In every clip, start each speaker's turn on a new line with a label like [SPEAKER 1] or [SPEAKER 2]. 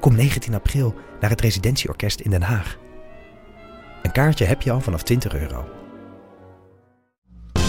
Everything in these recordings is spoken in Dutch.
[SPEAKER 1] Kom 19 april naar het Residentieorkest in Den Haag. Een kaartje heb je al vanaf 20 euro.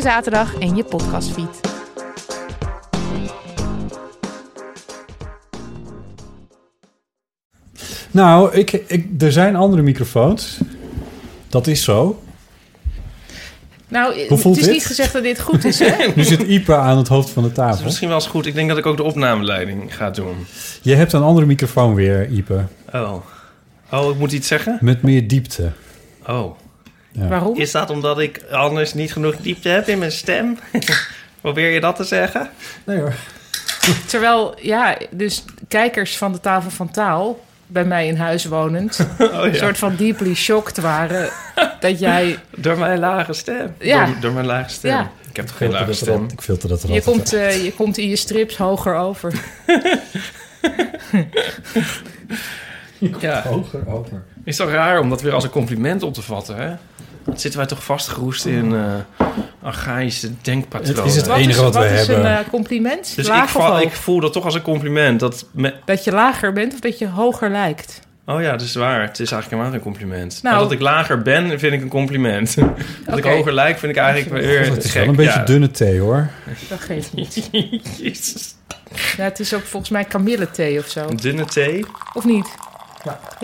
[SPEAKER 2] zaterdag in je podcastfeed.
[SPEAKER 3] Nou, ik, ik, er zijn andere microfoons. Dat is zo.
[SPEAKER 4] Nou,
[SPEAKER 3] Hoe voelt
[SPEAKER 4] het is
[SPEAKER 3] dit?
[SPEAKER 4] niet gezegd dat dit goed is, hè?
[SPEAKER 3] Nu zit Ipe aan het hoofd van de
[SPEAKER 5] Dat is
[SPEAKER 3] tafel.
[SPEAKER 5] misschien wel eens goed. Ik denk dat ik ook de opnameleiding ga doen.
[SPEAKER 3] Je hebt een andere microfoon weer, Ipe.
[SPEAKER 5] Oh. Oh, ik moet iets zeggen?
[SPEAKER 3] Met meer diepte.
[SPEAKER 5] Oh.
[SPEAKER 4] Waarom?
[SPEAKER 5] Is dat omdat ik anders niet genoeg diepte heb in mijn stem? Probeer je dat te zeggen?
[SPEAKER 3] Nee hoor.
[SPEAKER 4] Terwijl, ja, dus kijkers van de tafel van taal, bij mij in huis wonend,
[SPEAKER 5] Oh
[SPEAKER 4] een
[SPEAKER 5] ja.
[SPEAKER 4] soort van deeply shocked waren dat jij...
[SPEAKER 5] Door mijn lage stem.
[SPEAKER 4] Ja.
[SPEAKER 5] Door, door mijn lage stem.
[SPEAKER 4] Ja.
[SPEAKER 5] Ik heb toch
[SPEAKER 3] Ik
[SPEAKER 5] geen
[SPEAKER 3] filter dat
[SPEAKER 5] lage
[SPEAKER 3] er, al-
[SPEAKER 5] stem?
[SPEAKER 3] ik filter dat er
[SPEAKER 4] Je
[SPEAKER 3] altijd
[SPEAKER 4] komt, eh, je komt in je strips hoger over.
[SPEAKER 5] Ja.
[SPEAKER 3] uit. Hoger, hoger.
[SPEAKER 5] Is toch raar om dat weer als een compliment op te vatten, hè? Dan zitten wij toch vastgeroest in eh archaïsche denkpatronen.
[SPEAKER 3] Het is het
[SPEAKER 4] Wat
[SPEAKER 3] enige
[SPEAKER 4] is,
[SPEAKER 3] wat wij
[SPEAKER 4] is een
[SPEAKER 3] hebben.
[SPEAKER 4] eh, compliment?
[SPEAKER 5] dus ik,
[SPEAKER 4] Laag of
[SPEAKER 5] val,
[SPEAKER 4] hoog?
[SPEAKER 5] ik voel dat toch als een compliment. Dat me-
[SPEAKER 4] Dat je lager bent of dat je hoger lijkt?
[SPEAKER 5] oh ja, dat is waar. Het is eigenlijk helemaal geen compliment.
[SPEAKER 4] Nou.
[SPEAKER 5] maar dat ik lager ben, vind ik een compliment. dat ik
[SPEAKER 4] Oké.
[SPEAKER 5] hoger lijk, vind ik eigenlijk weer
[SPEAKER 3] Het is
[SPEAKER 5] gek.
[SPEAKER 3] wel een beetje
[SPEAKER 5] Ja.
[SPEAKER 3] dunne thee hoor.
[SPEAKER 4] Dat geeft niet.
[SPEAKER 5] Jezus.
[SPEAKER 4] Ja, het is ook volgens mij kamillethee of zo.
[SPEAKER 5] Een dunne thee.
[SPEAKER 4] Of niet?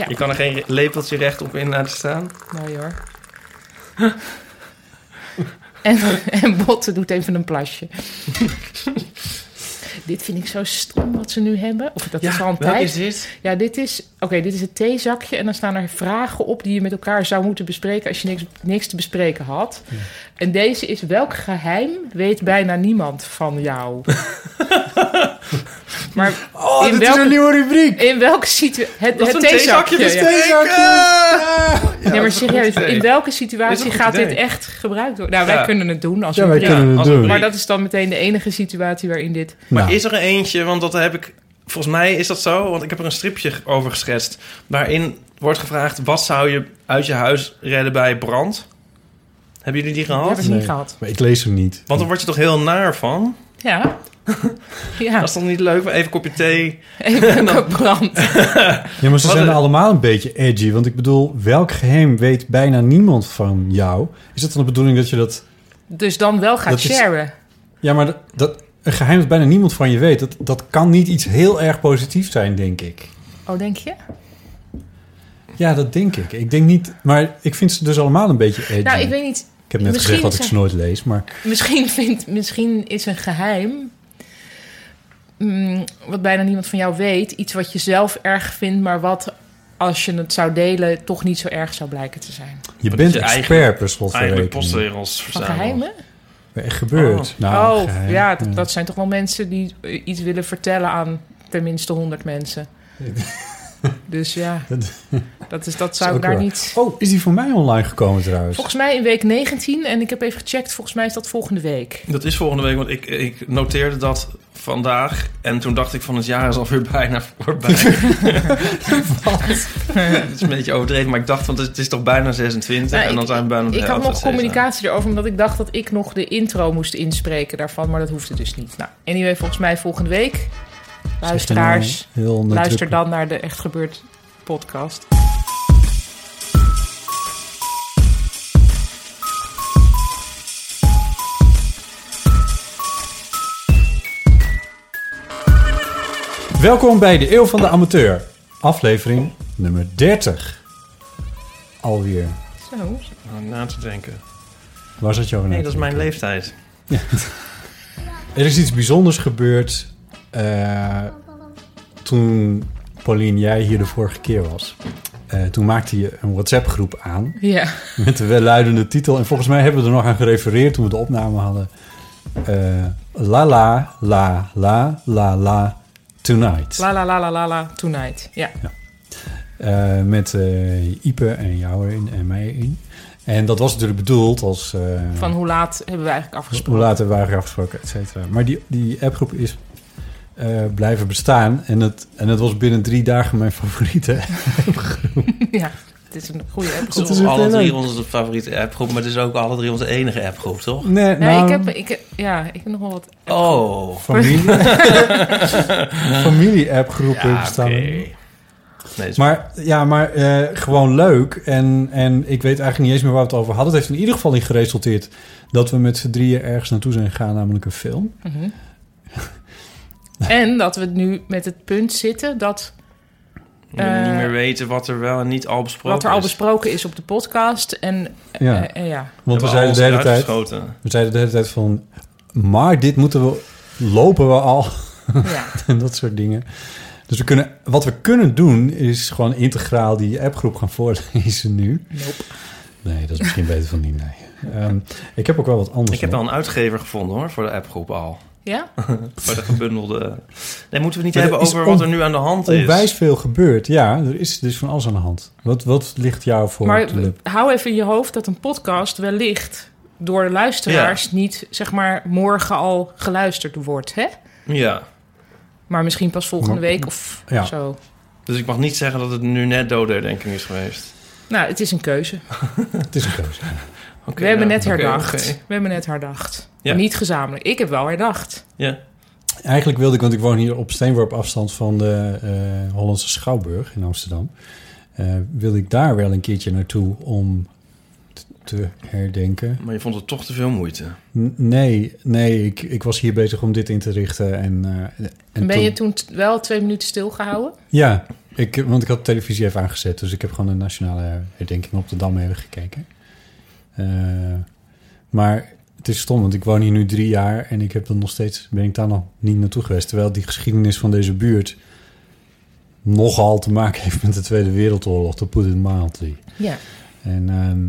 [SPEAKER 5] Je kan er geen re- lepeltje recht op in laten staan.
[SPEAKER 4] Mooi hoor. en, en Botte doet even een plasje. dit vind ik zo stom wat ze nu hebben. Of dat is al een tijd.
[SPEAKER 5] dit?
[SPEAKER 4] Ja, dit is... Oké, dit is het theezakje. En dan staan er vragen op die je met elkaar zou moeten bespreken... als je niks, niks te bespreken had. En deze is... Welk geheim weet bijna niemand van jou? maar
[SPEAKER 3] Oh,
[SPEAKER 4] In
[SPEAKER 3] dit is
[SPEAKER 4] welke-
[SPEAKER 3] een nieuwe rubriek.
[SPEAKER 4] in welke situatie... Het,
[SPEAKER 5] Dat is
[SPEAKER 4] het
[SPEAKER 5] een
[SPEAKER 4] theezakje.
[SPEAKER 5] theezakje
[SPEAKER 4] ja.
[SPEAKER 3] Theezakje. Ja,
[SPEAKER 4] nee, maar serieus.
[SPEAKER 5] idee.
[SPEAKER 4] In welke
[SPEAKER 5] Dit is
[SPEAKER 4] situatie
[SPEAKER 5] een goed
[SPEAKER 4] gaat dit
[SPEAKER 5] idee.
[SPEAKER 4] echt gebruikt worden? Nou, wij
[SPEAKER 5] Ja.
[SPEAKER 4] kunnen het doen als
[SPEAKER 3] Ja,
[SPEAKER 4] we
[SPEAKER 3] wij
[SPEAKER 5] Ja,
[SPEAKER 3] kunnen het
[SPEAKER 5] als een
[SPEAKER 3] doen.
[SPEAKER 5] brief.
[SPEAKER 4] Maar dat is dan meteen de enige situatie waarin dit...
[SPEAKER 3] Nou,
[SPEAKER 5] Is er eentje, want dat heb ik... Volgens mij is dat zo, want ik heb er een stripje over geschetst... waarin wordt gevraagd... wat zou je uit je huis redden bij brand? Hebben jullie die
[SPEAKER 4] We
[SPEAKER 5] gehad?
[SPEAKER 4] hebben het niet
[SPEAKER 3] Nee.
[SPEAKER 4] gehad.
[SPEAKER 3] maar ik lees hem niet.
[SPEAKER 5] Want dan word je toch heel naar van?
[SPEAKER 4] Ja. ja.
[SPEAKER 5] Dat is toch niet leuk? Even een kopje thee.
[SPEAKER 4] Even een brand.
[SPEAKER 3] Ja, maar ze
[SPEAKER 5] Wat
[SPEAKER 3] zijn
[SPEAKER 5] een-
[SPEAKER 3] allemaal een beetje edgy. Want ik bedoel, welk geheim weet bijna niemand van jou? Is het dan de bedoeling dat je dat
[SPEAKER 4] Dus dan wel gaat
[SPEAKER 3] Dat is-
[SPEAKER 4] sharen.
[SPEAKER 3] Ja, maar dat, dat- een geheim dat bijna niemand van je weet, dat, dat kan niet iets heel erg positiefs zijn, denk ik.
[SPEAKER 4] Oh, denk je?
[SPEAKER 3] Ja, dat denk ik. Ik denk niet, maar ik vind ze dus allemaal een beetje edgy.
[SPEAKER 4] Nou, ik weet niet.
[SPEAKER 3] Ik heb net
[SPEAKER 4] misschien
[SPEAKER 3] gezegd dat ik
[SPEAKER 4] zijn-
[SPEAKER 3] ze nooit lees, maar
[SPEAKER 4] Misschien, vindt, misschien is een geheim... mm, wat bijna niemand van jou weet... iets wat je zelf erg vindt... maar wat als je het zou delen... toch niet zo erg zou blijken te zijn.
[SPEAKER 3] je
[SPEAKER 5] Wat
[SPEAKER 3] bent
[SPEAKER 5] is je
[SPEAKER 3] expert
[SPEAKER 5] eigen-
[SPEAKER 3] per slot
[SPEAKER 5] Eigenlijk postregels
[SPEAKER 4] Van
[SPEAKER 5] verzamelen.
[SPEAKER 4] geheimen?
[SPEAKER 3] Echt gebeurd.
[SPEAKER 5] Oh.
[SPEAKER 3] Nou,
[SPEAKER 4] oh,
[SPEAKER 3] geheim.
[SPEAKER 4] ja, dat, dat zijn toch wel mensen die eh, iets willen vertellen aan tenminste 100 mensen. dus ja,
[SPEAKER 3] Dat-
[SPEAKER 4] dat, is, dat
[SPEAKER 3] is
[SPEAKER 4] zou
[SPEAKER 3] ook
[SPEAKER 4] ik daar
[SPEAKER 3] waar.
[SPEAKER 4] niet...
[SPEAKER 3] Oh, is die voor mij online gekomen trouwens?
[SPEAKER 4] Volgens mij in week 19, en ik heb even gecheckt, volgens mij is dat volgende week.
[SPEAKER 5] Dat is volgende week, want ik, ik noteerde dat vandaag. En toen dacht ik van het jaar is alweer bijna voorbij. Het is een beetje overdreven, maar ik dacht van het is toch bijna 26
[SPEAKER 4] Nou,
[SPEAKER 5] en dan
[SPEAKER 4] ik-
[SPEAKER 5] zijn we bijna op de
[SPEAKER 4] Ik had
[SPEAKER 5] helft,
[SPEAKER 4] nog
[SPEAKER 5] et cetera.
[SPEAKER 4] communicatie erover, omdat ik dacht dat ik nog de intro moest inspreken daarvan, maar dat hoefde dus niet. Nou, anyway, volgens mij volgende week. Luisteraars,
[SPEAKER 3] nou, Heel
[SPEAKER 4] luister
[SPEAKER 3] nadrukkelijk.
[SPEAKER 4] dan naar de Echt Gebeurd podcast.
[SPEAKER 3] Welkom bij de Eeuw van de Amateur, aflevering nummer 30. Alweer.
[SPEAKER 4] Zo.
[SPEAKER 5] Om Oh, na te denken.
[SPEAKER 3] Waar zat nou je over na
[SPEAKER 5] Nee,
[SPEAKER 3] te
[SPEAKER 5] dat is mijn
[SPEAKER 3] denken?
[SPEAKER 5] leeftijd.
[SPEAKER 3] Er is iets bijzonders gebeurd eh, toen Pauline, jij hier de vorige keer was. Eh, toen maakte je een WhatsApp-groep aan
[SPEAKER 4] Ja.
[SPEAKER 3] met de welluidende titel. En volgens mij hebben we er nog aan gerefereerd toen we de opname hadden. Eh, la la la la la la tonight.
[SPEAKER 4] La la la la la la tonight. Ja.
[SPEAKER 3] Eh, met eh, Ipe en jou erin en mij in. En dat was natuurlijk bedoeld als... eh,
[SPEAKER 4] Van hoe laat hebben we eigenlijk
[SPEAKER 3] Hoe
[SPEAKER 4] afgesproken?
[SPEAKER 3] laat hebben we eigenlijk afgesproken, et cetera. Maar die, die appgroep is eh, blijven bestaan. En het, en het was binnen drie dagen mijn favoriete.
[SPEAKER 4] ja. Het is een goede app.
[SPEAKER 5] Het
[SPEAKER 3] is
[SPEAKER 5] is
[SPEAKER 3] echt
[SPEAKER 5] alle
[SPEAKER 3] heel
[SPEAKER 5] drie
[SPEAKER 3] leuk.
[SPEAKER 5] onze favoriete appgroep, maar het is ook alle drie onze enige appgroep, toch?
[SPEAKER 3] Nee,
[SPEAKER 4] Nee,
[SPEAKER 3] nou,
[SPEAKER 4] ik heb, ik, heb- ja, ik heb nog wel wat.
[SPEAKER 5] Oh.
[SPEAKER 3] familie, familie appgroepen bestaan.
[SPEAKER 5] Nee, dat is-
[SPEAKER 3] Maar ja, maar eh, gewoon leuk. En, en ik weet eigenlijk niet eens meer waar we het over hadden. Het heeft in ieder geval in geresulteerd dat we met z'n drieën ergens naartoe zijn gegaan, namelijk een film.
[SPEAKER 4] Mhm. en dat we nu met het punt zitten dat
[SPEAKER 5] we niet
[SPEAKER 4] eh,
[SPEAKER 5] meer weten wat er wel en niet al besproken
[SPEAKER 4] wat er al
[SPEAKER 5] is.
[SPEAKER 4] besproken is op de podcast. En
[SPEAKER 3] Ja,
[SPEAKER 4] eh, eh, ja.
[SPEAKER 3] want we
[SPEAKER 5] Hebben
[SPEAKER 3] zeiden,
[SPEAKER 5] alles
[SPEAKER 3] de hele
[SPEAKER 5] eruit
[SPEAKER 3] tijd,
[SPEAKER 5] geschoten.
[SPEAKER 3] we zeiden de hele tijd van... Maar dit moeten we... Lopen we al
[SPEAKER 4] ja.
[SPEAKER 3] en dat soort dingen. Dus we kunnen, wat we kunnen doen is gewoon integraal die appgroep gaan voorlezen nu.
[SPEAKER 4] Nope.
[SPEAKER 3] Nee, dat is misschien beter van niet. Nee. Ehm, ik heb ook wel wat anders.
[SPEAKER 5] Ik heb
[SPEAKER 3] nog.
[SPEAKER 5] wel een uitgever gevonden hoor, voor de appgroep al.
[SPEAKER 4] Ja?
[SPEAKER 5] Voor de gebundelde. Nee, moeten we niet
[SPEAKER 3] Maar
[SPEAKER 5] hebben
[SPEAKER 3] er is
[SPEAKER 5] over
[SPEAKER 3] on-
[SPEAKER 5] wat er nu aan de hand is.
[SPEAKER 3] onwijs veel gebeurd. Ja, er is dus van alles aan de hand. Wat, wat ligt jou voor op
[SPEAKER 4] Maar
[SPEAKER 3] de lip?
[SPEAKER 4] hou even in je hoofd dat een podcast wellicht door de luisteraars niet zeg maar morgen al geluisterd wordt, hè?
[SPEAKER 5] Ja.
[SPEAKER 4] Maar misschien pas volgende
[SPEAKER 3] Maar-
[SPEAKER 4] week of
[SPEAKER 3] Ja.
[SPEAKER 4] zo.
[SPEAKER 5] Dus ik mag niet zeggen dat het nu net dodenherdenking is geweest.
[SPEAKER 4] Nou, het is een keuze.
[SPEAKER 3] Het is een keuze.
[SPEAKER 5] Oké,
[SPEAKER 4] we hebben
[SPEAKER 5] ja,
[SPEAKER 4] net
[SPEAKER 5] oké, nou,
[SPEAKER 4] herdacht.
[SPEAKER 5] oké.
[SPEAKER 4] We hebben net herdacht.
[SPEAKER 5] Ja.
[SPEAKER 4] Niet gezamenlijk. Ik heb wel herdacht.
[SPEAKER 5] Ja.
[SPEAKER 3] Eigenlijk wilde ik, want ik woon hier op steenworp afstand van de eh, Hollandse Schouwburg in Amsterdam. Eh wilde ik daar wel een keertje naartoe om t- te herdenken.
[SPEAKER 5] Maar je vond het toch te veel moeite.
[SPEAKER 3] N- Nee, nee ik, ik was hier bezig om dit in te richten. En, eh, en
[SPEAKER 4] En ben
[SPEAKER 3] toen-
[SPEAKER 4] je toen t- wel twee minuten stilgehouden?
[SPEAKER 3] Ja, ik, want ik had de televisie even aangezet. Dus ik heb gewoon een nationale herdenking op de Dam even gekeken. Eh, maar het is stom, want ik woon hier nu drie jaar... en ik heb dan nog steeds, ben ik daar nog niet naartoe geweest. Terwijl die geschiedenis van deze buurt... nogal te maken heeft met de Tweede Wereldoorlog. To put it mildly.
[SPEAKER 4] Ja.
[SPEAKER 3] En, ehm,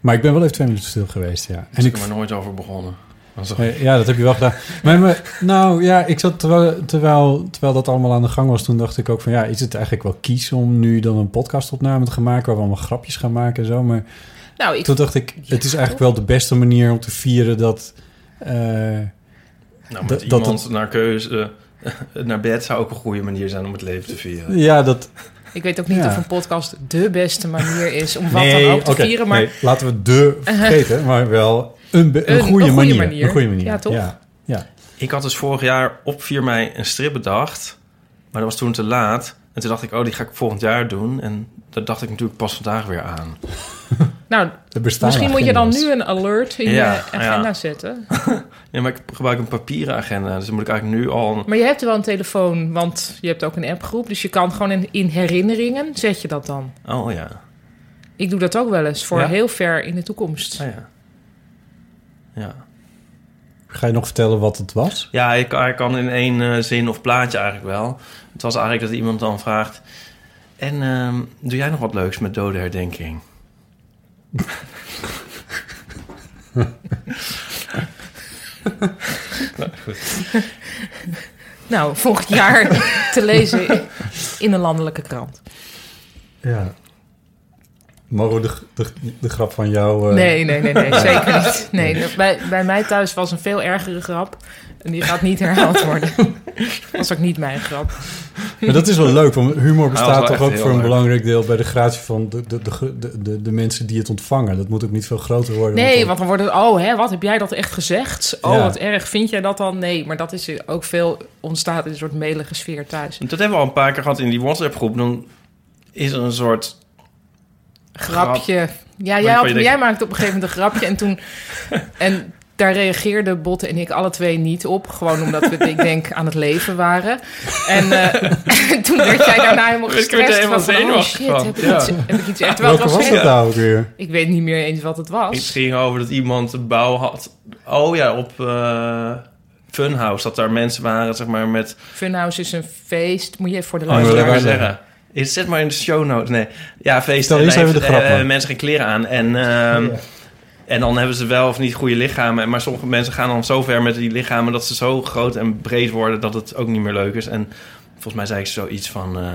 [SPEAKER 3] maar ik ben wel even twee minuten stil geweest, ja.
[SPEAKER 5] En
[SPEAKER 3] En
[SPEAKER 5] ik
[SPEAKER 3] ik
[SPEAKER 5] heb er nooit over begonnen. Dat is toch-
[SPEAKER 3] Eh, Ja, dat heb je wel gedaan. Maar, maar, nou ja, ik zat terwijl, terwijl, terwijl dat allemaal aan de gang was, toen dacht ik ook van ja, is het eigenlijk wel kies om nu dan een podcastopname te gaan maken waar we allemaal grapjes gaan maken en zo. Maar
[SPEAKER 4] Nou, ik,
[SPEAKER 3] toen dacht ik, het is eigenlijk wel de beste manier om te vieren dat. eh,
[SPEAKER 5] nou,
[SPEAKER 3] dat-
[SPEAKER 5] met
[SPEAKER 3] dat-
[SPEAKER 5] iemand naar keuze... eh, naar bed zou ook een goede manier zijn om het leven te vieren.
[SPEAKER 3] ja, dat.
[SPEAKER 4] ik weet ook niet
[SPEAKER 3] Ja.
[SPEAKER 4] of een podcast de beste manier is om wat dan ook te
[SPEAKER 3] oké,
[SPEAKER 4] vieren. Maar
[SPEAKER 3] nee, laten we de vergeten, maar wel een, be- een,
[SPEAKER 4] Een- een
[SPEAKER 3] goede
[SPEAKER 4] goede
[SPEAKER 3] manier,
[SPEAKER 4] manier.
[SPEAKER 3] Een goede manier.
[SPEAKER 4] Ja, toch?
[SPEAKER 3] Ja, ja.
[SPEAKER 5] Ik had dus vorig jaar op 4 mei een strip bedacht. Maar dat was toen te laat. En toen dacht ik, oh, die ga ik volgend jaar doen. En dat dacht ik natuurlijk pas vandaag weer aan.
[SPEAKER 4] nou,
[SPEAKER 3] Er bestaan
[SPEAKER 4] misschien moet je dan
[SPEAKER 3] agenda's.
[SPEAKER 4] nu een alert in
[SPEAKER 5] Ja,
[SPEAKER 4] je agenda
[SPEAKER 5] ja.
[SPEAKER 4] zetten.
[SPEAKER 5] Ja, maar ik gebruik een papieren agenda. Dus dan moet ik eigenlijk nu al... een-
[SPEAKER 4] Maar je hebt wel een telefoon, want je hebt ook een appgroep. Dus je kan gewoon in, in herinneringen, zet je dat dan.
[SPEAKER 5] Oh ja.
[SPEAKER 4] Ik doe dat ook wel eens voor
[SPEAKER 5] Ja?
[SPEAKER 4] heel ver in de toekomst.
[SPEAKER 5] Oh, ja. Ja.
[SPEAKER 3] Ga je nog vertellen wat het was?
[SPEAKER 5] Ja, ik, ik kan in één eh, zin of plaatje eigenlijk wel. Het was eigenlijk dat iemand dan vraagt... En ehm, doe jij nog wat leuks met dodenherdenking?
[SPEAKER 4] Nou, volgend jaar te lezen in een landelijke krant.
[SPEAKER 3] Ja. Mogen we de, de, de grap van jou... eh,
[SPEAKER 4] Nee, nee, nee, nee zeker niet. Nee, dat- bij, bij mij thuis was een veel ergere grap. En die gaat niet herhaald worden. Dat was ook niet mijn grap.
[SPEAKER 3] Maar dat is wel leuk, want humor
[SPEAKER 5] Hij
[SPEAKER 3] bestaat
[SPEAKER 5] was wel
[SPEAKER 3] toch ook
[SPEAKER 5] echt
[SPEAKER 3] voor
[SPEAKER 5] heel
[SPEAKER 3] een
[SPEAKER 5] leuk.
[SPEAKER 3] belangrijk deel... bij de gratie van de, de, de, de, de, de mensen die het ontvangen. Dat moet ook niet veel groter worden.
[SPEAKER 4] Nee,
[SPEAKER 3] want
[SPEAKER 4] want dan wordt het... Oh, hè, wat heb jij dat echt gezegd? Oh,
[SPEAKER 3] Ja.
[SPEAKER 4] wat erg. Vind jij dat dan? Nee, maar dat is ook veel... ontstaat in een soort melige sfeer thuis.
[SPEAKER 5] Dat hebben we al een paar keer gehad in die WhatsApp-groep. Dan is er een soort...
[SPEAKER 4] grapje. Ja,
[SPEAKER 5] je
[SPEAKER 4] jij, had-
[SPEAKER 5] denkt-
[SPEAKER 4] jij maakte op een gegeven moment een grapje en toen... En Daar reageerden Botte en ik alle twee niet op. Gewoon omdat we, ik denk, aan het leven waren. En eh, toen werd jij daarna helemaal
[SPEAKER 5] Ik werd
[SPEAKER 4] gestrest.
[SPEAKER 5] helemaal
[SPEAKER 4] van, oh
[SPEAKER 5] zenuwachtig
[SPEAKER 4] shit,
[SPEAKER 5] van.
[SPEAKER 4] heb ik
[SPEAKER 5] Ja.
[SPEAKER 4] iets, heb ik iets echt... Terwijl
[SPEAKER 3] Welke
[SPEAKER 4] het
[SPEAKER 3] was
[SPEAKER 4] was
[SPEAKER 3] dat nou ook weer?
[SPEAKER 4] Ik weet niet meer eens wat het
[SPEAKER 5] Iets
[SPEAKER 4] was.
[SPEAKER 5] ging over dat iemand een bouw had. Oh ja, op eh, Funhouse. Dat daar mensen waren, zeg maar, met...
[SPEAKER 4] Funhouse is een feest. Moet je even voor de
[SPEAKER 5] Oh, ik
[SPEAKER 3] wil
[SPEAKER 5] wil
[SPEAKER 3] je
[SPEAKER 4] luisteraar
[SPEAKER 5] maar
[SPEAKER 3] zeggen.
[SPEAKER 5] zeggen. Je Zet maar in de show notes. Nee. Ja, feest.
[SPEAKER 3] Vertel
[SPEAKER 5] en
[SPEAKER 3] eerst
[SPEAKER 5] hij
[SPEAKER 3] even
[SPEAKER 5] heeft-
[SPEAKER 3] de grap,
[SPEAKER 5] eh,
[SPEAKER 3] man.
[SPEAKER 5] mensen geen kleren aan. En, ehm, en dan hebben ze wel of niet goede lichamen. Maar sommige mensen gaan dan zo ver met die lichamen... dat ze zo groot en breed worden dat het ook niet meer leuk is. En volgens mij zei ik zoiets van... eh,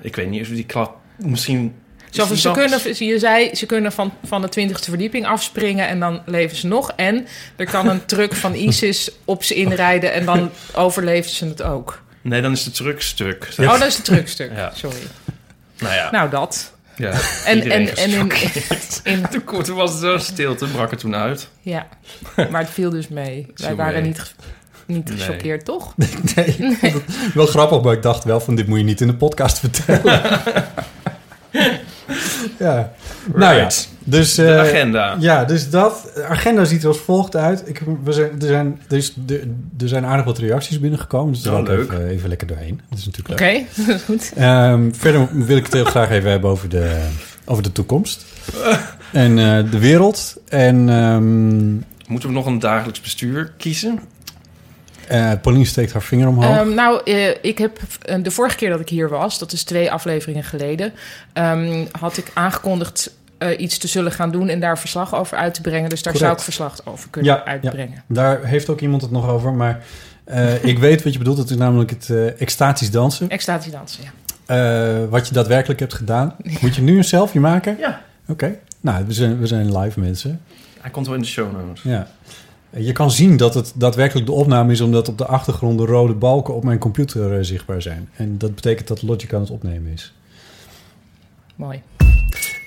[SPEAKER 5] ik weet niet of die klap... Misschien... is
[SPEAKER 4] Zo van,
[SPEAKER 5] die
[SPEAKER 4] ze,
[SPEAKER 5] dan-
[SPEAKER 4] kunnen, ze- je zei, ze kunnen van, van de twintigste verdieping afspringen en dan leven ze nog. En er kan een truck van ISIS op ze inrijden en dan overleven ze het ook.
[SPEAKER 5] Nee, dan is het truckstuk.
[SPEAKER 4] Oh, dat is het truckstuk.
[SPEAKER 5] Ja.
[SPEAKER 4] Sorry.
[SPEAKER 5] Nou ja.
[SPEAKER 4] Nou, dat.
[SPEAKER 5] ja.
[SPEAKER 4] En,
[SPEAKER 5] Iedereen
[SPEAKER 4] en, en in, in,
[SPEAKER 5] Toen kon- toen was het zo stilte, brak het toen uit.
[SPEAKER 4] ja, maar het viel dus mee. Wij
[SPEAKER 5] Viel
[SPEAKER 4] waren
[SPEAKER 5] mee.
[SPEAKER 4] niet, ge- niet
[SPEAKER 5] Nee.
[SPEAKER 4] gechoqueerd, toch?
[SPEAKER 3] Nee, wel grappig, maar ik dacht wel van dit moet je niet in de podcast vertellen. ja. Nou ja,
[SPEAKER 5] Right.
[SPEAKER 3] dus...
[SPEAKER 5] De
[SPEAKER 3] eh,
[SPEAKER 5] agenda.
[SPEAKER 3] Ja, dus dat. De agenda ziet er als volgt uit. Ik, we zijn, er, zijn, er, is, er, er zijn aardig wat reacties binnengekomen. Dus daar
[SPEAKER 5] Oh,
[SPEAKER 3] wil ik
[SPEAKER 5] leuk.
[SPEAKER 3] Even, even lekker doorheen. Dat is natuurlijk leuk.
[SPEAKER 4] Oké, goed.
[SPEAKER 3] Ehm, verder wil ik het heel graag even hebben over de, over de toekomst. En eh, de wereld. En ehm
[SPEAKER 5] Moeten we nog een dagelijks bestuur kiezen?
[SPEAKER 3] eh, Pauline steekt haar vinger omhoog.
[SPEAKER 4] Ehm, nou, eh, ik heb eh, de vorige keer dat ik hier was, dat is twee afleveringen geleden, ehm, had ik aangekondigd eh, iets te zullen gaan doen en daar verslag over uit te brengen. Dus daar zou ik
[SPEAKER 3] Correct.
[SPEAKER 4] verslag over kunnen
[SPEAKER 3] Ja, ja.
[SPEAKER 4] uitbrengen.
[SPEAKER 3] Daar heeft ook iemand het nog over. Maar eh, ik weet wat je bedoelt. Dat is namelijk het eh, extatisch dansen.
[SPEAKER 4] Extatisch dansen, ja.
[SPEAKER 3] Eh, wat je daadwerkelijk hebt gedaan. Moet je nu een selfie maken?
[SPEAKER 5] Ja.
[SPEAKER 3] Oké. Nou, we zijn, we zijn live mensen.
[SPEAKER 5] Hij komt wel in de show notes.
[SPEAKER 3] Ja. Je kan zien dat het daadwerkelijk de opname is, omdat op de achtergrond de rode balken op mijn computer eh, zichtbaar zijn. En dat betekent dat Logic aan het opnemen is.
[SPEAKER 4] Mooi.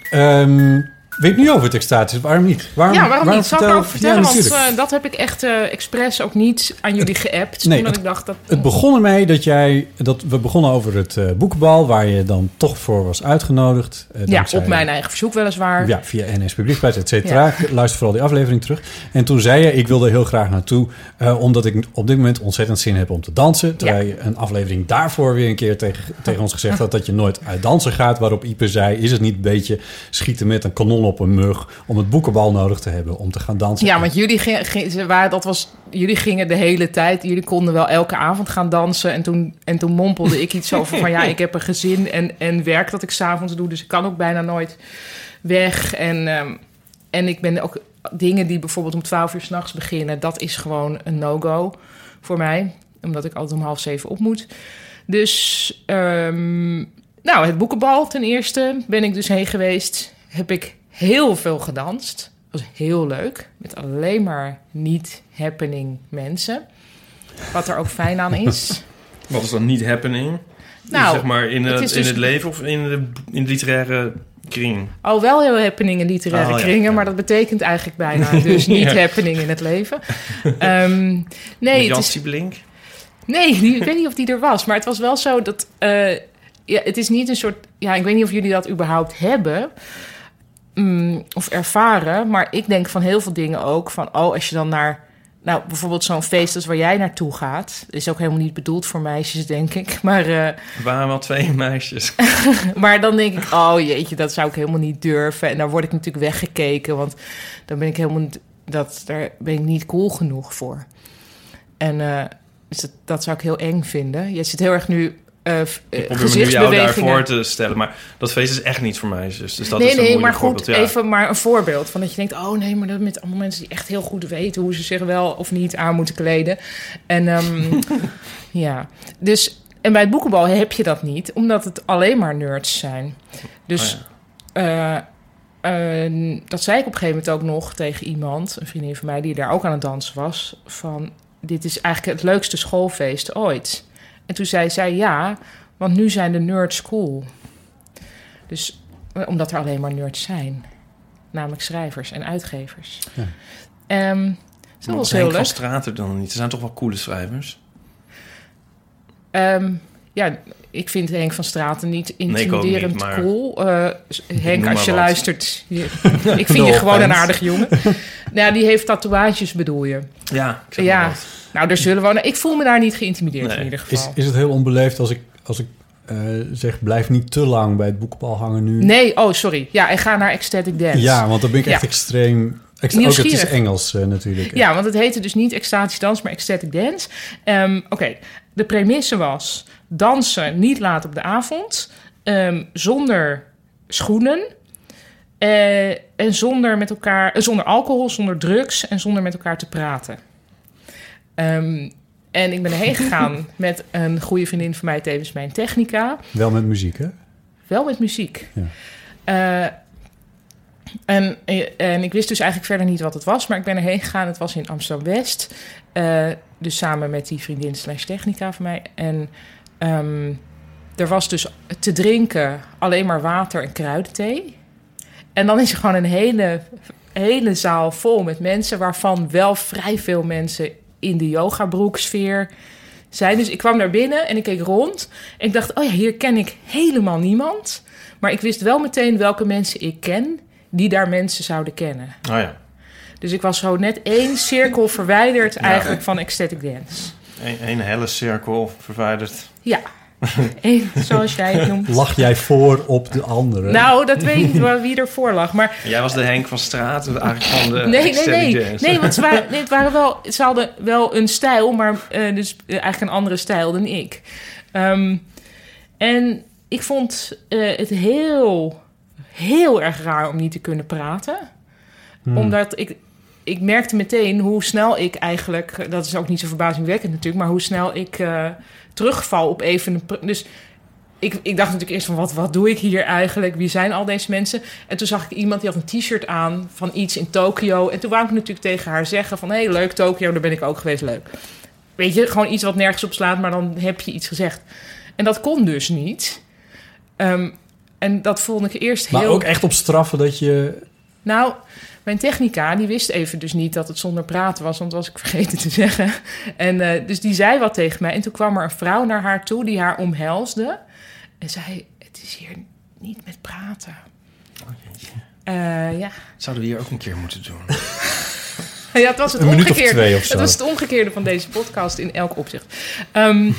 [SPEAKER 3] Ehm weet ik nu over het extatisch? dus Waarom niet? Waarom,
[SPEAKER 4] ja, waarom niet? Zal ik
[SPEAKER 3] vertel-
[SPEAKER 4] erover vertellen?
[SPEAKER 3] Ja,
[SPEAKER 4] want
[SPEAKER 3] natuurlijk.
[SPEAKER 4] eh, dat heb ik echt eh, expres ook niet aan jullie geappt.
[SPEAKER 3] Nee,
[SPEAKER 4] omdat
[SPEAKER 3] het-
[SPEAKER 4] ik dacht dat...
[SPEAKER 3] Het begon ermee dat jij, dat we begonnen over het eh boekbal, waar je dan toch voor was uitgenodigd. Eh,
[SPEAKER 4] ja,
[SPEAKER 3] dankzij-
[SPEAKER 4] op mijn eigen verzoek weliswaar.
[SPEAKER 3] Ja, via NS Publieksprijs, et cetera. Ik Luister vooral die aflevering terug. En toen zei je, ik wilde heel graag naartoe... eh, omdat ik op dit moment ontzettend zin heb om te dansen. Terwijl je een aflevering daarvoor weer een keer tegen, tegen ons gezegd had... dat je nooit uit dansen gaat. Waarop Ipe zei, is het niet een beetje schieten met een kanon op een mug... om het boekenbal nodig te hebben om te gaan dansen?
[SPEAKER 4] Ja, want jullie, ging, ging- ze waren, dat was, jullie gingen de hele tijd. Jullie konden wel elke avond gaan dansen. En toen, en toen mompelde ik iets over van... ja, ik heb een gezin en, en werk dat ik s'avonds doe. Dus ik kan ook bijna nooit weg. En, ehm, en ik ben ook... Dingen die bijvoorbeeld om 12 uur s'nachts beginnen... dat is gewoon een no-go voor mij. Omdat ik altijd om half zeven op moet. Dus... ehm, nou, het boekenbal ten eerste ben ik dus heen geweest. Heb ik heel veel gedanst. Dat was heel leuk. Met alleen maar niet-happening mensen. Wat er ook fijn aan is.
[SPEAKER 5] Wat is dan niet happening?
[SPEAKER 4] Nou,
[SPEAKER 5] zeg maar in
[SPEAKER 4] het
[SPEAKER 5] het,
[SPEAKER 4] is
[SPEAKER 5] in
[SPEAKER 4] dus-
[SPEAKER 5] het leven of in de, in de literaire kring?
[SPEAKER 4] Al wel heel happening in literaire
[SPEAKER 5] Oh, ja,
[SPEAKER 4] kringen,
[SPEAKER 5] ja.
[SPEAKER 4] maar dat betekent eigenlijk bijna dus niet happening in het leven. Ehm,
[SPEAKER 5] Met
[SPEAKER 4] nee,
[SPEAKER 5] Jan
[SPEAKER 4] het is,
[SPEAKER 5] Siebelink?
[SPEAKER 4] nee die- ik weet niet of die er was, maar het was wel zo dat eh, ja, het is niet een soort. Ja, ik weet niet of jullie dat überhaupt hebben. mm, of ervaren, maar ik denk van heel veel dingen ook van oh, als je dan naar nou bijvoorbeeld zo'n feest als waar jij naartoe gaat, is ook helemaal niet bedoeld voor meisjes, denk ik, maar eh,
[SPEAKER 5] Er waren wel twee meisjes.
[SPEAKER 4] maar dan denk ik, oh jeetje, dat zou ik helemaal niet durven. En dan word ik natuurlijk weggekeken, want dan ben ik helemaal niet- dat, daar ben ik niet cool genoeg voor. En eh, dus dat, dat zou ik heel eng vinden. Je zit heel erg nu eh f- eh,
[SPEAKER 5] Ik probeer me nu jou daarvoor
[SPEAKER 4] gezichtsbewegingen.
[SPEAKER 5] te stellen. Maar dat feest is echt niet voor meisjes. Dus dat is
[SPEAKER 4] nee,
[SPEAKER 5] een
[SPEAKER 4] nee,
[SPEAKER 5] moeilijk
[SPEAKER 4] maar goed,
[SPEAKER 5] voorbeeld, ja.
[SPEAKER 4] even maar een voorbeeld. Van dat je denkt, oh nee, maar dat met allemaal mensen die echt heel goed weten hoe ze zich wel of niet aan moeten kleden. En ehm, ja, dus en bij het boekenbal heb je dat niet, omdat het alleen maar nerds zijn. Dus
[SPEAKER 5] Oh ja.
[SPEAKER 4] eh, eh, dat zei ik op een gegeven moment ook nog tegen iemand, een vriendin van mij, die daar ook aan het dansen was. Van dit is eigenlijk het leukste schoolfeest ooit. En toen zei zij ja, want nu zijn de nerds cool. Dus eh, omdat er alleen maar nerds zijn, namelijk schrijvers en uitgevers.
[SPEAKER 3] Ja.
[SPEAKER 4] Ehm, dus dat was
[SPEAKER 5] Maar was
[SPEAKER 4] heel
[SPEAKER 5] Henk van
[SPEAKER 4] leuk.
[SPEAKER 5] Straten dan niet? Ze zijn toch wel coole schrijvers?
[SPEAKER 4] Ehm, ja, Ik vind Henk van Straten niet
[SPEAKER 5] ook niet,
[SPEAKER 4] intimiderend
[SPEAKER 5] maar-
[SPEAKER 4] cool. Eh, Henk,
[SPEAKER 5] noem
[SPEAKER 4] als je
[SPEAKER 5] maar wat.
[SPEAKER 4] luistert, je- ik vind je gewoon een aardig jongen. Nou, die heeft tatoeages, bedoel je?
[SPEAKER 5] Ja, ik zeg maar
[SPEAKER 4] Ja.
[SPEAKER 5] wat.
[SPEAKER 4] Nou, er zullen wel. Ik voel me daar niet geïntimideerd
[SPEAKER 5] Nee.
[SPEAKER 4] in ieder geval.
[SPEAKER 3] Is, is het heel onbeleefd als ik, als ik eh, zeg, blijf niet te lang bij het boekbal hangen nu?
[SPEAKER 4] Nee, oh sorry. Ja, en ga naar Ecstatic Dance.
[SPEAKER 3] Ja, want dan ben ik
[SPEAKER 4] Ja.
[SPEAKER 3] echt extreem... Extra, ook het
[SPEAKER 4] Nieuwsgierig.
[SPEAKER 3] is Engels eh, natuurlijk.
[SPEAKER 4] Ja, want het heette dus niet extatische dans, maar ecstatic dance. Ehm, Oké, de premisse was dansen niet laat op de avond, ehm, zonder schoenen eh, en zonder, met elkaar, eh, zonder alcohol, zonder drugs en zonder met elkaar te praten. Ehm, en ik ben erheen gegaan met een goede vriendin van mij, tevens mijn technica.
[SPEAKER 3] eh, Wel met muziek, hè?
[SPEAKER 4] Wel met muziek. Eh, en, en ik wist dus eigenlijk verder niet wat het was, maar ik ben erheen gegaan. Het was in Amsterdam-West. Eh, dus samen met die vriendin slash technica van mij. En ehm, er was dus te drinken alleen maar water en kruidenthee. En dan is er gewoon een hele, hele zaal vol met mensen... waarvan wel vrij veel mensen in de yogabroeksfeer zijn. Dus ik kwam daar binnen en ik keek rond. En ik dacht, oh ja, hier ken ik helemaal niemand. Maar ik wist wel meteen welke mensen ik ken... die daar mensen zouden kennen.
[SPEAKER 5] Oh ja,
[SPEAKER 4] Dus ik was zo net één cirkel verwijderd eigenlijk van ecstatic dance.
[SPEAKER 5] Eén een helle cirkel verwijderd.
[SPEAKER 4] Ja, Eén, zoals jij het noemt.
[SPEAKER 3] Lach jij voor op de anderen?
[SPEAKER 4] Nou, dat weet ik niet wel wie ervoor lag. Maar
[SPEAKER 5] Jij was de Henk van Straat, eigenlijk van de
[SPEAKER 4] nee, nee,
[SPEAKER 5] Ecstatic
[SPEAKER 4] nee.
[SPEAKER 5] Dance.
[SPEAKER 4] Nee, want ze, waren, nee, het waren wel, ze hadden wel een stijl, maar eh, dus eh, eigenlijk een andere stijl dan ik. Ehm, en ik vond eh, het heel, heel erg raar om niet te kunnen praten. Omdat ik, ik merkte meteen hoe snel ik eigenlijk... Dat is ook niet zo verbazingwekkend natuurlijk... maar hoe snel ik eh, terugval op even... een pr- Dus ik, ik dacht natuurlijk eerst van... Wat, wat doe ik hier eigenlijk? Wie zijn al deze mensen? En toen zag ik iemand die had een t-shirt aan... van iets in Tokio. En toen wou ik natuurlijk tegen haar zeggen van... Hé, hey, leuk Tokio, daar ben ik ook geweest, leuk. Weet je, gewoon iets wat nergens op slaat... maar dan heb je iets gezegd. En dat kon dus niet. Ehm, en dat vond ik eerst
[SPEAKER 3] maar
[SPEAKER 4] heel...
[SPEAKER 3] ook echt op straffen dat je...
[SPEAKER 4] Nou, mijn technica die wist even dus niet dat het zonder praten was, want dat was ik vergeten te zeggen. En eh, dus die zei wat tegen mij. En toen kwam er een vrouw naar haar toe die haar omhelsde. En zei: Het is hier niet met praten.
[SPEAKER 3] Oh,
[SPEAKER 4] Eh, ja.
[SPEAKER 5] Zouden we hier ook een keer moeten doen.
[SPEAKER 4] ja, dat was het
[SPEAKER 3] Een minuut of
[SPEAKER 4] omgekeerde.
[SPEAKER 3] twee of zo.
[SPEAKER 4] Dat was het omgekeerde van deze podcast in elk opzicht. Ehm,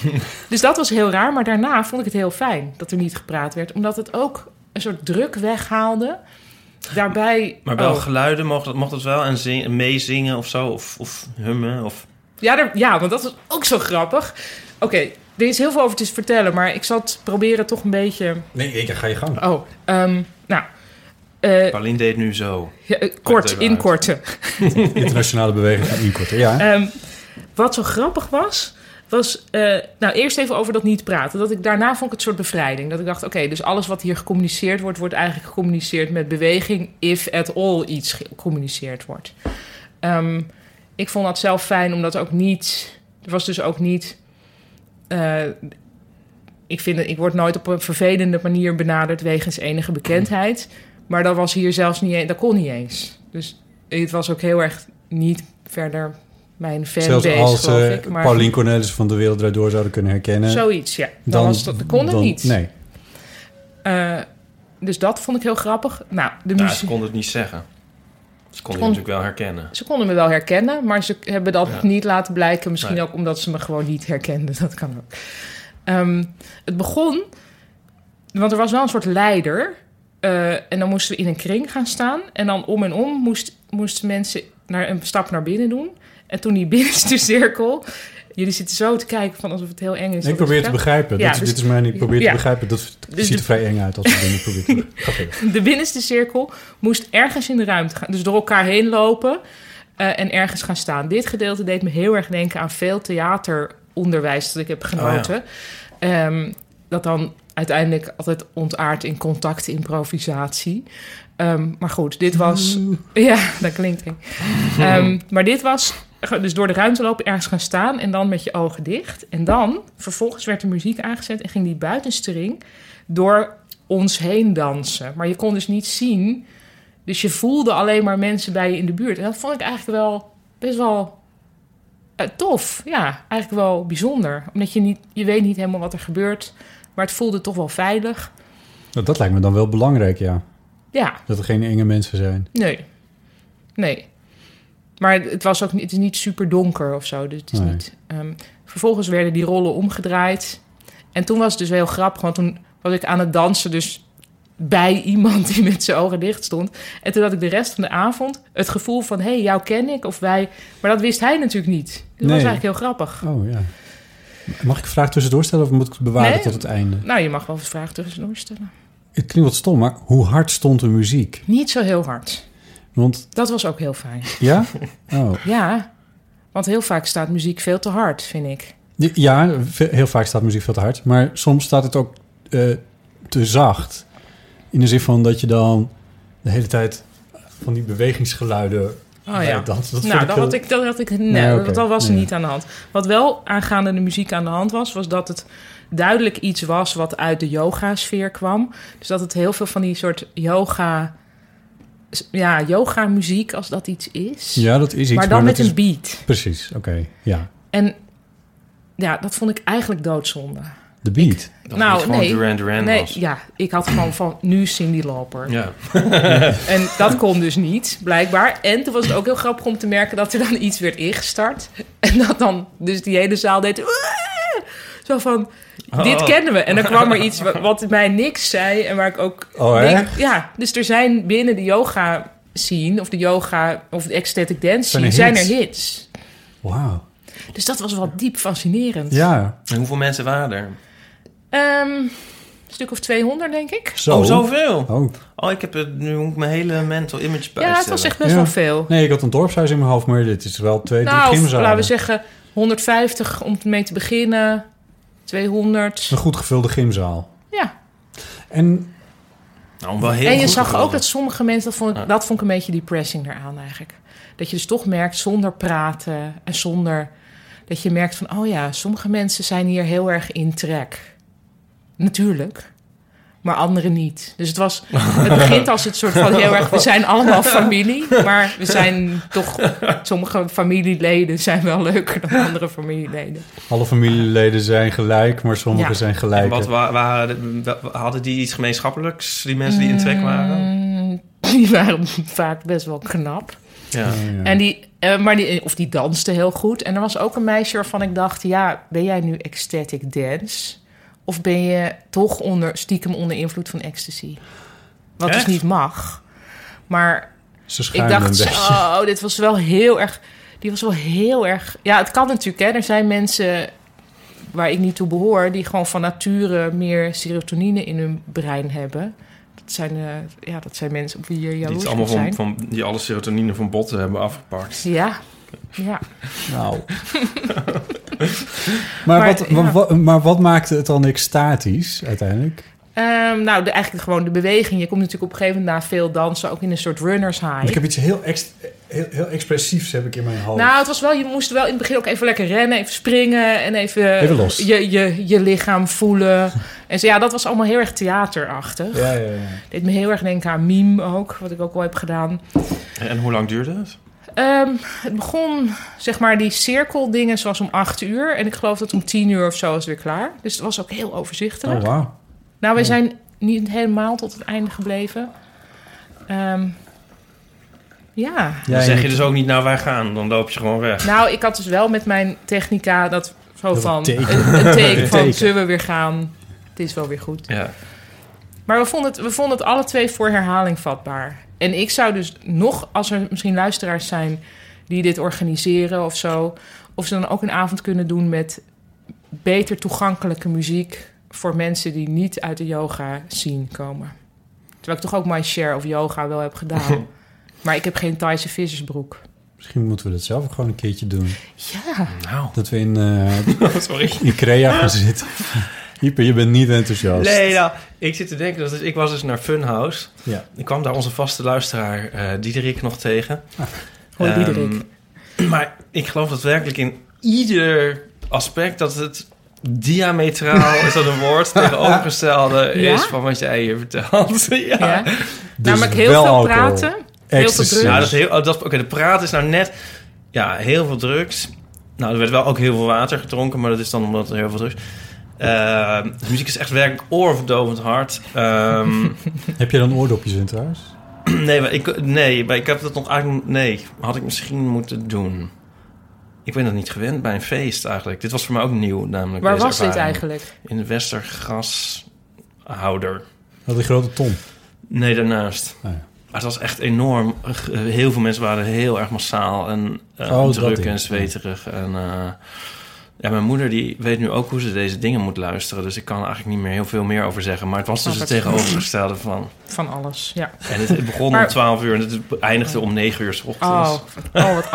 [SPEAKER 4] dus dat was heel raar. Maar daarna vond ik het heel fijn dat er niet gepraat werd, omdat het ook een soort druk weghaalde. Daarbij.
[SPEAKER 5] Maar wel
[SPEAKER 4] Oh.
[SPEAKER 5] geluiden, mocht dat, mocht dat wel? En zing, meezingen of zo? Of, of hummen? Of,
[SPEAKER 4] Ja, er- ja, want dat is ook zo grappig. Oké, er is heel veel over te vertellen, maar ik zal het proberen toch een beetje.
[SPEAKER 3] Nee, ik ga je gang.
[SPEAKER 4] Oh, ehm, nou. eh,
[SPEAKER 5] Pauline deed nu zo.
[SPEAKER 4] ja, eh, kort,
[SPEAKER 5] Oh, even uit.
[SPEAKER 4] inkorten.
[SPEAKER 3] Internationale beweging van inkorten, ja.
[SPEAKER 4] Ehm, wat zo grappig was, was... eh, nou, eerst even over dat niet praten. Dat ik daarna vond ik het soort bevrijding. Dat ik dacht, oké, dus alles wat hier gecommuniceerd wordt... wordt eigenlijk gecommuniceerd met beweging... if at all iets gecommuniceerd wordt. Ehm, ik vond dat zelf fijn, omdat ook niet... Er was dus ook niet... eh, ik, vind, het- ik word nooit op een vervelende manier benaderd... wegens enige bekendheid. Maar dat was hier zelfs niet... e- Dat kon niet eens. Dus het was ook heel erg niet verder mijn fanbase,
[SPEAKER 3] Zelfs als
[SPEAKER 4] geloof
[SPEAKER 3] eh,
[SPEAKER 4] ik. Maar
[SPEAKER 3] Paulien Cornelis van de Wereld Draait Door zouden kunnen herkennen...
[SPEAKER 4] Zoiets, ja. Dan, was dat, dat kon het
[SPEAKER 3] dan-
[SPEAKER 4] niet.
[SPEAKER 3] Nee.
[SPEAKER 4] Eh, dus dat vond ik heel grappig. Nou, de
[SPEAKER 5] Nou,
[SPEAKER 4] muziek...
[SPEAKER 5] ze kon het niet zeggen. Ze kon je
[SPEAKER 4] kon-
[SPEAKER 5] natuurlijk wel herkennen.
[SPEAKER 4] Ze konden me wel herkennen, maar ze hebben dat
[SPEAKER 5] Ja.
[SPEAKER 4] niet laten blijken. Misschien
[SPEAKER 5] Nee.
[SPEAKER 4] ook omdat ze me gewoon niet herkenden. Dat kan ook. Ehm, het begon, want er was wel een soort leider. eh, en dan moesten we in een kring gaan staan. En dan om en om moest, moesten mensen naar, een stap naar binnen doen. En toen die binnenste cirkel... Jullie zitten zo te kijken van alsof het heel eng is.
[SPEAKER 3] ik probeer te begrijpen.
[SPEAKER 4] Ja,
[SPEAKER 3] dat, is-
[SPEAKER 4] dus-
[SPEAKER 3] dit is mijn... Ik probeer
[SPEAKER 4] ja.
[SPEAKER 3] te begrijpen. Dat
[SPEAKER 4] Dus
[SPEAKER 3] ziet er
[SPEAKER 4] de-
[SPEAKER 3] vrij eng uit als ik dingen probeer te begrijpen. Ga verder.
[SPEAKER 4] de binnenste cirkel moest ergens in de ruimte gaan. Dus door elkaar heen lopen eh, en ergens gaan staan. Dit gedeelte deed me heel erg denken aan veel theateronderwijs dat ik heb genoten. Ehm, dat dan uiteindelijk altijd ontaart in contact, improvisatie. Ehm, maar goed, dit was... Ja, dat klinkt eng. Ehm, maar dit was dus door de ruimte lopen, ergens gaan staan... en dan met je ogen dicht. En dan, vervolgens werd de muziek aangezet... en ging die buitenste ring door ons heen dansen. Maar je kon dus niet zien. Dus je voelde alleen maar mensen bij je in de buurt. En dat vond ik eigenlijk wel best wel eh, tof. Ja, eigenlijk wel bijzonder. Omdat je niet, je weet niet helemaal wat er gebeurt. Maar het voelde toch wel veilig.
[SPEAKER 3] Nou, dat lijkt me dan wel belangrijk, ja.
[SPEAKER 4] Ja,
[SPEAKER 3] Dat er geen enge mensen zijn.
[SPEAKER 4] nee. Nee. Maar het, was ook, niet- het is niet super donker of zo. Dus het is
[SPEAKER 3] Nee.
[SPEAKER 4] niet, ehm, vervolgens werden die rollen omgedraaid. En toen was het dus wel heel grappig. Want toen was ik aan het dansen dus bij iemand die met zijn ogen dicht stond. En toen had ik de rest van de avond het gevoel van... hé, hey, jou ken ik of wij... Maar dat wist hij natuurlijk niet. Dus dat was
[SPEAKER 3] Nee.
[SPEAKER 4] eigenlijk heel grappig.
[SPEAKER 3] Oh ja. Mag ik een vraag tussendoor stellen of moet ik het bewaren
[SPEAKER 4] Nee.
[SPEAKER 3] tot het einde?
[SPEAKER 4] Nou, je mag wel eens vragen tussendoor stellen.
[SPEAKER 3] Het klinkt wat stom, maar hoe hard stond de muziek?
[SPEAKER 4] Niet zo heel hard.
[SPEAKER 3] Want
[SPEAKER 4] Dat was ook heel fijn.
[SPEAKER 3] ja? Oh.
[SPEAKER 4] Ja, want heel vaak staat muziek veel te hard, vind ik.
[SPEAKER 3] Ja, ve- heel vaak staat muziek veel te hard. Maar soms staat het ook eh, te zacht. In de zin van dat je dan de hele tijd van die bewegingsgeluiden...
[SPEAKER 4] Oh ja.
[SPEAKER 3] Dat, dat vind
[SPEAKER 4] nou, dat
[SPEAKER 3] heel-
[SPEAKER 4] had ik, dat had ik, nee,
[SPEAKER 3] Nee, oké.
[SPEAKER 4] dat- dat was er
[SPEAKER 3] Nee.
[SPEAKER 4] niet aan de hand. Wat wel aangaande de muziek aan de hand was, was dat het duidelijk iets was wat uit de yoga-sfeer kwam. Dus dat het heel veel van die soort yoga, ja, yoga-muziek, als dat iets is.
[SPEAKER 3] Ja, dat is iets.
[SPEAKER 4] maar dan met
[SPEAKER 3] dat
[SPEAKER 4] een
[SPEAKER 3] is-
[SPEAKER 4] beat.
[SPEAKER 3] Precies, oké. Ja,
[SPEAKER 4] En ja, dat vond ik eigenlijk doodzonde.
[SPEAKER 3] de beat.
[SPEAKER 5] Dat
[SPEAKER 4] Nou,
[SPEAKER 5] het gewoon
[SPEAKER 4] nee.
[SPEAKER 5] Duran Duran
[SPEAKER 4] nee,
[SPEAKER 5] was.
[SPEAKER 4] ja, ik had gewoon van nu Cindy Loper.
[SPEAKER 5] Ja.
[SPEAKER 4] En dat kon dus niet, blijkbaar. En toen was het ook heel grappig om te merken dat er dan iets werd ingestart. En dat dan dus die hele zaal deed... "Waaah!" Zo van, dit
[SPEAKER 5] Oh.
[SPEAKER 4] kennen we. En dan kwam er iets wa- wat mij niks zei en waar ik ook...
[SPEAKER 3] Oh, hè?
[SPEAKER 4] niks- ja, dus er zijn binnen de yoga scene of de yoga of de ecstatic dance
[SPEAKER 3] Zijn
[SPEAKER 4] scene,
[SPEAKER 3] er
[SPEAKER 4] zijn er
[SPEAKER 3] hits?
[SPEAKER 4] hits.
[SPEAKER 3] Wauw.
[SPEAKER 4] Dus dat was wel diep fascinerend.
[SPEAKER 3] Ja,
[SPEAKER 5] En hoeveel mensen waren er?
[SPEAKER 4] Ehm, een stuk of 200, denk ik.
[SPEAKER 3] zo.
[SPEAKER 5] Oh, zoveel!
[SPEAKER 3] Oh.
[SPEAKER 5] Oh, ik heb het, nu moet ik mijn hele mental image bijstellen.
[SPEAKER 4] Ja, het was echt best
[SPEAKER 3] Ja.
[SPEAKER 4] wel veel.
[SPEAKER 3] Nee, ik had een dorpshuis in mijn hoofd, maar dit is wel twee, drie
[SPEAKER 4] Nou, of,
[SPEAKER 3] gymzalen.
[SPEAKER 4] laten we zeggen 150 om mee te beginnen. 200.
[SPEAKER 3] Een goed gevulde gymzaal.
[SPEAKER 4] Ja.
[SPEAKER 3] En
[SPEAKER 5] Nou, wel heel
[SPEAKER 4] en je
[SPEAKER 5] goed
[SPEAKER 4] zag
[SPEAKER 5] gevonden.
[SPEAKER 4] ook dat sommige mensen, dat vond, ik,
[SPEAKER 5] Ja.
[SPEAKER 4] dat vond ik een beetje depressing eraan eigenlijk. Dat je dus toch merkt zonder praten en zonder... Dat je merkt van, oh ja, sommige mensen zijn hier heel erg in trek. Natuurlijk. Maar anderen niet. Dus het was... Het begint als het soort van heel erg... We zijn allemaal familie. Maar we zijn toch... Sommige familieleden zijn wel leuker dan andere familieleden.
[SPEAKER 3] alle familieleden zijn gelijk, maar sommigen
[SPEAKER 4] Ja.
[SPEAKER 3] zijn
[SPEAKER 5] En
[SPEAKER 3] gelijk.
[SPEAKER 5] wat wa- waren, de- wa- hadden die iets gemeenschappelijks, die mensen die in trek waren?
[SPEAKER 4] Mm, Die waren vaak best wel knap.
[SPEAKER 5] Ja.
[SPEAKER 4] En die, eh, maar die, of die danste heel goed. En er was ook een meisje waarvan ik dacht: ja, ben jij nu ecstatic dance? Of ben je toch onder, stiekem onder invloed van ecstasy? Wat
[SPEAKER 5] Echt?
[SPEAKER 4] dus niet mag. Maar
[SPEAKER 3] Ze
[SPEAKER 4] ik
[SPEAKER 3] schuimen
[SPEAKER 4] dacht:
[SPEAKER 3] een beetje.
[SPEAKER 4] oh, dit was wel heel erg. Die was wel heel erg. Ja, het kan natuurlijk. Hè. Er zijn mensen waar ik niet toe behoor, die gewoon van nature meer serotonine in hun brein hebben. Dat zijn, eh, ja, dat zijn mensen op wie je
[SPEAKER 5] Die,
[SPEAKER 4] jaloers
[SPEAKER 5] het allemaal
[SPEAKER 4] op zijn.
[SPEAKER 5] van, van, die alle serotonine van botten hebben afgepakt.
[SPEAKER 4] Ja, ja.
[SPEAKER 3] Nou. maar,
[SPEAKER 4] Maar,
[SPEAKER 3] wat,
[SPEAKER 4] ja.
[SPEAKER 3] wa- wa- maar wat maakte het dan statisch uiteindelijk?
[SPEAKER 4] Ehm, nou, de, eigenlijk gewoon de beweging. Je komt natuurlijk op een gegeven moment na veel dansen ook in een soort runners high.
[SPEAKER 3] Want ik heb iets heel, ex- heel, heel expressiefs heb ik in mijn hoofd.
[SPEAKER 4] Nou, het was wel, je moest wel in het begin ook even lekker rennen, even springen en even,
[SPEAKER 3] Even los.
[SPEAKER 4] Je, je, je lichaam voelen. en zo, ja, dat was allemaal heel erg theaterachtig.
[SPEAKER 3] ja, ja, ja.
[SPEAKER 4] Deed me heel erg denken aan meme ook, wat ik ook al heb gedaan.
[SPEAKER 5] En hoe lang duurde het?
[SPEAKER 4] Ehm, het begon, zeg maar, die cirkeldingen zoals om acht uur. En ik geloof dat om tien uur of zo was het weer klaar. Dus het was ook heel overzichtelijk.
[SPEAKER 3] Oh, wauw.
[SPEAKER 4] Nou, wij zijn niet helemaal tot het einde gebleven. Ehm, ja.
[SPEAKER 5] Dan
[SPEAKER 3] Jij-
[SPEAKER 5] zeg je dus ook niet, nou wij gaan, dan loop je gewoon weg.
[SPEAKER 4] Nou, ik had dus wel met mijn technica dat zo
[SPEAKER 3] Dat
[SPEAKER 4] van...
[SPEAKER 3] teken.
[SPEAKER 4] Een, een teken van,
[SPEAKER 3] Teken.
[SPEAKER 4] zullen we weer gaan? Het is wel weer goed.
[SPEAKER 5] Ja.
[SPEAKER 4] Maar we vonden, het, we vonden het alle twee voor herhaling vatbaar. En ik zou dus nog, als er misschien luisteraars zijn die dit organiseren of zo... of ze dan ook een avond kunnen doen met beter toegankelijke muziek... voor mensen die niet uit de yoga zien komen. Terwijl ik toch ook mijn share of yoga wel heb gedaan. maar ik heb geen Thaise vissersbroek.
[SPEAKER 3] Misschien moeten we dat zelf ook gewoon een keertje doen.
[SPEAKER 4] Ja.
[SPEAKER 5] Nou, Oh,
[SPEAKER 3] Dat we in, eh
[SPEAKER 5] sorry.
[SPEAKER 3] Ikea gaan zitten. Ieper, je bent niet enthousiast.
[SPEAKER 5] Nee, nou, ik zit te denken, dat is, ik was dus naar Funhouse.
[SPEAKER 3] Ja.
[SPEAKER 5] Ik kwam daar onze vaste luisteraar eh Diederik nog tegen.
[SPEAKER 4] Hoi
[SPEAKER 5] Ehm,
[SPEAKER 4] Diederik.
[SPEAKER 5] Maar ik geloof dat werkelijk in ieder aspect dat het diametraal, is dat een woord, tegenovergestelde
[SPEAKER 4] Ja?
[SPEAKER 5] is van wat jij hier vertelt. ja.
[SPEAKER 4] Ja.
[SPEAKER 3] Dus
[SPEAKER 4] Namelijk heel
[SPEAKER 3] wel
[SPEAKER 4] veel
[SPEAKER 3] alcohol.
[SPEAKER 4] praten.
[SPEAKER 3] Ecstasy.
[SPEAKER 4] veel
[SPEAKER 5] Nou,
[SPEAKER 4] drugs.
[SPEAKER 5] dat is heel, oh, dat, oké, de praat is nou net, ja, heel veel drugs. Nou, er werd wel ook heel veel water gedronken, maar dat is dan omdat er heel veel drugs. Eh, de muziek is echt werkelijk oorverdovend hard. Ehm,
[SPEAKER 3] Heb je dan oordopjes in trouwens?
[SPEAKER 5] nee, maar ik, nee, maar ik heb dat nog eigenlijk. Nee, had ik misschien moeten doen. Ik ben dat niet gewend bij een feest eigenlijk. Dit was voor mij ook nieuw, namelijk.
[SPEAKER 4] Waar
[SPEAKER 5] deze
[SPEAKER 4] was dit
[SPEAKER 5] ervaring.
[SPEAKER 4] eigenlijk?
[SPEAKER 5] In de Westergashouder.
[SPEAKER 3] Dat een Oh, grote ton.
[SPEAKER 5] Nee, daarnaast.
[SPEAKER 3] Ah, ja.
[SPEAKER 5] Maar het was echt enorm. G- Heel veel mensen waren heel erg massaal en eh,
[SPEAKER 3] Oh, dat
[SPEAKER 5] druk
[SPEAKER 3] ding.
[SPEAKER 5] en zweterig. En eh, ja, mijn moeder die weet nu ook hoe ze deze dingen moet luisteren. Dus ik kan er eigenlijk niet meer heel veel meer over zeggen. Maar het was
[SPEAKER 4] Snap
[SPEAKER 5] dus het
[SPEAKER 4] ik.
[SPEAKER 5] tegenovergestelde van.
[SPEAKER 4] Van alles, ja.
[SPEAKER 5] En het, het begon
[SPEAKER 4] Maar-
[SPEAKER 5] om 12 uur en het eindigde om 9 uur s ochtends.
[SPEAKER 4] Oh, oh wat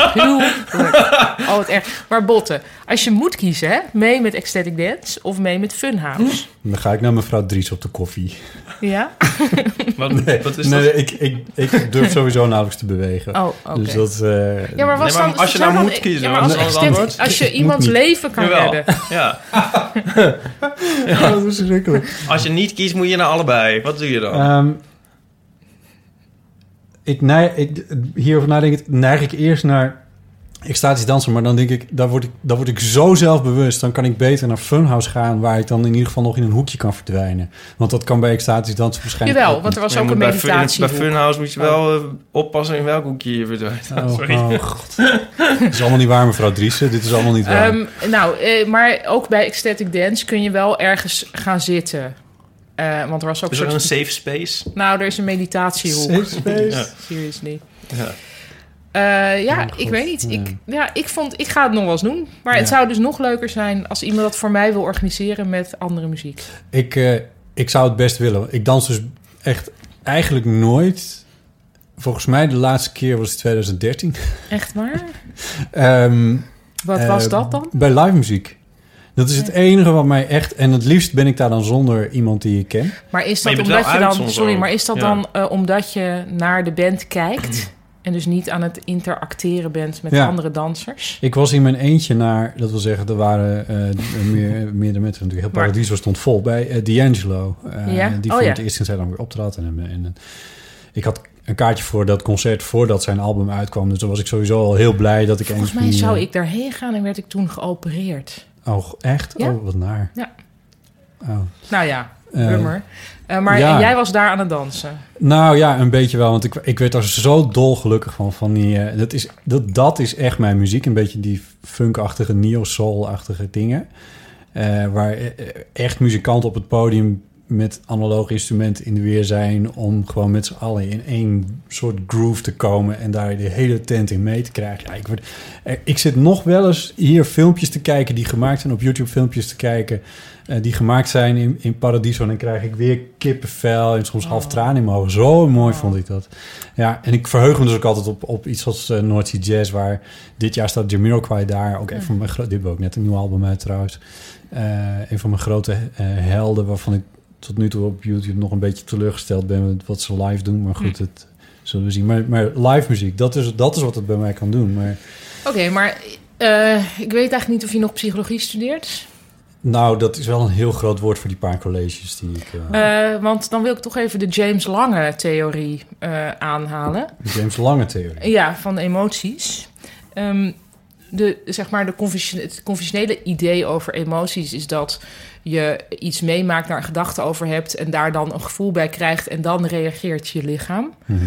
[SPEAKER 4] afschuwelijk. Oh, wat erg. Maar Botten, als je moet kiezen, hè, mee met Ecstatic Dance of mee met Funhouse?
[SPEAKER 3] En Dan ga ik naar mevrouw Dries op de koffie.
[SPEAKER 4] Ja?
[SPEAKER 5] Wat, wat is
[SPEAKER 3] nee,
[SPEAKER 5] dat?
[SPEAKER 3] ik, ik, ik durf sowieso nauwelijks te bewegen.
[SPEAKER 4] Oh, oké.
[SPEAKER 3] Dus dat... eh,
[SPEAKER 4] Ja, maar, was
[SPEAKER 5] Nee, maar
[SPEAKER 4] dan,
[SPEAKER 5] als je
[SPEAKER 4] zou
[SPEAKER 5] nou
[SPEAKER 4] dan-
[SPEAKER 5] moet kiezen,
[SPEAKER 4] ja, maar
[SPEAKER 5] wat
[SPEAKER 4] als,
[SPEAKER 5] is dan het
[SPEAKER 4] Ecstatic-
[SPEAKER 5] antwoord?
[SPEAKER 4] als je
[SPEAKER 3] Moet
[SPEAKER 4] iemands
[SPEAKER 3] niet.
[SPEAKER 4] leven kan
[SPEAKER 5] Jawel.
[SPEAKER 4] redden.
[SPEAKER 5] Ja.
[SPEAKER 3] dat is verschrikkelijk.
[SPEAKER 5] Als je niet kiest, moet je naar allebei. Wat doe je dan?
[SPEAKER 3] Ehm, ik neig, ik, hierover nadenkend neig ik eerst naar extatisch dansen. Maar dan denk ik, daar word ik, daar word ik zo zelfbewust. Dan kan ik beter naar Funhouse gaan... waar ik dan in ieder geval nog in een hoekje kan verdwijnen. Want dat kan bij extatisch dansen waarschijnlijk
[SPEAKER 4] Jawel,
[SPEAKER 3] ook
[SPEAKER 4] want er was
[SPEAKER 5] Je
[SPEAKER 4] ook
[SPEAKER 5] moet
[SPEAKER 4] een
[SPEAKER 5] bij, Fun-
[SPEAKER 4] meditatie.
[SPEAKER 5] bij Funhouse moet je wel eh, oppassen in welk hoekje je verdwijnt.
[SPEAKER 3] Oh,
[SPEAKER 5] Sorry.
[SPEAKER 3] oh, god. Dit is allemaal niet waar, mevrouw Driessen. Dit is allemaal niet waar.
[SPEAKER 4] Ehm, nou, eh, maar ook bij Ecstatic Dance kun je wel ergens gaan zitten. Eh, want er was ook
[SPEAKER 5] Is er een
[SPEAKER 4] soort-
[SPEAKER 5] safe space?
[SPEAKER 4] Nou, er is een meditatiehoek.
[SPEAKER 3] Safe space.
[SPEAKER 5] Ja.
[SPEAKER 4] Seriously.
[SPEAKER 5] Ja.
[SPEAKER 4] Eh, ja,
[SPEAKER 3] Oh,
[SPEAKER 4] ik
[SPEAKER 3] God.
[SPEAKER 4] weet niet.
[SPEAKER 3] Ja.
[SPEAKER 4] Ik, ja, ik, vond, ik ga het nog wel eens doen. Maar
[SPEAKER 3] Ja.
[SPEAKER 4] het zou dus nog leuker zijn als iemand dat voor mij wil organiseren met andere muziek.
[SPEAKER 3] Ik, eh, ik zou het best willen. Ik dans dus echt eigenlijk nooit. Volgens mij de laatste keer was 2013.
[SPEAKER 4] Echt waar?
[SPEAKER 3] Ehm,
[SPEAKER 4] Wat
[SPEAKER 3] eh,
[SPEAKER 4] was dat dan?
[SPEAKER 3] Bij live muziek. Dat is het
[SPEAKER 4] Ja.
[SPEAKER 3] enige wat mij echt... En het liefst ben ik daar dan zonder iemand die ik ken.
[SPEAKER 4] Maar is
[SPEAKER 5] Maar
[SPEAKER 4] dat
[SPEAKER 5] je bent
[SPEAKER 4] omdat
[SPEAKER 5] wel
[SPEAKER 4] je
[SPEAKER 5] uit
[SPEAKER 4] dan.
[SPEAKER 5] soms
[SPEAKER 4] Sorry,
[SPEAKER 5] ook.
[SPEAKER 4] maar is dat
[SPEAKER 5] Ja.
[SPEAKER 4] dan eh, omdat je naar de band kijkt en dus niet aan het interacteren bent met
[SPEAKER 3] Ja.
[SPEAKER 4] andere dansers?
[SPEAKER 3] Ik was in mijn eentje naar... Dat wil zeggen, er waren eh meer, meerdere mensen natuurlijk. Heel
[SPEAKER 4] Maar-
[SPEAKER 3] Paradiso stond vol bij eh, D'Angelo. eh,
[SPEAKER 4] Ja?
[SPEAKER 3] Die
[SPEAKER 4] Oh,
[SPEAKER 3] voor
[SPEAKER 4] ja.
[SPEAKER 3] het eerst in zijn dan weer optrad. En, en, en ik had een kaartje voor dat concert voordat zijn album uitkwam. Dus dan was ik sowieso al heel blij dat ik
[SPEAKER 4] Volgens
[SPEAKER 3] eens...
[SPEAKER 4] mij
[SPEAKER 3] die,
[SPEAKER 4] zou
[SPEAKER 3] eh,
[SPEAKER 4] ik daarheen gaan en werd ik toen geopereerd.
[SPEAKER 3] Oh, echt?
[SPEAKER 4] Ja.
[SPEAKER 3] Oh, wat naar.
[SPEAKER 4] Ja.
[SPEAKER 3] Oh.
[SPEAKER 4] Nou ja,
[SPEAKER 3] Eh,
[SPEAKER 4] bummer. Eh, maar
[SPEAKER 3] ja.
[SPEAKER 4] jij was daar aan het dansen.
[SPEAKER 3] nou ja, een beetje wel. Want ik, ik werd er zo dolgelukkig van. van die, eh, dat, is, dat, dat is echt mijn muziek. Een beetje die funkachtige, neo-soul-achtige dingen. Eh, waar eh, echt muzikanten op het podium met analoog instrument in de weer zijn... om gewoon met z'n allen in één soort groove te komen... en daar de hele tent in mee te krijgen. Ja, ik, word, eh, ik zit nog wel eens hier filmpjes te kijken die gemaakt zijn... op YouTube filmpjes te kijken eh, die gemaakt zijn in, in Paradiso... en dan krijg ik weer kippenvel en soms half tranen in mijn ogen. Zo mooi
[SPEAKER 4] Oh.
[SPEAKER 3] vond ik dat. Ja, en ik verheug me dus ook altijd op, op iets als eh, North Sea Jazz... waar dit jaar staat Jamiroquai daar. Ook een van mijn gro- Dit hebben we ook net een nieuw album uit trouwens. Eh, een van mijn grote eh, helden waarvan ik tot nu toe op YouTube nog een beetje teleurgesteld ben met wat ze live doen. Maar goed, het zullen we zien. Maar, maar live muziek, dat is, dat is wat het bij mij kan doen. Maar
[SPEAKER 4] Oké, maar eh, ik weet eigenlijk niet of je nog psychologie studeert.
[SPEAKER 3] nou, dat is wel een heel groot woord voor die paar colleges die ik... eh,
[SPEAKER 4] Eh, want dan wil ik toch even de James Lange-theorie eh, aanhalen.
[SPEAKER 3] James Lange theorie.
[SPEAKER 4] Ja, van emoties. Ehm, de, zeg maar de convention- het conventionele idee over emoties is dat je iets meemaakt, daar een gedachte over hebt en daar dan een gevoel bij krijgt en dan reageert je lichaam.
[SPEAKER 3] Mhm.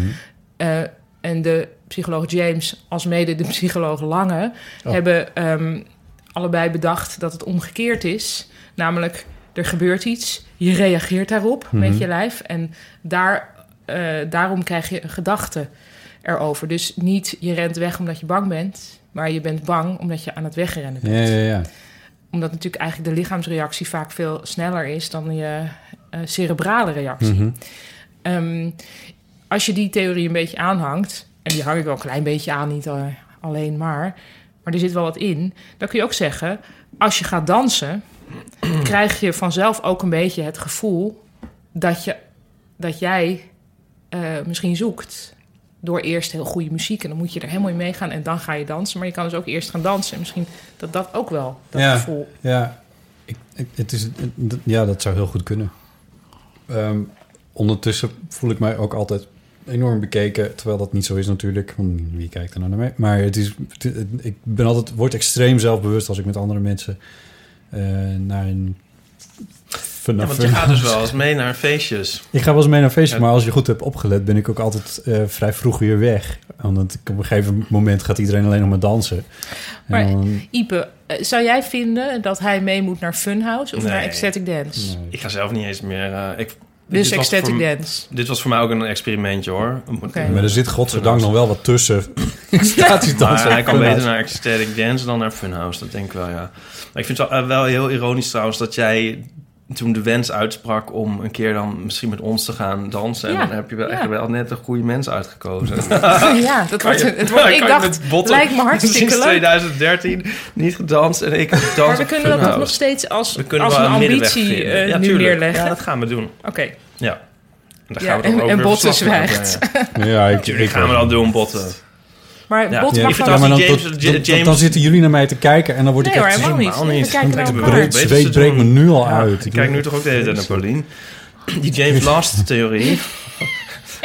[SPEAKER 4] Eh, en de psycholoog James, als mede de psycholoog Lange,
[SPEAKER 3] Oh.
[SPEAKER 4] hebben ehm, allebei bedacht dat het omgekeerd is. Namelijk, er gebeurt iets, je reageert daarop met
[SPEAKER 3] Mhm.
[SPEAKER 4] je lijf en daar, eh, daarom krijg je een gedachte erover. Dus niet je rent weg omdat je bang bent, maar je bent bang omdat je aan het wegrennen
[SPEAKER 3] Ja,
[SPEAKER 4] bent.
[SPEAKER 3] ja, ja.
[SPEAKER 4] Omdat natuurlijk eigenlijk de lichaamsreactie vaak veel sneller is dan je eh, cerebrale reactie.
[SPEAKER 3] Mhm.
[SPEAKER 4] Ehm, als je die theorie een beetje aanhangt, en die hang ik wel een klein beetje aan, niet eh, alleen maar, maar er zit wel wat in, dan kun je ook zeggen: als je gaat dansen, krijg je vanzelf ook een beetje het gevoel dat, je, dat jij eh, misschien zoekt. Door eerst heel goede muziek en dan moet je er helemaal in meegaan en dan ga je dansen. Maar je kan dus ook eerst gaan dansen en misschien dat dat ook wel dat
[SPEAKER 3] Ja.
[SPEAKER 4] gevoel.
[SPEAKER 3] Ja, ik, ik- het is, het- dat- ja, dat zou heel goed kunnen. Ehm, ondertussen voel ik mij ook altijd enorm bekeken. Terwijl dat niet zo is natuurlijk. Want Wie kijkt er nou naar mee? Maar het is, het- het- ik ben altijd, word extreem zelfbewust als ik met andere mensen eh, naar een...
[SPEAKER 5] Ja, want je gaat dus wel eens mee naar feestjes.
[SPEAKER 3] Ik ga wel eens mee naar feestjes,
[SPEAKER 5] Ja.
[SPEAKER 3] maar als je goed hebt opgelet... ben ik ook altijd eh, vrij vroeg weer weg. Want ik- op een gegeven moment gaat iedereen alleen nog maar dansen.
[SPEAKER 4] Maar-
[SPEAKER 3] dan,
[SPEAKER 4] Ipe, eh, zou jij vinden dat hij mee moet naar Funhouse of
[SPEAKER 5] Nee.
[SPEAKER 4] naar Ecstatic Dance?
[SPEAKER 3] nee.
[SPEAKER 5] Ik ga zelf niet eens meer... eh, ik, dit
[SPEAKER 4] Dus
[SPEAKER 5] was
[SPEAKER 4] Ecstatic
[SPEAKER 5] voor m-
[SPEAKER 4] Dance.
[SPEAKER 5] Dit was voor mij ook een experimentje, hoor.
[SPEAKER 4] Oké.
[SPEAKER 3] Maar er zit godzijdank nog wel wat tussen. Extatisch
[SPEAKER 5] Maar
[SPEAKER 3] dansen.
[SPEAKER 5] hij kan
[SPEAKER 3] Funhouse.
[SPEAKER 5] beter naar Ecstatic Dance dan naar Funhouse. Dat denk ik wel, ja. Maar ik vind het wel, eh, wel heel ironisch trouwens dat jij toen de wens uitsprak om een keer dan misschien met ons te gaan dansen. En
[SPEAKER 4] Ja,
[SPEAKER 5] dan heb je wel
[SPEAKER 4] ja.
[SPEAKER 5] echt wel net een goede mens uitgekozen.
[SPEAKER 4] ja, dat wordt,
[SPEAKER 5] je-
[SPEAKER 4] het wordt,
[SPEAKER 5] Ah, kan
[SPEAKER 4] ik
[SPEAKER 5] je
[SPEAKER 4] dacht,
[SPEAKER 5] met botten
[SPEAKER 4] lijkt me hartstikke
[SPEAKER 5] sinds
[SPEAKER 4] leuk.
[SPEAKER 5] 2013 niet gedanst en ik dans
[SPEAKER 4] Maar we kunnen
[SPEAKER 5] op
[SPEAKER 4] dat toch nog
[SPEAKER 5] Funhouse.
[SPEAKER 4] steeds als,
[SPEAKER 5] We kunnen
[SPEAKER 4] als
[SPEAKER 5] wel
[SPEAKER 4] een
[SPEAKER 5] middenweg
[SPEAKER 4] ambitie
[SPEAKER 5] vinden.
[SPEAKER 4] eh,
[SPEAKER 5] Ja,
[SPEAKER 4] nu
[SPEAKER 5] tuurlijk.
[SPEAKER 4] neerleggen.
[SPEAKER 5] Ja, dat gaan we doen.
[SPEAKER 4] Oké,
[SPEAKER 5] Ja. En, daar
[SPEAKER 4] Ja,
[SPEAKER 5] gaan we dan
[SPEAKER 4] en-
[SPEAKER 5] ook
[SPEAKER 4] en
[SPEAKER 5] weer
[SPEAKER 4] Botten
[SPEAKER 5] verslag van
[SPEAKER 4] zwijgt.
[SPEAKER 5] maken, ja.
[SPEAKER 3] Ja, ik, ik,
[SPEAKER 5] Natuurlijk gaan we
[SPEAKER 3] weet
[SPEAKER 5] dan
[SPEAKER 3] het.
[SPEAKER 5] doen, Botten.
[SPEAKER 4] maar
[SPEAKER 5] Ja.
[SPEAKER 4] Bot
[SPEAKER 5] Ja,
[SPEAKER 4] mag
[SPEAKER 5] ik vind
[SPEAKER 4] wel-
[SPEAKER 5] dat-
[SPEAKER 3] maar dan,
[SPEAKER 5] James-
[SPEAKER 3] dan-
[SPEAKER 5] James-
[SPEAKER 3] dan- dan zitten jullie naar mij te kijken en dan word
[SPEAKER 4] Nee
[SPEAKER 3] ik
[SPEAKER 4] hoor,
[SPEAKER 3] echt...
[SPEAKER 4] helemaal niet.
[SPEAKER 5] Helemaal niet.
[SPEAKER 4] We kijken naar
[SPEAKER 5] Ik
[SPEAKER 3] Het
[SPEAKER 4] elkaar.
[SPEAKER 3] breed
[SPEAKER 5] Beter
[SPEAKER 3] zweet
[SPEAKER 5] te
[SPEAKER 3] breekt me
[SPEAKER 5] doen.
[SPEAKER 3] nu al
[SPEAKER 5] Ja,
[SPEAKER 3] uit.
[SPEAKER 5] Ik kijk nu toch ook de hele tijd naar Paulien. Die James Last-theorie.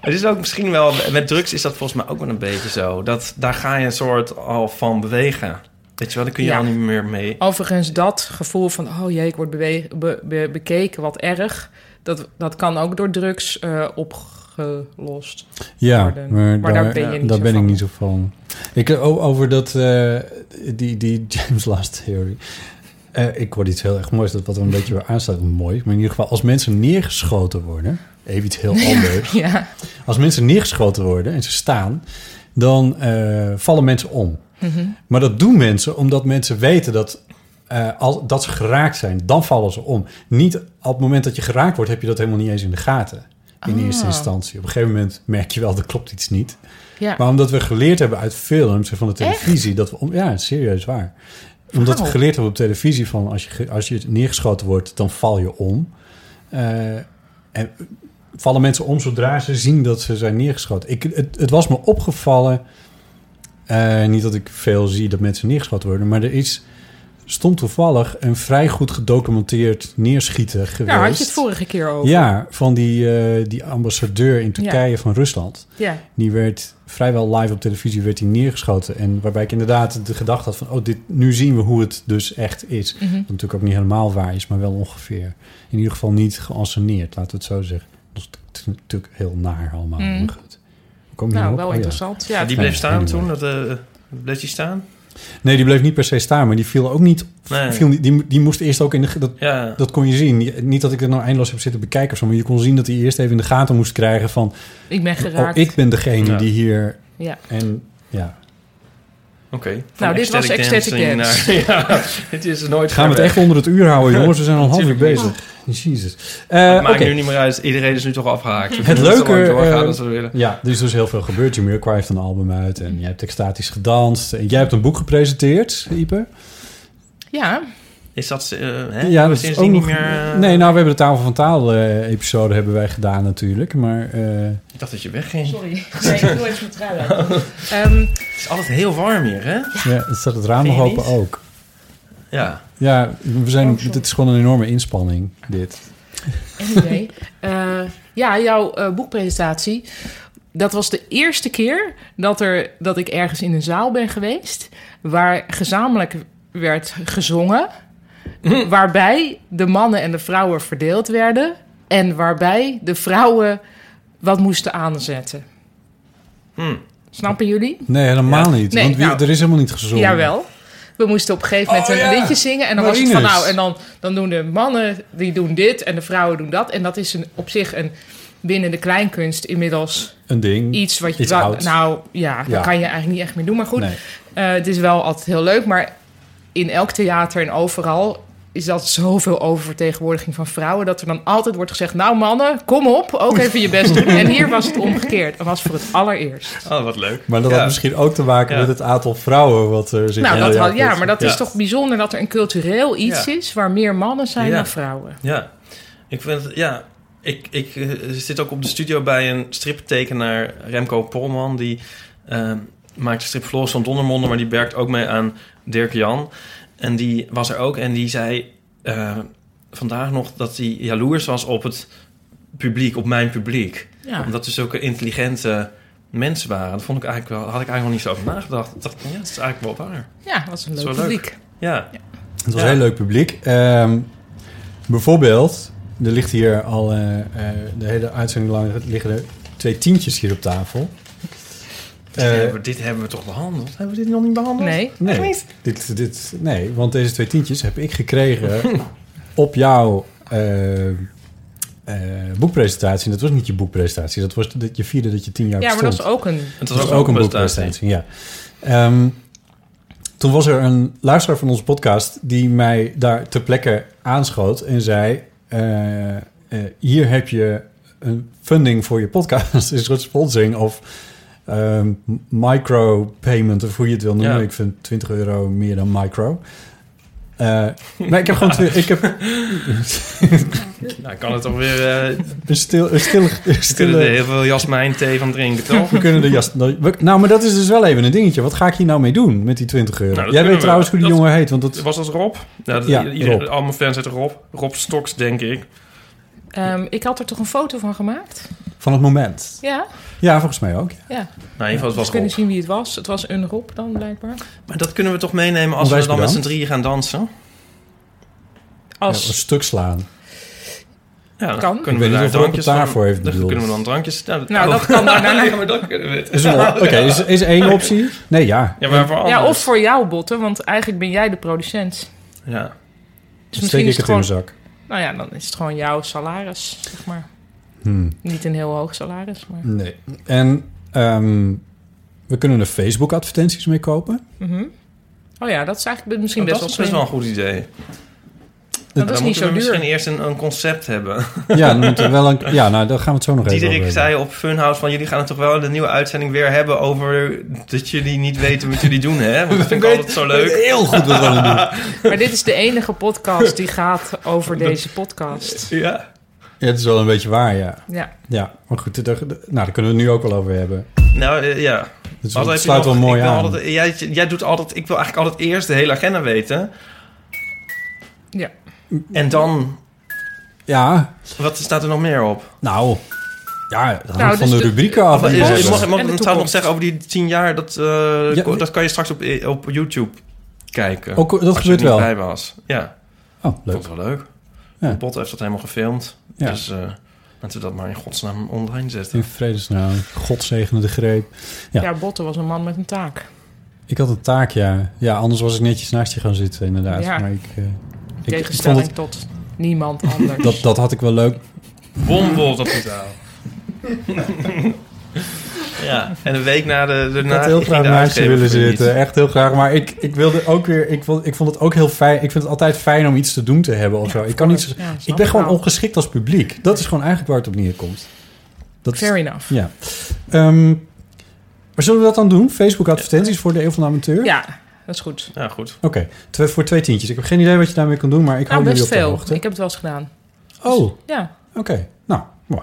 [SPEAKER 5] Het is ook misschien wel... Met drugs is dat volgens mij ook wel een beetje zo. Dat, daar ga je een soort al van bewegen. Weet je wel, daar kun je
[SPEAKER 4] Ja.
[SPEAKER 5] al niet meer mee.
[SPEAKER 4] Overigens, dat gevoel van, oh jee, ik word bewe- be- be- bekeken, wat erg. Dat, dat kan ook door drugs eh, opgelost.
[SPEAKER 3] Ja,
[SPEAKER 4] worden.
[SPEAKER 3] maar,
[SPEAKER 4] Maar
[SPEAKER 3] daar,
[SPEAKER 4] daar ben je niet
[SPEAKER 3] daar
[SPEAKER 4] zo
[SPEAKER 3] ben
[SPEAKER 4] van.
[SPEAKER 3] ik niet zo van. Ik, o- over dat, eh, die, die James Last Theory. Eh, ik hoorde iets heel erg moois, dat wat er een beetje weer aanstaat. Mooi, maar in ieder geval als mensen neergeschoten worden... Even iets heel anders.
[SPEAKER 4] Ja,
[SPEAKER 3] Als mensen neergeschoten worden en ze staan... dan eh, vallen mensen om.
[SPEAKER 4] Mhm.
[SPEAKER 3] Maar dat doen mensen omdat mensen weten dat, eh, al, dat ze geraakt zijn. Dan vallen ze om. Niet op het moment dat je geraakt wordt, heb je dat helemaal niet eens in de gaten. In eerste instantie. Op een gegeven moment merk je wel, er klopt iets niet.
[SPEAKER 4] ja.
[SPEAKER 3] Maar omdat we geleerd hebben uit films en van de televisie... dat we om, Ja, serieus waar. Omdat we
[SPEAKER 4] Wauw.
[SPEAKER 3] geleerd hebben op televisie van... als je, ge- als je neergeschoten wordt, dan val je om. Eh, en vallen mensen om zodra ze zien dat ze zijn neergeschoten. Ik, het, het was me opgevallen... eh, niet dat ik veel zie dat mensen neergeschoten worden... maar er is stond toevallig een vrij goed gedocumenteerd neerschieten geweest.
[SPEAKER 4] Daar had je het vorige keer over.
[SPEAKER 3] Ja, van die, eh, die ambassadeur in Turkije van Rusland.
[SPEAKER 4] ja.
[SPEAKER 3] Die werd vrijwel live op televisie werd hij neergeschoten. En waarbij ik inderdaad de gedachte had van... oh, dit, nu zien we hoe het dus echt is. Wat
[SPEAKER 4] Mhm.
[SPEAKER 3] natuurlijk ook niet helemaal waar is, maar wel ongeveer. In ieder geval niet geanceneerd, laten we het zo zeggen. Dat is t- t- natuurlijk heel naar allemaal.
[SPEAKER 4] Mm.
[SPEAKER 3] maar goed. Hoe Kom je
[SPEAKER 4] Nou,
[SPEAKER 3] hierop?
[SPEAKER 4] wel
[SPEAKER 3] Oh, ja.
[SPEAKER 4] interessant. Ja,
[SPEAKER 5] die bleef
[SPEAKER 3] Ja,
[SPEAKER 5] staan
[SPEAKER 3] anyway.
[SPEAKER 5] toen. Dat, eh, bleef die staan?
[SPEAKER 3] Nee, die bleef niet per se staan, maar die viel ook niet...
[SPEAKER 5] Nee.
[SPEAKER 3] Viel, niet- die, die moest eerst ook in de... ge- Dat,
[SPEAKER 5] Ja.
[SPEAKER 3] dat kon je zien. Je- Niet dat ik er nou eindeloos heb zitten bekijken of zo... maar je kon zien dat hij eerst even in de gaten moest krijgen van...
[SPEAKER 4] ik ben
[SPEAKER 3] oh,
[SPEAKER 4] geraakt.
[SPEAKER 3] ik ben degene
[SPEAKER 5] Ja.
[SPEAKER 3] die hier...
[SPEAKER 4] Ja.
[SPEAKER 3] En ja...
[SPEAKER 5] Oké.
[SPEAKER 4] Nou, dit was Ecstatic
[SPEAKER 5] dancing naar- ja, het is er nooit
[SPEAKER 3] Gaan we het echt onder het uur houden, jongens? We zijn al een half uur
[SPEAKER 5] Natuurlijk niet.
[SPEAKER 3] bezig. Jezus. Eh,
[SPEAKER 5] Maakt
[SPEAKER 3] oké.
[SPEAKER 5] nu niet meer uit. Iedereen is nu toch afgehaakt. We
[SPEAKER 3] Het
[SPEAKER 5] kunnen zo lang
[SPEAKER 3] leuke,
[SPEAKER 5] doorgaan
[SPEAKER 3] eh,
[SPEAKER 5] als we willen.
[SPEAKER 3] Ja, er is dus heel veel gebeurd. Jumir Qua heeft een album uit en jij hebt extatisch gedanst. En jij hebt een boek gepresenteerd, Ipe.
[SPEAKER 4] Ja,
[SPEAKER 5] Is dat eh, hè?
[SPEAKER 3] ja,
[SPEAKER 5] sindsdien niet meer... eh,
[SPEAKER 3] Nee, nou, we hebben de Tafel van Taal eh, episode hebben wij gedaan natuurlijk. Maar eh,
[SPEAKER 5] Ik dacht dat je wegging.
[SPEAKER 4] sorry. Nee, ik doe even mijn trui uit. Ehm,
[SPEAKER 5] Het is altijd heel warm hier, hè?
[SPEAKER 3] ja, het staat het raam
[SPEAKER 5] Vind
[SPEAKER 3] nog
[SPEAKER 5] je
[SPEAKER 3] open
[SPEAKER 5] niet? Oh,
[SPEAKER 3] ook.
[SPEAKER 5] Ja.
[SPEAKER 3] Ja, we zijn, dit is gewoon een enorme inspanning, dit.
[SPEAKER 4] Anyway, eh, ja, jouw eh, boekpresentatie. Dat was de eerste keer dat, er, dat ik ergens in een zaal ben geweest. waar gezamenlijk werd gezongen. waarbij de mannen en de vrouwen verdeeld werden. en waarbij de vrouwen wat moesten aanzetten.
[SPEAKER 5] Hm.
[SPEAKER 4] Snappen jullie?
[SPEAKER 3] Nee, helemaal niet.
[SPEAKER 4] Nee,
[SPEAKER 3] want wie-
[SPEAKER 4] nou.
[SPEAKER 3] er is helemaal niet gezongen.
[SPEAKER 4] Jawel. We moesten op een gegeven moment
[SPEAKER 3] Oh,
[SPEAKER 4] een
[SPEAKER 3] ja.
[SPEAKER 4] liedje zingen. En dan was het
[SPEAKER 3] Marinus.
[SPEAKER 4] van nou, en dan, dan doen de mannen die doen dit en de vrouwen doen dat. En dat is een, op zich een binnen de kleinkunst inmiddels
[SPEAKER 3] Een ding.
[SPEAKER 4] iets wat je.
[SPEAKER 3] Iets
[SPEAKER 4] wel-
[SPEAKER 3] ouds.
[SPEAKER 4] nou ja, dat
[SPEAKER 3] Ja.
[SPEAKER 4] kan je eigenlijk niet echt meer doen. Maar goed,
[SPEAKER 3] Nee.
[SPEAKER 4] eh, het is wel altijd heel leuk. Maar in elk theater en overal is dat zoveel oververtegenwoordiging van vrouwen. Dat er dan altijd wordt gezegd: Nou, mannen, kom op, ook even je best doen. En hier was het omgekeerd. Dat was voor het allereerst.
[SPEAKER 5] Oh, wat leuk.
[SPEAKER 3] Maar dat
[SPEAKER 5] ja.
[SPEAKER 3] had misschien ook te maken
[SPEAKER 5] Ja.
[SPEAKER 3] met het aantal vrouwen wat er zit.
[SPEAKER 4] Nou,
[SPEAKER 3] Ja,
[SPEAKER 4] dat
[SPEAKER 3] ja,
[SPEAKER 4] wel, ja, maar dat
[SPEAKER 5] Ja.
[SPEAKER 4] is toch bijzonder dat er een cultureel iets
[SPEAKER 5] Ja.
[SPEAKER 4] is waar meer mannen zijn
[SPEAKER 5] Ja.
[SPEAKER 4] dan vrouwen.
[SPEAKER 5] Ja. Ik vind... Ja. Ik, ik eh, zit ook op de studio bij een striptekenaar, Remco Polman. Die eh, maakt de strip Floris van Dondermonden, maar die werkt ook mee aan Dirk Jan. En die was er ook en die zei eh, vandaag nog dat hij jaloers was op het publiek, op mijn publiek.
[SPEAKER 4] Ja.
[SPEAKER 5] Omdat ze zulke intelligente mensen waren. Dat vond ik eigenlijk wel, had ik eigenlijk nog niet zo over nagedacht. Ik dacht, ja, dat is eigenlijk wel waar.
[SPEAKER 4] ja, dat is een
[SPEAKER 5] Dat
[SPEAKER 4] leuk
[SPEAKER 5] is wel leuk.
[SPEAKER 4] publiek.
[SPEAKER 5] Ja,
[SPEAKER 3] Het was
[SPEAKER 5] Ja.
[SPEAKER 3] een heel leuk publiek. Ehm, bijvoorbeeld, er ligt hier al eh, eh, de hele uitzending lang liggen er twee tientjes hier op tafel.
[SPEAKER 5] Dit
[SPEAKER 3] Eh,
[SPEAKER 5] Dus hebben we- dit hebben we toch behandeld? Hebben we dit nog niet behandeld?
[SPEAKER 4] Nee.
[SPEAKER 3] nee, dit, dit, nee, want deze twee tientjes heb ik gekregen op jouw eh, eh, boekpresentatie. En dat was niet je boekpresentatie, dat was dat je vierde dat je tien jaar
[SPEAKER 4] Ja, maar dat
[SPEAKER 3] bestond.
[SPEAKER 4] is ook een...
[SPEAKER 5] Het
[SPEAKER 3] Dat was ook een boekpresentatie, ja. Ehm, toen was er een luisteraar van onze podcast die mij daar ter plekke aanschoot en zei: eh, eh, Hier heb je een funding voor je podcast, een soort sponsoring of ehm, micro-payment, of hoe je het wil noemen.
[SPEAKER 5] Ja.
[SPEAKER 3] Ik vind 20 euro meer dan micro. Eh maar ik heb gewoon twi- ik heb
[SPEAKER 5] Nou, kan het toch weer... eh
[SPEAKER 3] een stil, een stil, een
[SPEAKER 5] we kunnen er
[SPEAKER 3] stille
[SPEAKER 5] heel veel jasmijn thee van drinken, toch?
[SPEAKER 3] We kunnen de jas. we- Nou, maar dat is dus wel even een dingetje. Wat ga ik hier nou mee doen met die 20 euro?
[SPEAKER 5] Nou, dat
[SPEAKER 3] Jij
[SPEAKER 5] kunnen
[SPEAKER 3] weet
[SPEAKER 5] we.
[SPEAKER 3] trouwens hoe die
[SPEAKER 5] Dat-
[SPEAKER 3] jongen heet, want dat.
[SPEAKER 5] Was dat Rob? Nou, dat,
[SPEAKER 3] Ja,
[SPEAKER 5] ieder-
[SPEAKER 3] Rob.
[SPEAKER 5] Al mijn fans heet Rob. Rob Stoks, denk ik. Nou,
[SPEAKER 4] Ehm, ik had er toch een foto van gemaakt?
[SPEAKER 3] Van het moment.
[SPEAKER 4] Ja,
[SPEAKER 3] Ja, volgens mij ook. Ja.
[SPEAKER 4] ja.
[SPEAKER 5] Nou, in ieder geval, het
[SPEAKER 4] Dus
[SPEAKER 5] was
[SPEAKER 4] we
[SPEAKER 5] Rob.
[SPEAKER 4] kunnen zien wie het was. Het was een Rob dan, blijkbaar.
[SPEAKER 5] Maar dat kunnen we toch meenemen als we
[SPEAKER 3] Onwijs
[SPEAKER 5] dan met z'n
[SPEAKER 3] bedankt.
[SPEAKER 5] drieën gaan dansen?
[SPEAKER 3] Ja,
[SPEAKER 4] Als...
[SPEAKER 3] een stuk slaan.
[SPEAKER 5] Ja,
[SPEAKER 4] Kan.
[SPEAKER 5] dan kunnen
[SPEAKER 3] Ik
[SPEAKER 5] we
[SPEAKER 3] weet niet
[SPEAKER 5] daar
[SPEAKER 3] of Rob het
[SPEAKER 5] drankjes
[SPEAKER 3] daarvoor heeft
[SPEAKER 5] dan
[SPEAKER 3] bedoeld.
[SPEAKER 5] kunnen we dan drankjes... oh.
[SPEAKER 4] Nou, dat kan daarna.
[SPEAKER 5] Nee, maar dat kunnen we het.
[SPEAKER 3] Is een- Oké, is, is één optie? Nee, ja.
[SPEAKER 5] Ja, maar voor anderen.
[SPEAKER 4] ja, of voor jou, Botten, want eigenlijk ben jij de producent.
[SPEAKER 5] Ja.
[SPEAKER 4] Dus
[SPEAKER 3] Dan steek
[SPEAKER 4] misschien
[SPEAKER 3] ik
[SPEAKER 4] is
[SPEAKER 3] het in
[SPEAKER 4] het
[SPEAKER 3] mijn
[SPEAKER 4] gewoon...
[SPEAKER 3] zak.
[SPEAKER 4] Nou ja, dan is het gewoon jouw salaris, zeg maar.
[SPEAKER 3] Hmm.
[SPEAKER 4] Niet een heel hoog salaris, maar...
[SPEAKER 3] Nee. En ehm, we kunnen er Facebook-advertenties mee kopen.
[SPEAKER 4] Mhm. Oh ja, dat is eigenlijk misschien
[SPEAKER 5] Oh,
[SPEAKER 4] best
[SPEAKER 5] dat
[SPEAKER 4] wel
[SPEAKER 5] is best wel een goed idee.
[SPEAKER 4] slim.
[SPEAKER 5] Dan
[SPEAKER 4] Dat is niet
[SPEAKER 5] moeten we
[SPEAKER 4] zo
[SPEAKER 5] misschien
[SPEAKER 4] duur.
[SPEAKER 5] eerst een, een concept hebben.
[SPEAKER 3] Ja, dan moeten we wel een, ja, nou, daar gaan we het zo nog even over
[SPEAKER 5] Diederik
[SPEAKER 3] hebben.
[SPEAKER 5] zei op Funhouse van... jullie gaan het toch wel in de nieuwe uitzending weer hebben... over dat jullie niet weten wat jullie doen, hè? Want dat vind ik altijd zo leuk.
[SPEAKER 3] Heel goed wat we aan het doen.
[SPEAKER 4] Maar dit is de enige podcast die gaat over deze podcast.
[SPEAKER 5] Ja.
[SPEAKER 3] Ja, het is wel een beetje waar, ja.
[SPEAKER 4] Ja,
[SPEAKER 3] Ja, maar goed, daar, nou, daar kunnen we het nu ook wel over hebben.
[SPEAKER 5] Nou, eh, ja.
[SPEAKER 3] Dus het
[SPEAKER 5] Altijd heb je
[SPEAKER 3] sluit wel
[SPEAKER 5] nog-
[SPEAKER 3] mooi
[SPEAKER 5] ik wil
[SPEAKER 3] aan.
[SPEAKER 5] altijd- jij, jij doet altijd... Ik wil eigenlijk altijd eerst de hele agenda weten.
[SPEAKER 4] ja.
[SPEAKER 5] En dan...
[SPEAKER 3] Ja,
[SPEAKER 5] Wat staat er nog meer op?
[SPEAKER 3] Nou, ja, dat hangt
[SPEAKER 4] Nou,
[SPEAKER 3] van
[SPEAKER 4] dus
[SPEAKER 3] de
[SPEAKER 4] de-
[SPEAKER 3] rubrieken af. eh,
[SPEAKER 5] Wat
[SPEAKER 3] die
[SPEAKER 5] is-
[SPEAKER 3] we
[SPEAKER 4] Post.
[SPEAKER 5] is- mag
[SPEAKER 3] hebben.
[SPEAKER 5] mag ik
[SPEAKER 4] En de
[SPEAKER 5] dan trouwens nog
[SPEAKER 4] toekomst.
[SPEAKER 5] zeggen over die tien jaar? Dat, eh,
[SPEAKER 3] Ja,
[SPEAKER 5] ko-
[SPEAKER 3] we-
[SPEAKER 5] dat kan je straks op, eh, op YouTube kijken.
[SPEAKER 3] Ook, dat
[SPEAKER 5] als je er
[SPEAKER 3] gebeurt
[SPEAKER 5] niet
[SPEAKER 3] wel.
[SPEAKER 5] bij was. Ja,
[SPEAKER 3] Oh, leuk.
[SPEAKER 5] dat was wel leuk.
[SPEAKER 3] Ja.
[SPEAKER 5] Bot heeft dat helemaal gefilmd.
[SPEAKER 3] Ja.
[SPEAKER 5] Dus eh, laten we dat maar in godsnaam online zetten.
[SPEAKER 3] In vredesnaam. God zegene de greep. Ja.
[SPEAKER 4] ja. Botten was een man met een taak.
[SPEAKER 3] Ik had een taak, ja. Ja, anders was ik netjes naast je gaan zitten, inderdaad.
[SPEAKER 4] Ja.
[SPEAKER 3] Maar ik, eh, ik vond
[SPEAKER 4] Tegenstelling
[SPEAKER 3] het,
[SPEAKER 4] tot niemand anders.
[SPEAKER 3] dat, dat had ik wel leuk.
[SPEAKER 5] Nou, Bombols op de taal. ja, en een week na de,
[SPEAKER 3] Ik
[SPEAKER 5] daarna
[SPEAKER 3] had heel
[SPEAKER 5] ging
[SPEAKER 3] graag
[SPEAKER 5] de
[SPEAKER 3] naast je
[SPEAKER 5] uitgever
[SPEAKER 3] willen
[SPEAKER 5] failliet.
[SPEAKER 3] zitten. Echt heel graag. Maar ik, ik wilde ook weer... Ik vond, ik vond het ook heel fijn. Ik vind het altijd fijn om iets te doen te hebben of zo. Ik, kan niet,
[SPEAKER 4] Ja, snap
[SPEAKER 3] ik ben gewoon
[SPEAKER 4] wel.
[SPEAKER 3] ongeschikt als publiek. Dat is gewoon eigenlijk waar het op neerkomt. Dat
[SPEAKER 4] Fair enough.
[SPEAKER 3] Ja. Ehm, maar zullen we dat dan doen? Facebook advertenties voor de Eeuw van de Amateur?
[SPEAKER 4] Ja, dat is goed.
[SPEAKER 5] Ja, goed.
[SPEAKER 3] Oké, twee- voor twee tientjes. Ik heb geen idee wat je daarmee kan doen, maar ik
[SPEAKER 4] nou,
[SPEAKER 3] hou jullie
[SPEAKER 4] best
[SPEAKER 3] op de
[SPEAKER 4] veel.
[SPEAKER 3] hoogte.
[SPEAKER 4] Ik heb het wel eens gedaan.
[SPEAKER 3] Oh, oké.
[SPEAKER 4] Ja,
[SPEAKER 3] Nou, mooi.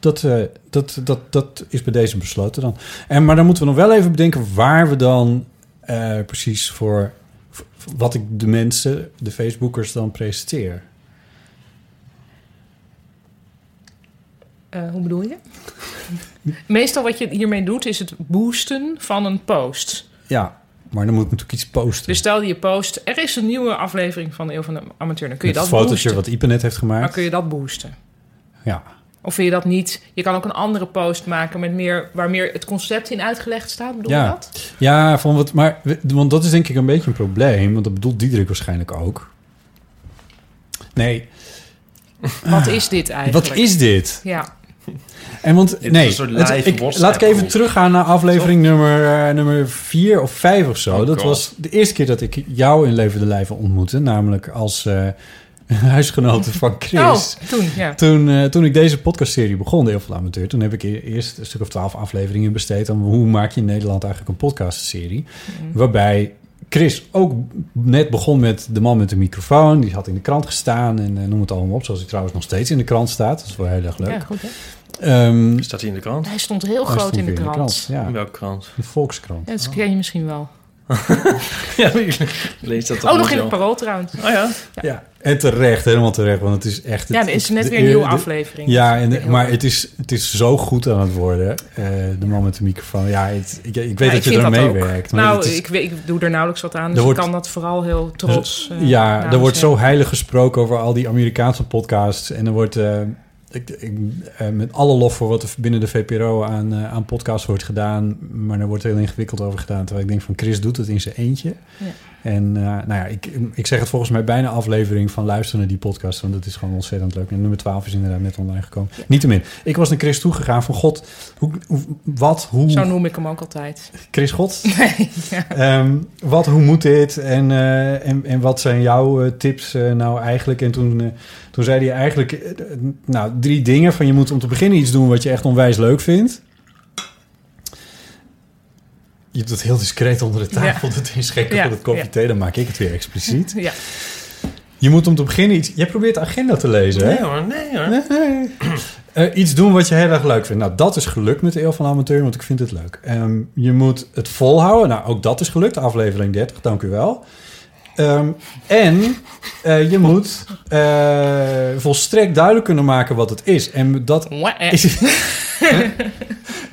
[SPEAKER 3] Dat, eh, dat, dat, dat is bij deze besloten dan. En, maar dan moeten we nog wel even bedenken waar we dan eh, precies voor, voor- wat ik de mensen, de Facebookers dan presenteer.
[SPEAKER 4] Eh, hoe bedoel je? Meestal wat je hiermee doet is het boosten van een post.
[SPEAKER 3] Ja, maar dan moet ik natuurlijk iets posten.
[SPEAKER 4] Dus stel je post, er is een nieuwe aflevering van de Eeuw van de Amateur. Dan kun je
[SPEAKER 3] Met
[SPEAKER 4] dat
[SPEAKER 3] het fotootje
[SPEAKER 4] boosten.
[SPEAKER 3] wat Ipe net heeft gemaakt.
[SPEAKER 4] Dan kun je dat boosten.
[SPEAKER 3] Ja.
[SPEAKER 4] Of vind je dat niet? Je kan ook een andere post maken met meer, waar meer het concept in uitgelegd staat. Bedoel
[SPEAKER 3] Ja.
[SPEAKER 4] je dat?
[SPEAKER 3] Ja, van wat, maar, we- want dat is denk ik een beetje een probleem. Want dat bedoelt Diederik waarschijnlijk ook. Nee,
[SPEAKER 4] Wat is dit eigenlijk?
[SPEAKER 3] wat is dit?
[SPEAKER 4] Ja,
[SPEAKER 3] En want,
[SPEAKER 5] is
[SPEAKER 3] nee,
[SPEAKER 5] een soort
[SPEAKER 3] het-
[SPEAKER 5] live
[SPEAKER 3] ik- laat ik
[SPEAKER 5] WhatsApp
[SPEAKER 3] even
[SPEAKER 5] groep.
[SPEAKER 3] teruggaan naar aflevering nummer, eh, nummer vier of vijf of zo.
[SPEAKER 5] Oh
[SPEAKER 3] dat
[SPEAKER 5] God.
[SPEAKER 3] was de eerste keer dat ik jou in levende lijven ontmoette. Namelijk als eh huisgenote van Chris.
[SPEAKER 4] oh, toen, ja.
[SPEAKER 3] Toen, eh, toen ik deze podcastserie begon, de Heel veel Amateur, toen heb ik e- eerst een stuk of twaalf afleveringen besteed aan hoe maak je in Nederland eigenlijk een podcastserie.
[SPEAKER 4] Mhm.
[SPEAKER 3] Waarbij Chris ook net begon met de man met de microfoon. Die had in de krant gestaan en eh, noem het allemaal op. Zoals hij trouwens nog steeds in de krant staat. Dat is wel heel erg
[SPEAKER 4] Ja,
[SPEAKER 3] leuk.
[SPEAKER 4] goed, hè?
[SPEAKER 3] Ehm,
[SPEAKER 5] Staat hij in de krant?
[SPEAKER 4] Hij stond heel
[SPEAKER 3] hij
[SPEAKER 4] groot
[SPEAKER 3] stond
[SPEAKER 4] in de
[SPEAKER 3] weer
[SPEAKER 4] krant.
[SPEAKER 3] Ja,
[SPEAKER 5] In welke krant?
[SPEAKER 3] de Volkskrant.
[SPEAKER 4] Ja, dat ken je misschien wel.
[SPEAKER 5] ja, ik lees dat toch
[SPEAKER 4] Oh, nog in
[SPEAKER 5] wel.
[SPEAKER 4] het parool trouwens.
[SPEAKER 5] Oh ja?
[SPEAKER 3] Ja, en terecht, helemaal terecht, want het is echt...
[SPEAKER 4] Ja, er is net
[SPEAKER 3] de-
[SPEAKER 4] weer een nieuwe
[SPEAKER 3] de-
[SPEAKER 4] aflevering.
[SPEAKER 3] Ja, en,
[SPEAKER 4] Dat is heel-
[SPEAKER 3] maar het is, het is zo goed aan het worden, eh, de man met de microfoon. Ja, het- ik, ik weet
[SPEAKER 4] Ja,
[SPEAKER 3] dat
[SPEAKER 4] ik
[SPEAKER 3] je
[SPEAKER 4] vind
[SPEAKER 3] er
[SPEAKER 4] dat
[SPEAKER 3] mee
[SPEAKER 4] ook.
[SPEAKER 3] werkt. maar
[SPEAKER 4] Nou,
[SPEAKER 3] het is-
[SPEAKER 4] ik, weet, ik doe er nauwelijks wat aan, dus
[SPEAKER 3] Er wordt-
[SPEAKER 4] ik kan dat vooral heel trots... eh,
[SPEAKER 3] ja, er
[SPEAKER 4] namens
[SPEAKER 3] wordt
[SPEAKER 4] hem.
[SPEAKER 3] zo heilig gesproken over al die Amerikaanse podcasts. En er wordt eh, ik, ik, eh, met alle lof voor wat er binnen de VPRO aan, eh, aan podcasts wordt gedaan. Maar daar wordt heel ingewikkeld over gedaan. Terwijl ik denk van Chris doet het in zijn eentje.
[SPEAKER 4] Ja.
[SPEAKER 3] En eh, nou ja, ik, ik zeg het volgens mij bijna aflevering van luisteren naar die podcast. Want dat is gewoon ontzettend leuk. En nummer 12 is inderdaad net online gekomen. Niettemin, ik was naar Chris toegegaan van God, hoe, hoe- wat, hoe...
[SPEAKER 4] Zo noem ik hem ook altijd.
[SPEAKER 3] Chris God. Ehm, wat, hoe moet dit? En, eh, en, en wat zijn jouw eh, tips eh, nou eigenlijk? En toen, eh, toen zei hij eigenlijk eh, d- nou, drie dingen. Van je moet om te beginnen iets doen wat je echt onwijs leuk vindt. Je doet dat heel discreet onder de tafel. Dat is gek
[SPEAKER 4] Ja,
[SPEAKER 3] voor het kopje
[SPEAKER 4] ja.
[SPEAKER 3] thee. Dan maak ik het weer expliciet.
[SPEAKER 4] Ja.
[SPEAKER 3] Je moet om te beginnen iets... Jij probeert de agenda te lezen, hè?
[SPEAKER 5] Nee hoor, nee hoor.
[SPEAKER 3] Nee. Eh, iets doen wat je heel erg leuk vindt. Nou, dat is gelukt met de Eeuw van de Amateur, want ik vind het leuk. Ehm, je moet het volhouden. Nou, ook dat is gelukt. Aflevering 30, dank u wel. Ehm, en eh, je moet eh, volstrekt duidelijk kunnen maken wat het is. En dat is...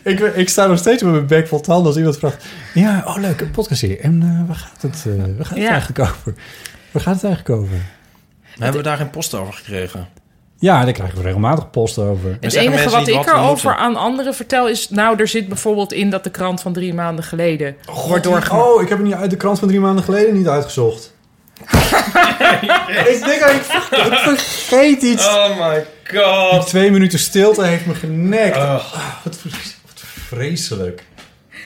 [SPEAKER 3] ik, ik sta nog steeds met mijn bek vol tanden als iemand vraagt... Ja, oh leuk, een podcast hier. En eh, waar gaat het, eh, waar gaat het
[SPEAKER 4] Ja.
[SPEAKER 3] eigenlijk over? Waar gaat het eigenlijk over?
[SPEAKER 5] Hebben we daar geen post over gekregen?
[SPEAKER 3] Ja, daar krijgen we regelmatig post over.
[SPEAKER 4] Het
[SPEAKER 5] zeggen
[SPEAKER 4] enige
[SPEAKER 5] mensen
[SPEAKER 4] wat
[SPEAKER 5] niet
[SPEAKER 4] ik
[SPEAKER 5] wat we
[SPEAKER 4] erover
[SPEAKER 5] moeten.
[SPEAKER 4] aan anderen vertel is... Nou, er zit bijvoorbeeld in dat de krant van drie maanden geleden wordt doorgemaakt.
[SPEAKER 3] Oh, ik heb hem niet uit de krant van drie maanden geleden niet uitgezocht. ik denk dat ik, ver- ik vergeet iets.
[SPEAKER 5] Oh my
[SPEAKER 3] Die
[SPEAKER 5] god.
[SPEAKER 3] twee minuten stilte heeft me genekt.
[SPEAKER 5] Ugh.
[SPEAKER 3] Ah, wat, vres- wat vreselijk.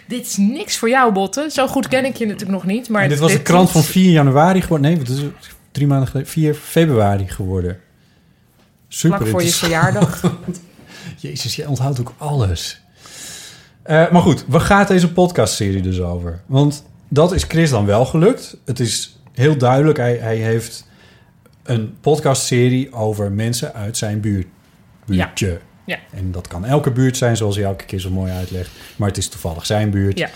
[SPEAKER 4] Dit is niks voor jou, Botten. Zo goed ken ik je natuurlijk nog niet. Maar
[SPEAKER 3] En dit was de krant van 4 januari geworden. Nee, het is drie maanden geleden. 4 februari geworden. Super
[SPEAKER 4] Vlak voor je
[SPEAKER 3] interessant.
[SPEAKER 4] verjaardag.
[SPEAKER 3] Jezus, jij onthoudt ook alles. Eh, maar goed, waar gaat deze podcastserie dus over? Want dat is Chris dan wel gelukt. Het is heel duidelijk, hij, hij heeft een podcastserie over mensen uit zijn buurt, buurtje.
[SPEAKER 4] Ja.
[SPEAKER 3] En dat kan elke buurt zijn, zoals hij elke keer zo mooi uitlegt. Maar het is toevallig zijn buurt.
[SPEAKER 4] ja.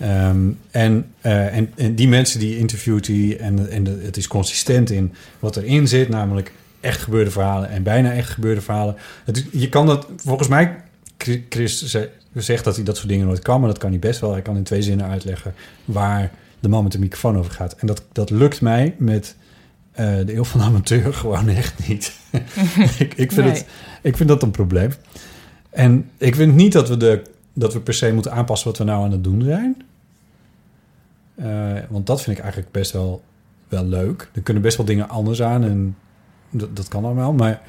[SPEAKER 3] Ehm, en, eh, en, en die mensen die interviewt hij... en, en het is consistent in wat erin zit... namelijk echt gebeurde verhalen en bijna echt gebeurde verhalen. Het is- je kan dat... Volgens mij, Chri- Chris ze- zegt dat hij dat soort dingen nooit kan... maar dat kan hij best wel. Hij kan in twee zinnen uitleggen waar de man met de microfoon over gaat. En dat, dat lukt mij met eh, de eeuw van de amateur gewoon echt niet. ik, ik, vind
[SPEAKER 4] Nee.
[SPEAKER 3] het, ik vind dat een probleem. En ik vind niet dat we, de, dat we per se moeten aanpassen... wat we nou aan het doen zijn... Eh, want dat vind ik eigenlijk best wel, wel leuk. Er kunnen best wel dingen anders aan en dat, dat kan allemaal. Maar,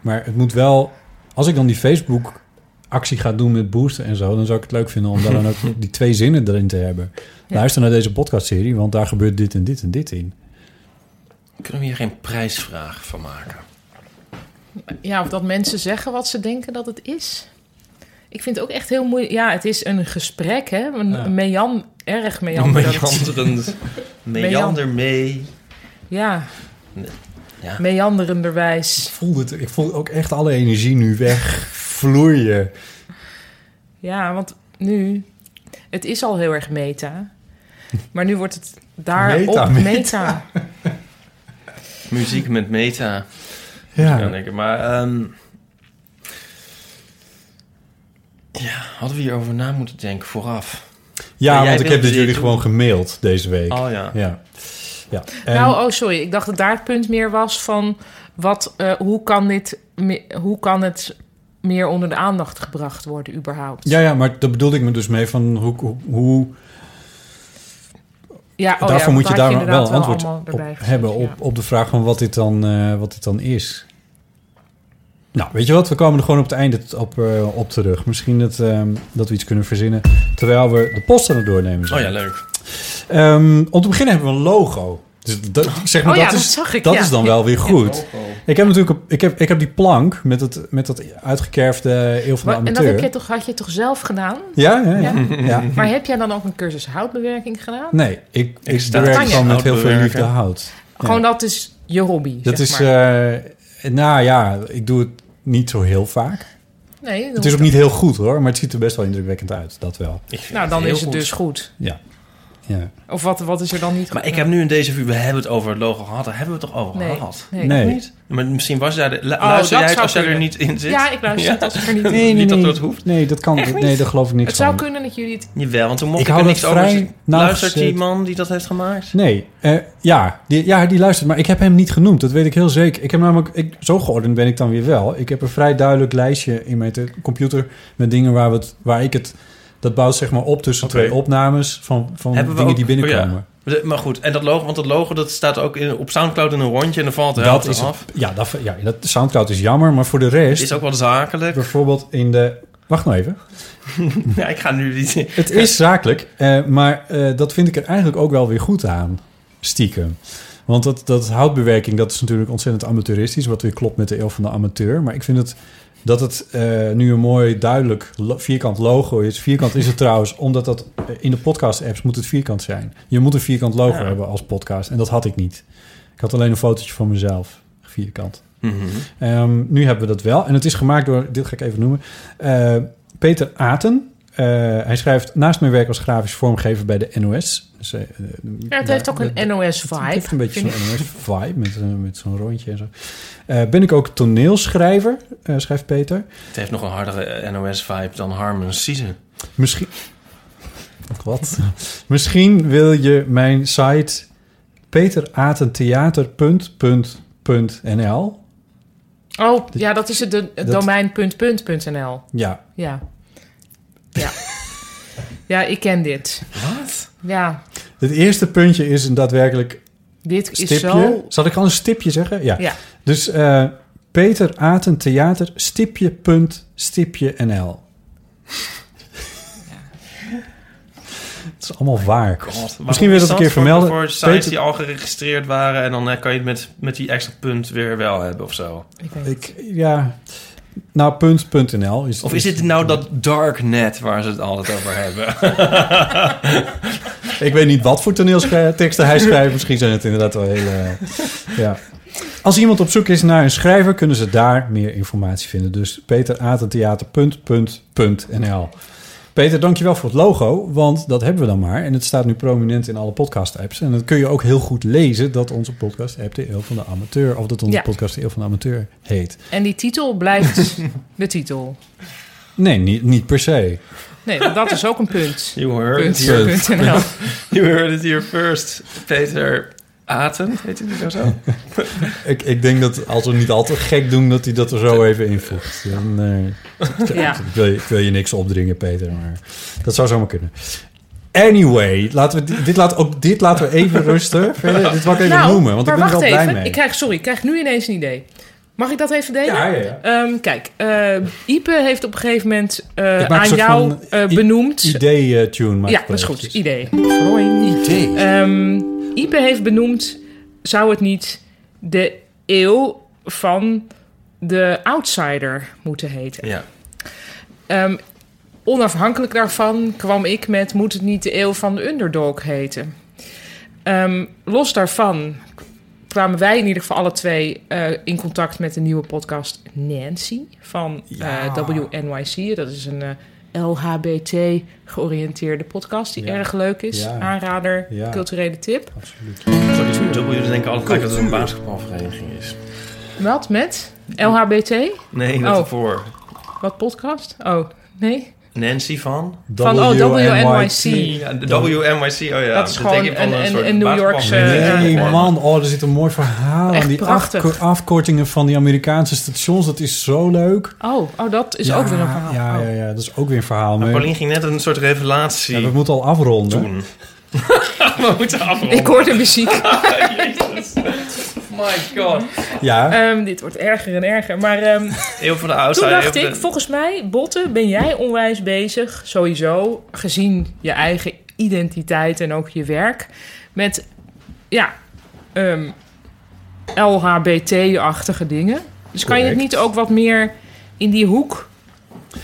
[SPEAKER 3] maar het moet wel... Als ik dan die Facebook-actie ga doen met boosten en zo... dan zou ik het leuk vinden om daar dan ook die twee zinnen erin te hebben.
[SPEAKER 4] Ja.
[SPEAKER 3] Luister naar deze podcastserie, want daar gebeurt dit en dit en dit in.
[SPEAKER 5] Kunnen we hier geen prijsvraag van maken?
[SPEAKER 4] ja, of dat mensen zeggen wat ze denken dat het is. Ik vind het ook echt heel moeilijk. Ja, het is een gesprek, hè? Een,
[SPEAKER 3] Ja.
[SPEAKER 4] een mean, erg meanderend.
[SPEAKER 5] Meanderend. Meander mee.
[SPEAKER 4] Ja.
[SPEAKER 5] Ja.
[SPEAKER 3] Ik
[SPEAKER 4] meanderenderwijs.
[SPEAKER 3] voel, het, ik voel ook echt alle energie nu weg vloeien.
[SPEAKER 4] Ja, want nu, het is al heel erg meta. Maar nu wordt het daarop
[SPEAKER 3] Meta,
[SPEAKER 4] meta.
[SPEAKER 3] meta.
[SPEAKER 5] Muziek met meta. Ja.
[SPEAKER 3] Ja,
[SPEAKER 5] Denken. Maar ehm, ja, hadden we hierover na moeten denken vooraf?
[SPEAKER 3] ja
[SPEAKER 5] Maar jij
[SPEAKER 3] want ik
[SPEAKER 5] wilde
[SPEAKER 3] heb dit
[SPEAKER 5] dit
[SPEAKER 3] jullie
[SPEAKER 5] doen.
[SPEAKER 3] gewoon gemaild deze week.
[SPEAKER 5] Oh ja.
[SPEAKER 3] Ja. ja. En-
[SPEAKER 4] Nou, oh sorry, ik dacht dat daar het punt meer was van... Wat, eh, hoe, kan dit, me- hoe kan het meer onder de aandacht gebracht worden überhaupt?
[SPEAKER 3] Ja, ja, maar daar bedoelde ik me dus mee van hoe... hoe, hoe
[SPEAKER 4] Ja, oh ja,
[SPEAKER 3] daarvoor
[SPEAKER 4] want
[SPEAKER 3] moet je
[SPEAKER 4] had
[SPEAKER 3] daar wel
[SPEAKER 4] inderdaad
[SPEAKER 3] een antwoord
[SPEAKER 4] allemaal
[SPEAKER 3] op
[SPEAKER 4] erbij gezet,
[SPEAKER 3] hebben
[SPEAKER 4] ja.
[SPEAKER 3] op, op de vraag van wat dit, dan, eh, wat dit dan is. Nou, weet je wat? We komen er gewoon op het einde t- op, eh, op terug. Misschien dat, ehm, dat we iets kunnen verzinnen terwijl we de post aan het doornemen
[SPEAKER 5] Oh
[SPEAKER 3] zijn.
[SPEAKER 5] ja, leuk.
[SPEAKER 3] Ehm, om te beginnen hebben we een logo. Dus dat, zeg maar,
[SPEAKER 4] Oh ja,
[SPEAKER 3] dat,
[SPEAKER 4] dat
[SPEAKER 3] is,
[SPEAKER 4] zag ik,
[SPEAKER 3] dat
[SPEAKER 4] ja.
[SPEAKER 3] is dan wel weer goed.
[SPEAKER 5] Logo.
[SPEAKER 3] Ik heb natuurlijk een- ik heb, ik heb die plank met, het, met dat uitgekerfde eeuw van
[SPEAKER 4] Maar-
[SPEAKER 3] de
[SPEAKER 4] en
[SPEAKER 3] amateur.
[SPEAKER 4] dat heb je toch, had je toch zelf gedaan?
[SPEAKER 3] ja, ja, ja. ja.
[SPEAKER 4] Maar heb jij dan ook een cursus houtbewerking gedaan?
[SPEAKER 3] Nee, ik, ik,
[SPEAKER 5] sta-
[SPEAKER 3] bewerk
[SPEAKER 4] Kan je
[SPEAKER 3] gewoon met
[SPEAKER 5] hout
[SPEAKER 3] heel veel
[SPEAKER 5] bewerken?
[SPEAKER 3] liefde hout.
[SPEAKER 4] Gewoon dat is je hobby,
[SPEAKER 3] Dat
[SPEAKER 4] zeg
[SPEAKER 3] is,
[SPEAKER 4] maar.
[SPEAKER 3] eh, nou ja, ik doe het niet zo heel vaak.
[SPEAKER 4] nee, dat
[SPEAKER 3] Het is
[SPEAKER 4] hoeft
[SPEAKER 3] ook niet heel goed hoor, maar het ziet er best wel indrukwekkend uit, dat wel.
[SPEAKER 5] Ik vind
[SPEAKER 4] Nou, dan
[SPEAKER 5] heel
[SPEAKER 4] is het
[SPEAKER 5] goed.
[SPEAKER 4] dus goed.
[SPEAKER 3] Ja. Ja.
[SPEAKER 4] Of wat, wat is er dan niet
[SPEAKER 5] Maar ik heb nu in deze vuur, we hebben het over het logo gehad. Daar hebben we het toch over
[SPEAKER 4] Nee.
[SPEAKER 5] gehad?
[SPEAKER 4] Nee.
[SPEAKER 3] Nee.
[SPEAKER 5] Of niet? Maar misschien was daar de, lu-
[SPEAKER 4] Oh,
[SPEAKER 5] luister
[SPEAKER 4] dat
[SPEAKER 5] jij het
[SPEAKER 4] zou
[SPEAKER 5] als jij er
[SPEAKER 4] kunnen.
[SPEAKER 5] niet in zit?
[SPEAKER 4] Ja, ik luister het als ik er niet in
[SPEAKER 5] Nee,
[SPEAKER 4] zit.
[SPEAKER 5] Niet dat dat hoeft.
[SPEAKER 3] Nee, dat kan.
[SPEAKER 4] Echt niet?
[SPEAKER 3] Nee, daar geloof ik niks
[SPEAKER 4] Het zou
[SPEAKER 3] van.
[SPEAKER 4] kunnen dat jullie het...
[SPEAKER 5] Jawel, want toen mocht
[SPEAKER 3] Ik
[SPEAKER 5] ik,
[SPEAKER 3] hou
[SPEAKER 5] er
[SPEAKER 3] dat
[SPEAKER 5] niks over
[SPEAKER 3] vrij
[SPEAKER 5] zeggen.
[SPEAKER 3] nauwgezet.
[SPEAKER 5] Luistert die man die dat heeft gemaakt?
[SPEAKER 3] Nee, eh, ja, die, ja, die luistert. Maar ik heb hem niet genoemd. Dat weet ik heel zeker. Ik heb namelijk, ik, zo geordend ben ik dan weer wel. Ik heb een vrij duidelijk lijstje in mijn te- computer met dingen waar, we het, waar ik het... Dat bouwt zeg maar op tussen
[SPEAKER 5] Oké.
[SPEAKER 3] twee opnames van, van
[SPEAKER 5] Hebben we
[SPEAKER 3] dingen die
[SPEAKER 5] ook- oh ja.
[SPEAKER 3] binnenkomen.
[SPEAKER 5] De- Maar goed, en dat logo, want dat logo dat staat ook in, op Soundcloud in een rondje en dan valt de
[SPEAKER 3] dat
[SPEAKER 5] helft
[SPEAKER 3] is
[SPEAKER 5] af.
[SPEAKER 3] ja, dat, ja, dat Soundcloud is jammer, maar voor de
[SPEAKER 5] Het
[SPEAKER 3] rest...
[SPEAKER 5] is ook wel zakelijk.
[SPEAKER 3] Bijvoorbeeld in de... Wacht nou even.
[SPEAKER 5] Ja, ik ga nu niet...
[SPEAKER 3] Het is zakelijk, eh, maar eh, dat vind ik er eigenlijk ook wel weer goed aan. Stiekem. Want dat, dat houtbewerking, dat is natuurlijk ontzettend amateuristisch... wat weer klopt met de eeuw van de amateur. Maar ik vind het, dat het eh, nu een mooi, duidelijk lo- vierkant logo is. Vierkant is het trouwens, omdat dat eh, in de podcast-apps moet het vierkant zijn. Je moet een vierkant logo
[SPEAKER 5] Ja.
[SPEAKER 3] hebben als podcast. En dat had ik niet. Ik had alleen een fotootje van mezelf. Vierkant.
[SPEAKER 5] Mhm.
[SPEAKER 3] Ehm, nu hebben we dat wel. En het is gemaakt door, dit ga ik even noemen, eh, Peter Aten. Eh, hij schrijft naast mijn werk als grafisch vormgever bij de NOS. Dus, eh, eh,
[SPEAKER 4] Ja, het
[SPEAKER 3] ja,
[SPEAKER 4] heeft ook
[SPEAKER 3] dat- het
[SPEAKER 4] een NOS-vibe.
[SPEAKER 3] heeft een beetje zo'n NOS-vibe met, eh, met zo'n rondje en zo. Eh, ben ik ook toneelschrijver, eh, schrijft Peter.
[SPEAKER 5] Het heeft nog een hardere NOS-vibe dan Harmon Season.
[SPEAKER 3] Misschien. Wat? Misschien wil je mijn site peteratentheater.nl.
[SPEAKER 4] Oh, ja, dat is het de- het
[SPEAKER 3] Dat-
[SPEAKER 4] domein punt, punt, punt NL.
[SPEAKER 3] Ja,
[SPEAKER 4] Ja. Ja. ja, ik ken dit.
[SPEAKER 5] Wat?
[SPEAKER 4] Ja,
[SPEAKER 3] het eerste puntje is een daadwerkelijk
[SPEAKER 4] dit is
[SPEAKER 3] Stipje.
[SPEAKER 4] zo...
[SPEAKER 3] Zal ik al een stipje zeggen? Ja.
[SPEAKER 4] Ja.
[SPEAKER 3] Dus eh, Peter Aten Theater stipje punt stipje NL. Het is allemaal waar.
[SPEAKER 5] God,
[SPEAKER 3] Misschien wil je dat een keer vermelden.
[SPEAKER 5] Voor sites
[SPEAKER 3] Peter-
[SPEAKER 5] die al geregistreerd waren en dan eh, kan je het met, met die extra punt weer wel hebben of zo.
[SPEAKER 4] Ik weet het.
[SPEAKER 3] Ik, ja. Nou, punt, punt NL. Is,
[SPEAKER 5] Of is dit nou dat darknet waar ze het altijd over hebben?
[SPEAKER 3] Ik weet niet wat voor toneelteksten hij schrijft. Misschien zijn het inderdaad wel hele... eh, ja. Als iemand op zoek is naar een schrijver... kunnen ze daar meer informatie vinden. Dus peteratentheater.nl Peter, dankjewel voor het logo, want dat hebben we dan maar. En het staat nu prominent in alle podcast-apps. En dan kun je ook heel goed lezen dat onze podcast-app de Eeuw van de Amateur... of dat onze
[SPEAKER 4] Ja.
[SPEAKER 3] podcast de Eeuw van de Amateur heet.
[SPEAKER 4] En die titel blijft de titel.
[SPEAKER 3] Nee, niet, niet per se.
[SPEAKER 4] Nee, want dat is ook een punt.
[SPEAKER 5] You heard,
[SPEAKER 4] Punt,
[SPEAKER 5] it here,
[SPEAKER 4] punt NL.
[SPEAKER 5] you heard it here first. Peter Aten, heet hij niet zo?
[SPEAKER 3] Ik, ik denk dat als we niet al te gek doen, dat hij dat er zo even invoegt. Dan, eh,
[SPEAKER 4] Ja.
[SPEAKER 3] Ik wil, je, ik wil je niks opdringen, Peter, maar dat zou zomaar kunnen. Anyway, laten we dit, dit, laat, ook dit laten we even rusten. Verder, dit wil ik even
[SPEAKER 4] Nou,
[SPEAKER 3] noemen, want ik
[SPEAKER 4] maar
[SPEAKER 3] ben er wel
[SPEAKER 4] wacht
[SPEAKER 3] blij
[SPEAKER 4] even.
[SPEAKER 3] mee.
[SPEAKER 4] Ik krijg, sorry, ik krijg nu ineens een idee. Mag ik dat even delen?
[SPEAKER 3] Ja, ja, ja.
[SPEAKER 4] Ehm, kijk, eh, Ipe heeft op een gegeven moment eh,
[SPEAKER 3] Ik maak een
[SPEAKER 4] aan
[SPEAKER 3] soort
[SPEAKER 4] jou
[SPEAKER 3] van
[SPEAKER 4] eh,
[SPEAKER 3] i-
[SPEAKER 4] benoemd.
[SPEAKER 3] Idee-tune.
[SPEAKER 4] ja, dat is goed. Idee.
[SPEAKER 3] Idee.
[SPEAKER 4] Ehm, Ipe heeft benoemd, zou het niet de eeuw van de outsider moeten heten?
[SPEAKER 5] Ja.
[SPEAKER 4] Ehm, onafhankelijk daarvan kwam ik met... moet het niet de eeuw van de underdog heten? Ehm, los daarvan kwamen wij in ieder geval alle twee... eh, in contact met de nieuwe podcast Nancy van eh, WNYC. Dat is een eh, LHBT-georiënteerde podcast die
[SPEAKER 3] Ja.
[SPEAKER 4] erg leuk is.
[SPEAKER 3] Ja.
[SPEAKER 4] Aanrader,
[SPEAKER 3] Ja.
[SPEAKER 4] culturele tip.
[SPEAKER 3] Absoluut.
[SPEAKER 5] Sorry, zo'n dubbel, jullie denken altijd dat het een basketbalvereniging is.
[SPEAKER 4] Wat met LHBT?
[SPEAKER 5] Nee, dat
[SPEAKER 4] Oh.
[SPEAKER 5] ervoor.
[SPEAKER 4] Wat podcast? Oh, nee?
[SPEAKER 5] Nancy van?
[SPEAKER 4] Van, oh, WNYC.
[SPEAKER 5] Ja, de WNYC, oh ja.
[SPEAKER 4] Dat is
[SPEAKER 5] denk
[SPEAKER 4] gewoon
[SPEAKER 5] ik van
[SPEAKER 4] een- een-
[SPEAKER 5] soort
[SPEAKER 4] een New Yorkse,
[SPEAKER 5] basketbalvereniging.
[SPEAKER 3] Oh, Nee,
[SPEAKER 4] Ja.
[SPEAKER 3] man. Oh, er zit een mooi verhaal aan.
[SPEAKER 4] Eh, Echt
[SPEAKER 3] Die
[SPEAKER 4] prachtig.
[SPEAKER 3] afko- afkortingen van die Amerikaanse stations, dat is zo leuk.
[SPEAKER 4] Oh, oh dat is
[SPEAKER 3] Ja,
[SPEAKER 4] ook weer een verhaal.
[SPEAKER 3] Ja,
[SPEAKER 4] Oh.
[SPEAKER 3] ja, ja, dat is ook weer een verhaal.
[SPEAKER 5] Maar
[SPEAKER 3] Maar
[SPEAKER 5] Paulien ging net een soort revelatie
[SPEAKER 3] ja, we moeten al afronden.
[SPEAKER 5] doen. we moeten afronden.
[SPEAKER 4] Ik hoor de muziek.
[SPEAKER 5] Jezus. My god.
[SPEAKER 3] Ja.
[SPEAKER 4] Ehm, dit wordt erger en erger. Maar ehm,
[SPEAKER 5] Eeuw van de oude
[SPEAKER 4] toen dacht ik, volgens mij, Botte, ben jij onwijs bezig, sowieso, gezien je eigen identiteit en ook je werk, met, ja, ehm, LHBT-achtige dingen. Dus kan je het
[SPEAKER 3] Correct.
[SPEAKER 4] niet ook wat meer in die hoek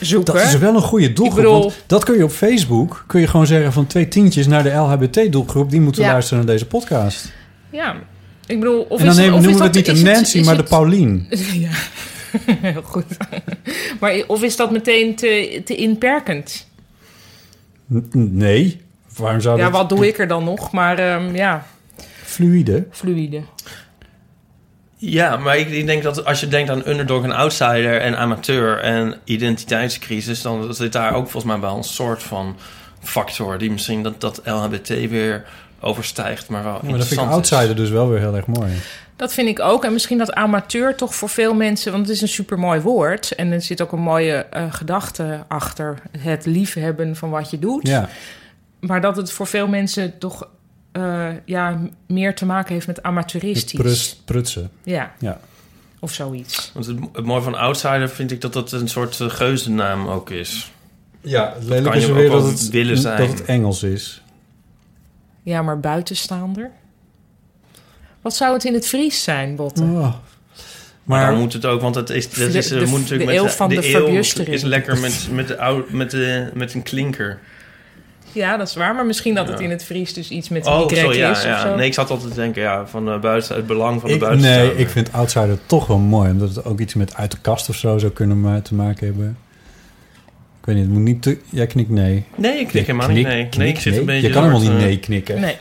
[SPEAKER 4] zoeken?
[SPEAKER 3] Dat is wel een goede doelgroep.
[SPEAKER 4] Ik bedoel-
[SPEAKER 3] want dat kun je op Facebook kun je gewoon zeggen van twee tientjes naar de LHBT-doelgroep. Die moeten
[SPEAKER 4] Ja.
[SPEAKER 3] luisteren naar deze podcast.
[SPEAKER 4] Ja, ik bedoel, of
[SPEAKER 3] en
[SPEAKER 4] is
[SPEAKER 3] dan
[SPEAKER 4] het,
[SPEAKER 3] nemen,
[SPEAKER 4] of is
[SPEAKER 3] noemen we
[SPEAKER 4] dat-
[SPEAKER 3] het niet de
[SPEAKER 4] is
[SPEAKER 3] Nancy,
[SPEAKER 4] is
[SPEAKER 3] maar de
[SPEAKER 4] het-
[SPEAKER 3] Paulien.
[SPEAKER 4] Ja, heel goed. maar i- of is dat meteen te, te inperkend?
[SPEAKER 3] N- Nee, Waarom zou
[SPEAKER 4] Ja,
[SPEAKER 3] Oh, dat...
[SPEAKER 4] wat doe ik er dan nog? Maar ehm, ja,
[SPEAKER 3] Fluïde.
[SPEAKER 4] fluïde.
[SPEAKER 5] Ja, maar ik, ik denk dat als je denkt aan underdog en outsider en amateur en identiteitscrisis, dan zit daar ook volgens mij wel een soort van factor die misschien dat, dat LHBT weer overstijgt, maar wel
[SPEAKER 3] Ja, maar dat vind ik
[SPEAKER 5] interessant is.
[SPEAKER 3] outsider dus wel weer heel erg mooi.
[SPEAKER 4] Dat vind ik ook. En misschien dat amateur toch voor veel mensen... want het is een supermooi woord. En er zit ook een mooie eh, gedachte achter. Het liefhebben van wat je doet.
[SPEAKER 3] Ja,
[SPEAKER 4] Maar dat het voor veel mensen toch eh, ja, meer te maken heeft met amateuristisch.
[SPEAKER 3] prust, prutsen.
[SPEAKER 4] Ja,
[SPEAKER 3] Ja.
[SPEAKER 4] of zoiets.
[SPEAKER 5] Want het, het mooie van outsider vind ik dat dat een soort eh, geuzennaam ook is.
[SPEAKER 3] Ja, het lelijke
[SPEAKER 5] kan
[SPEAKER 3] is
[SPEAKER 5] je
[SPEAKER 3] er weer
[SPEAKER 5] ook
[SPEAKER 3] dat
[SPEAKER 5] wel
[SPEAKER 3] het,
[SPEAKER 5] willen zijn.
[SPEAKER 3] dat het Engels is.
[SPEAKER 4] Ja, maar buitenstaander? Wat zou het in het Fries zijn, Botte?
[SPEAKER 3] Oh.
[SPEAKER 5] Maar
[SPEAKER 3] Maar
[SPEAKER 5] dan moet het ook, want het is, dat
[SPEAKER 4] De-
[SPEAKER 5] is, eh,
[SPEAKER 4] de-
[SPEAKER 5] moet natuurlijk
[SPEAKER 4] de
[SPEAKER 5] met
[SPEAKER 4] eeuw van de
[SPEAKER 5] eeuw
[SPEAKER 4] verbustering.
[SPEAKER 5] is lekker met, met, de oude, met, de, met een klinker.
[SPEAKER 4] Ja, dat is waar. Maar misschien dat het
[SPEAKER 5] Ja.
[SPEAKER 4] in het Fries dus iets met een
[SPEAKER 5] Oh,
[SPEAKER 4] Y
[SPEAKER 5] sorry, ja,
[SPEAKER 4] is of
[SPEAKER 5] ja.
[SPEAKER 4] zo.
[SPEAKER 5] Nee, ik zat altijd te denken, ja, van eh, buiten, het belang van de eh.
[SPEAKER 3] ik,
[SPEAKER 5] buitenstaander.
[SPEAKER 3] nee, ik vind outsider toch wel mooi. Omdat het ook iets met uit de kast of zo zou kunnen ma- te maken hebben. Ik weet niet, het moet niet te... Jij knikt nee.
[SPEAKER 5] Nee, ik knik
[SPEAKER 3] Je
[SPEAKER 5] helemaal niet.
[SPEAKER 3] knikt,
[SPEAKER 5] Nee, nee
[SPEAKER 3] knikt
[SPEAKER 5] ik zit
[SPEAKER 3] nee.
[SPEAKER 5] een beetje...
[SPEAKER 3] Je kan helemaal
[SPEAKER 5] soort,
[SPEAKER 3] niet
[SPEAKER 5] eh,
[SPEAKER 3] nee knikken.
[SPEAKER 4] Nee.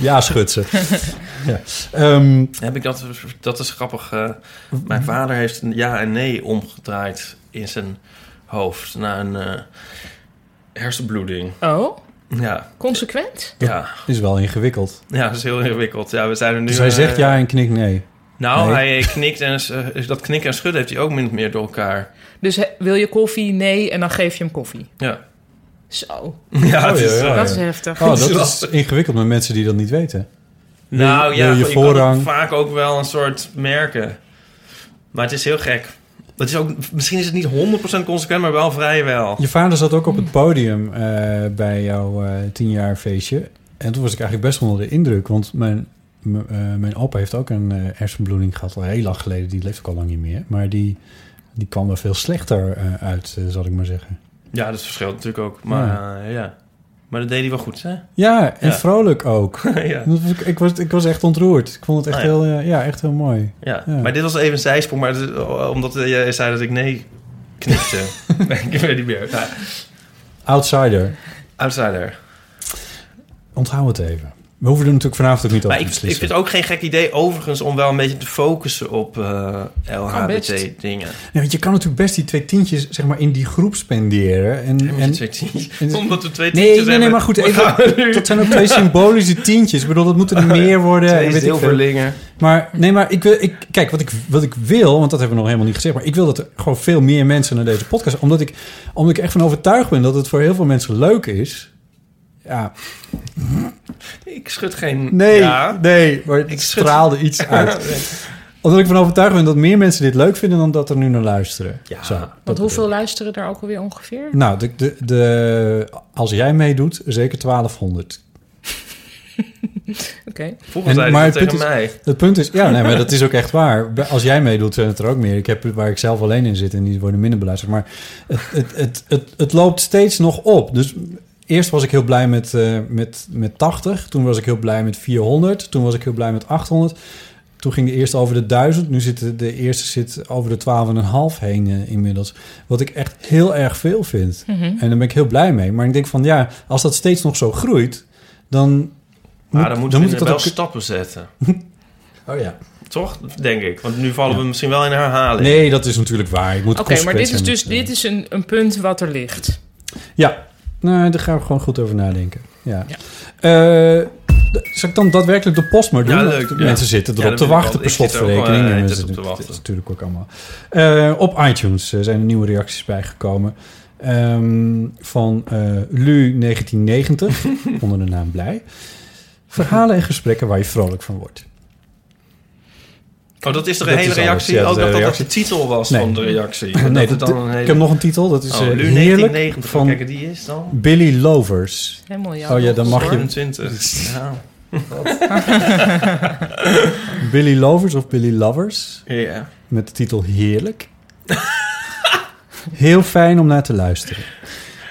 [SPEAKER 3] Ja, schutsen. ja. Ehm,
[SPEAKER 5] eh, Heb ik dat, dat is grappig. eh, mijn vader heeft een ja en nee omgedraaid in zijn hoofd na een eh, hersenbloeding.
[SPEAKER 4] Oh,
[SPEAKER 5] Ja,
[SPEAKER 4] consequent?
[SPEAKER 5] ja,
[SPEAKER 3] is wel ingewikkeld.
[SPEAKER 5] ja, dat is heel ingewikkeld. Ja, we zijn er nu.
[SPEAKER 3] Dus hij
[SPEAKER 5] eh,
[SPEAKER 3] zegt ja en knikt nee.
[SPEAKER 5] Nou,
[SPEAKER 3] nee.
[SPEAKER 5] hij knikt en eh, dat knikken en schudden heeft hij ook min of meer door elkaar.
[SPEAKER 4] Dus he- wil je koffie? Nee. En dan geef je hem koffie.
[SPEAKER 5] Ja,
[SPEAKER 4] Zo,
[SPEAKER 5] ja, het
[SPEAKER 3] Oh, ja,
[SPEAKER 5] is, eh,
[SPEAKER 3] ja.
[SPEAKER 4] dat is heftig.
[SPEAKER 3] Oh, dat is ingewikkeld met mensen die dat niet weten. Wil je-
[SPEAKER 5] Nou ja,
[SPEAKER 3] wil je
[SPEAKER 5] je, kan
[SPEAKER 3] voorrang?
[SPEAKER 5] het vaak ook wel een soort merken. Maar het is heel gek. Het is ook, misschien is het niet 100% consequent, maar wel vrijwel.
[SPEAKER 3] Je vader zat ook op het podium eh, bij jouw eh tienjaar feestje. En toen was ik eigenlijk best onder de indruk. Want mijn, m- eh, mijn opa heeft ook een eh hersenbloeding gehad al heel lang geleden. Die leeft ook al lang niet meer. Maar die, die kwam er veel slechter eh, uit, eh, zal ik maar zeggen.
[SPEAKER 5] Ja, dat verschilt natuurlijk ook. Maar ja, ja. maar dat deed hij wel goed, hè?
[SPEAKER 3] Ja, en
[SPEAKER 5] Ja.
[SPEAKER 3] vrolijk ook.
[SPEAKER 5] ja.
[SPEAKER 3] Dat was ik, ik, was, ik was echt ontroerd. Ik vond het echt,
[SPEAKER 5] Ah, ja.
[SPEAKER 3] Heel, eh, ja, echt heel mooi.
[SPEAKER 5] Ja.
[SPEAKER 3] Ja.
[SPEAKER 5] Maar dit was even een zijsprong, maar het is- eh, omdat jij zei dat ik nee knikte. ik weet niet meer. Ja.
[SPEAKER 3] Outsider.
[SPEAKER 5] Outsider.
[SPEAKER 3] Onthoud het even. We hoeven er natuurlijk vanavond ook niet over
[SPEAKER 5] Maar
[SPEAKER 3] te
[SPEAKER 5] ik, ik vind
[SPEAKER 3] beslissen.
[SPEAKER 5] het ook geen gek idee overigens om wel een beetje te focussen op eh,
[SPEAKER 4] best.
[SPEAKER 5] LHBT dingen.
[SPEAKER 3] Nee, want je kan natuurlijk best die twee tientjes zeg maar, in die groep spenderen. En,
[SPEAKER 5] En,
[SPEAKER 3] en-
[SPEAKER 5] twee tientjes.
[SPEAKER 3] en-
[SPEAKER 5] Omdat we twee
[SPEAKER 3] nee, nee,
[SPEAKER 5] tientjes
[SPEAKER 3] nee,
[SPEAKER 5] hebben.
[SPEAKER 3] maar goed.
[SPEAKER 5] We
[SPEAKER 3] Even,
[SPEAKER 5] gaan nu
[SPEAKER 3] dat zijn ook twee symbolische tientjes. Ik bedoel, dat moeten er meer worden. en
[SPEAKER 5] Twee
[SPEAKER 3] weet ik veel.
[SPEAKER 5] zilverlingen.
[SPEAKER 3] Maar nee, maar ik wil, ik, kijk, wat ik, wat ik wil, want dat hebben we nog helemaal niet gezegd, maar ik wil dat er gewoon veel meer mensen naar deze podcast, omdat ik, omdat ik echt van overtuigd ben dat het voor heel veel mensen leuk is. Ja,
[SPEAKER 5] Ik schud geen...
[SPEAKER 3] nee,
[SPEAKER 5] Ja.
[SPEAKER 3] nee, maar het
[SPEAKER 5] Ik schud-
[SPEAKER 3] straalde iets uit. Omdat ik van overtuigd ben dat meer mensen dit leuk vinden dan dat er nu naar luisteren.
[SPEAKER 5] Ja.
[SPEAKER 3] Zo, dat
[SPEAKER 4] Want hoeveel
[SPEAKER 3] bedoel ik.
[SPEAKER 4] luisteren er ook alweer ongeveer?
[SPEAKER 3] Nou, de, de, de, als jij meedoet, zeker 1200.
[SPEAKER 4] Oké.
[SPEAKER 5] Vroeger
[SPEAKER 3] En-
[SPEAKER 5] zei
[SPEAKER 3] maar
[SPEAKER 5] hij dat
[SPEAKER 3] het
[SPEAKER 5] tegen
[SPEAKER 3] punt
[SPEAKER 5] mij.
[SPEAKER 3] Het punt is, ja, nee, maar dat is ook echt waar. Bij- Als jij meedoet, zijn het er ook meer. Ik heb waar ik zelf alleen in zit en die worden minder beluisterd. Maar het, het, het, het, het loopt steeds nog op. Dus eerst was ik heel blij met, eh, met, met 80. Toen was ik heel blij met 400. Toen was ik heel blij met 800. Toen ging de eerste over de 1000. Nu zit de, de eerste zit over de 12,5 heen eh, inmiddels. Wat ik echt heel erg veel vind. En daar ben ik heel blij mee. Maar ik denk van ja, als dat steeds nog zo groeit, dan.
[SPEAKER 5] Maar "Ah, dan moeten we
[SPEAKER 3] ik
[SPEAKER 5] wel
[SPEAKER 3] ook-
[SPEAKER 5] stappen zetten.
[SPEAKER 3] Oh ja.
[SPEAKER 5] Toch? Denk ik. Want nu vallen
[SPEAKER 3] Ja.
[SPEAKER 5] we misschien wel in herhaling.
[SPEAKER 3] Nee, dat is natuurlijk waar. Ik moet
[SPEAKER 4] Oké, maar dit is
[SPEAKER 3] consequent
[SPEAKER 4] dus
[SPEAKER 3] zijn met-
[SPEAKER 4] dit is een, een punt wat er ligt.
[SPEAKER 3] Ja, nou, daar gaan we gewoon goed over nadenken. Ja.
[SPEAKER 4] Ja.
[SPEAKER 3] Eh, d- zal ik dan daadwerkelijk de post maar doen?
[SPEAKER 5] Ja,
[SPEAKER 3] Want
[SPEAKER 5] leuk,
[SPEAKER 3] de
[SPEAKER 5] ja.
[SPEAKER 3] Mensen zitten
[SPEAKER 5] Ja,
[SPEAKER 3] erop
[SPEAKER 5] dat
[SPEAKER 3] te
[SPEAKER 5] wil ik
[SPEAKER 3] wachten
[SPEAKER 5] wel.
[SPEAKER 3] per
[SPEAKER 5] Ik zit er ook wel,
[SPEAKER 3] slotverrekening.
[SPEAKER 5] eh,
[SPEAKER 3] En
[SPEAKER 5] net
[SPEAKER 3] dat is
[SPEAKER 5] op te
[SPEAKER 3] natuurlijk-
[SPEAKER 5] wachten.
[SPEAKER 3] dat is natuurlijk ook allemaal. Eh, op iTunes eh, zijn er nieuwe reacties bijgekomen. Ehm, van eh, Lu 1990, onder de naam Blij. Verhalen en gesprekken waar je vrolijk van wordt.
[SPEAKER 5] Oh, dat is toch
[SPEAKER 3] Dat
[SPEAKER 5] een hele
[SPEAKER 3] is alles.
[SPEAKER 5] reactie?
[SPEAKER 3] Ja, dat
[SPEAKER 5] Ook
[SPEAKER 3] is
[SPEAKER 5] dat
[SPEAKER 3] een
[SPEAKER 5] dat de
[SPEAKER 3] reactie.
[SPEAKER 5] titel was
[SPEAKER 3] Nee.
[SPEAKER 5] van de reactie.
[SPEAKER 3] Nee,
[SPEAKER 5] En dat
[SPEAKER 3] dat-
[SPEAKER 5] het dan een hele...
[SPEAKER 3] Ik heb nog een titel, dat is eh,
[SPEAKER 5] Oh, Lu
[SPEAKER 3] Heerlijk
[SPEAKER 5] 1990.
[SPEAKER 3] van
[SPEAKER 5] Kijk, die is dan...
[SPEAKER 3] Billy Lovers.
[SPEAKER 4] Helemaal jammer.
[SPEAKER 3] Oh ja, dan mag je
[SPEAKER 5] 27. Ja.
[SPEAKER 3] Billy Lovers of Billy Lovers.
[SPEAKER 5] Ja.
[SPEAKER 3] met de titel Heerlijk. Heel fijn om naar te luisteren.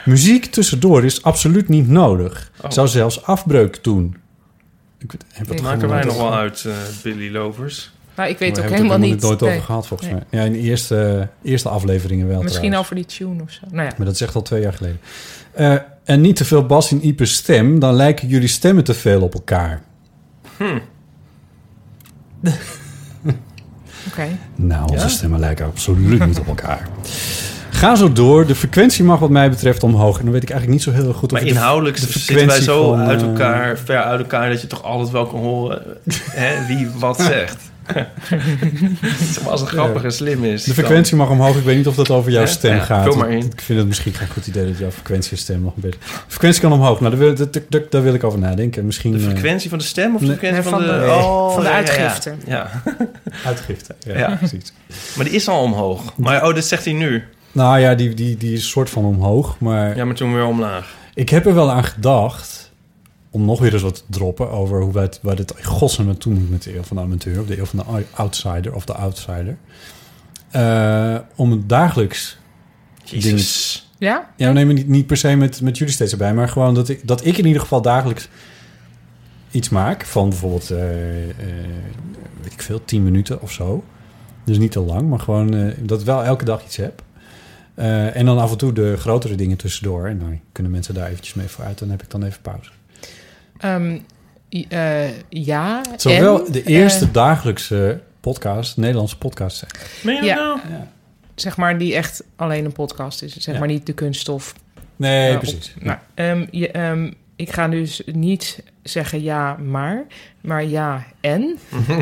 [SPEAKER 3] Muziek tussendoor is absoluut niet nodig.
[SPEAKER 5] Oh.
[SPEAKER 3] Zou zelfs afbreuk doen. Ik weet- heb
[SPEAKER 4] Nee,
[SPEAKER 3] dat
[SPEAKER 5] Maken
[SPEAKER 3] gewoon
[SPEAKER 5] wij
[SPEAKER 3] nooit-
[SPEAKER 5] nog wel uit, eh, Billy Lovers.
[SPEAKER 4] Maar ik weet
[SPEAKER 3] We
[SPEAKER 4] ook
[SPEAKER 3] hebben het
[SPEAKER 4] helemaal niet.
[SPEAKER 3] nooit over
[SPEAKER 4] Nee.
[SPEAKER 3] gehad, volgens
[SPEAKER 4] Nee.
[SPEAKER 3] mij. Ja, in de eerste, eerste afleveringen wel
[SPEAKER 4] Misschien
[SPEAKER 3] trouwens.
[SPEAKER 4] over die tune of zo. Nou ja.
[SPEAKER 3] Maar dat is echt al twee jaar geleden. Eh, en niet te veel bas in Ieper's stem, dan lijken jullie stemmen te veel op elkaar.
[SPEAKER 4] Oké.
[SPEAKER 3] Nou, onze stemmen lijken absoluut niet op elkaar. Ga zo door. De frequentie mag wat mij betreft omhoog. En dan weet ik eigenlijk niet zo heel goed of
[SPEAKER 5] Maar
[SPEAKER 3] het de-
[SPEAKER 5] inhoudelijk
[SPEAKER 3] de
[SPEAKER 5] zitten wij
[SPEAKER 3] frequentie
[SPEAKER 5] zo
[SPEAKER 3] van,
[SPEAKER 5] uit
[SPEAKER 3] eh,
[SPEAKER 5] elkaar, ver uit elkaar, dat je toch altijd wel kan horen hè, wie wat zegt. Zeg maar, Als het grappig en slim is.
[SPEAKER 3] De frequentie mag omhoog. Ik weet niet of dat over jouw
[SPEAKER 5] Ja,
[SPEAKER 3] stem
[SPEAKER 5] ja,
[SPEAKER 3] gaat.
[SPEAKER 5] vul maar in.
[SPEAKER 3] Ik vind het misschien geen goed idee dat jouw frequentie en stem nog een beetje... De frequentie kan omhoog. Nou, daar wil, daar- daar- daar wil ik over nadenken. Misschien
[SPEAKER 5] Dan, de
[SPEAKER 3] eh,
[SPEAKER 5] frequentie van de stem of de
[SPEAKER 3] Nee.
[SPEAKER 5] frequentie
[SPEAKER 4] Nee,
[SPEAKER 5] van,
[SPEAKER 4] van
[SPEAKER 5] de,
[SPEAKER 4] de-
[SPEAKER 5] oh,
[SPEAKER 4] van de
[SPEAKER 5] ja, ja, ja.
[SPEAKER 4] uitgifte.
[SPEAKER 5] Ja,
[SPEAKER 3] uitgifte. Ja,
[SPEAKER 5] Ja.
[SPEAKER 3] precies.
[SPEAKER 5] maar die is al omhoog. Maar oh, dat zegt hij nu.
[SPEAKER 3] Nou ja, die, die, die is soort van omhoog. Maar
[SPEAKER 5] Ja, maar toen weer omlaag.
[SPEAKER 3] ik heb er wel aan gedacht... om nog weer eens wat te droppen over hoe wij, het- waar dit in godsnaam naartoe moet... met de eeuw van de amateur of de eeuw van de outsider of de outsider. Eh, om het dagelijks
[SPEAKER 5] Jezus.
[SPEAKER 4] Ja?
[SPEAKER 3] Ja, we nemen niet, niet per se met, met jullie steeds erbij, maar gewoon dat ik, dat ik in ieder geval dagelijks iets maak van bijvoorbeeld, eh, eh, weet ik veel, 10 minuten of zo. Dus niet te lang, maar gewoon eh, dat ik wel elke dag iets heb. Eh, en dan af en toe de grotere dingen tussendoor. En dan kunnen mensen daar eventjes mee vooruit. Dan heb ik dan even pauze.
[SPEAKER 4] Ehm, i- eh, ja.
[SPEAKER 3] Zowel
[SPEAKER 4] en,
[SPEAKER 3] de eerste
[SPEAKER 4] eh,
[SPEAKER 3] dagelijkse podcast, Nederlandse podcast zijn.
[SPEAKER 5] Meen je dat
[SPEAKER 4] Ja.
[SPEAKER 5] nou?
[SPEAKER 4] zeg maar die echt alleen een podcast is. Zeg
[SPEAKER 3] Ja.
[SPEAKER 4] maar niet de kunststof.
[SPEAKER 3] Nee,
[SPEAKER 4] Ja,
[SPEAKER 3] precies.
[SPEAKER 4] op- nou, ehm, je, ehm, ik ga dus niet zeggen ja, maar. Maar ja, en.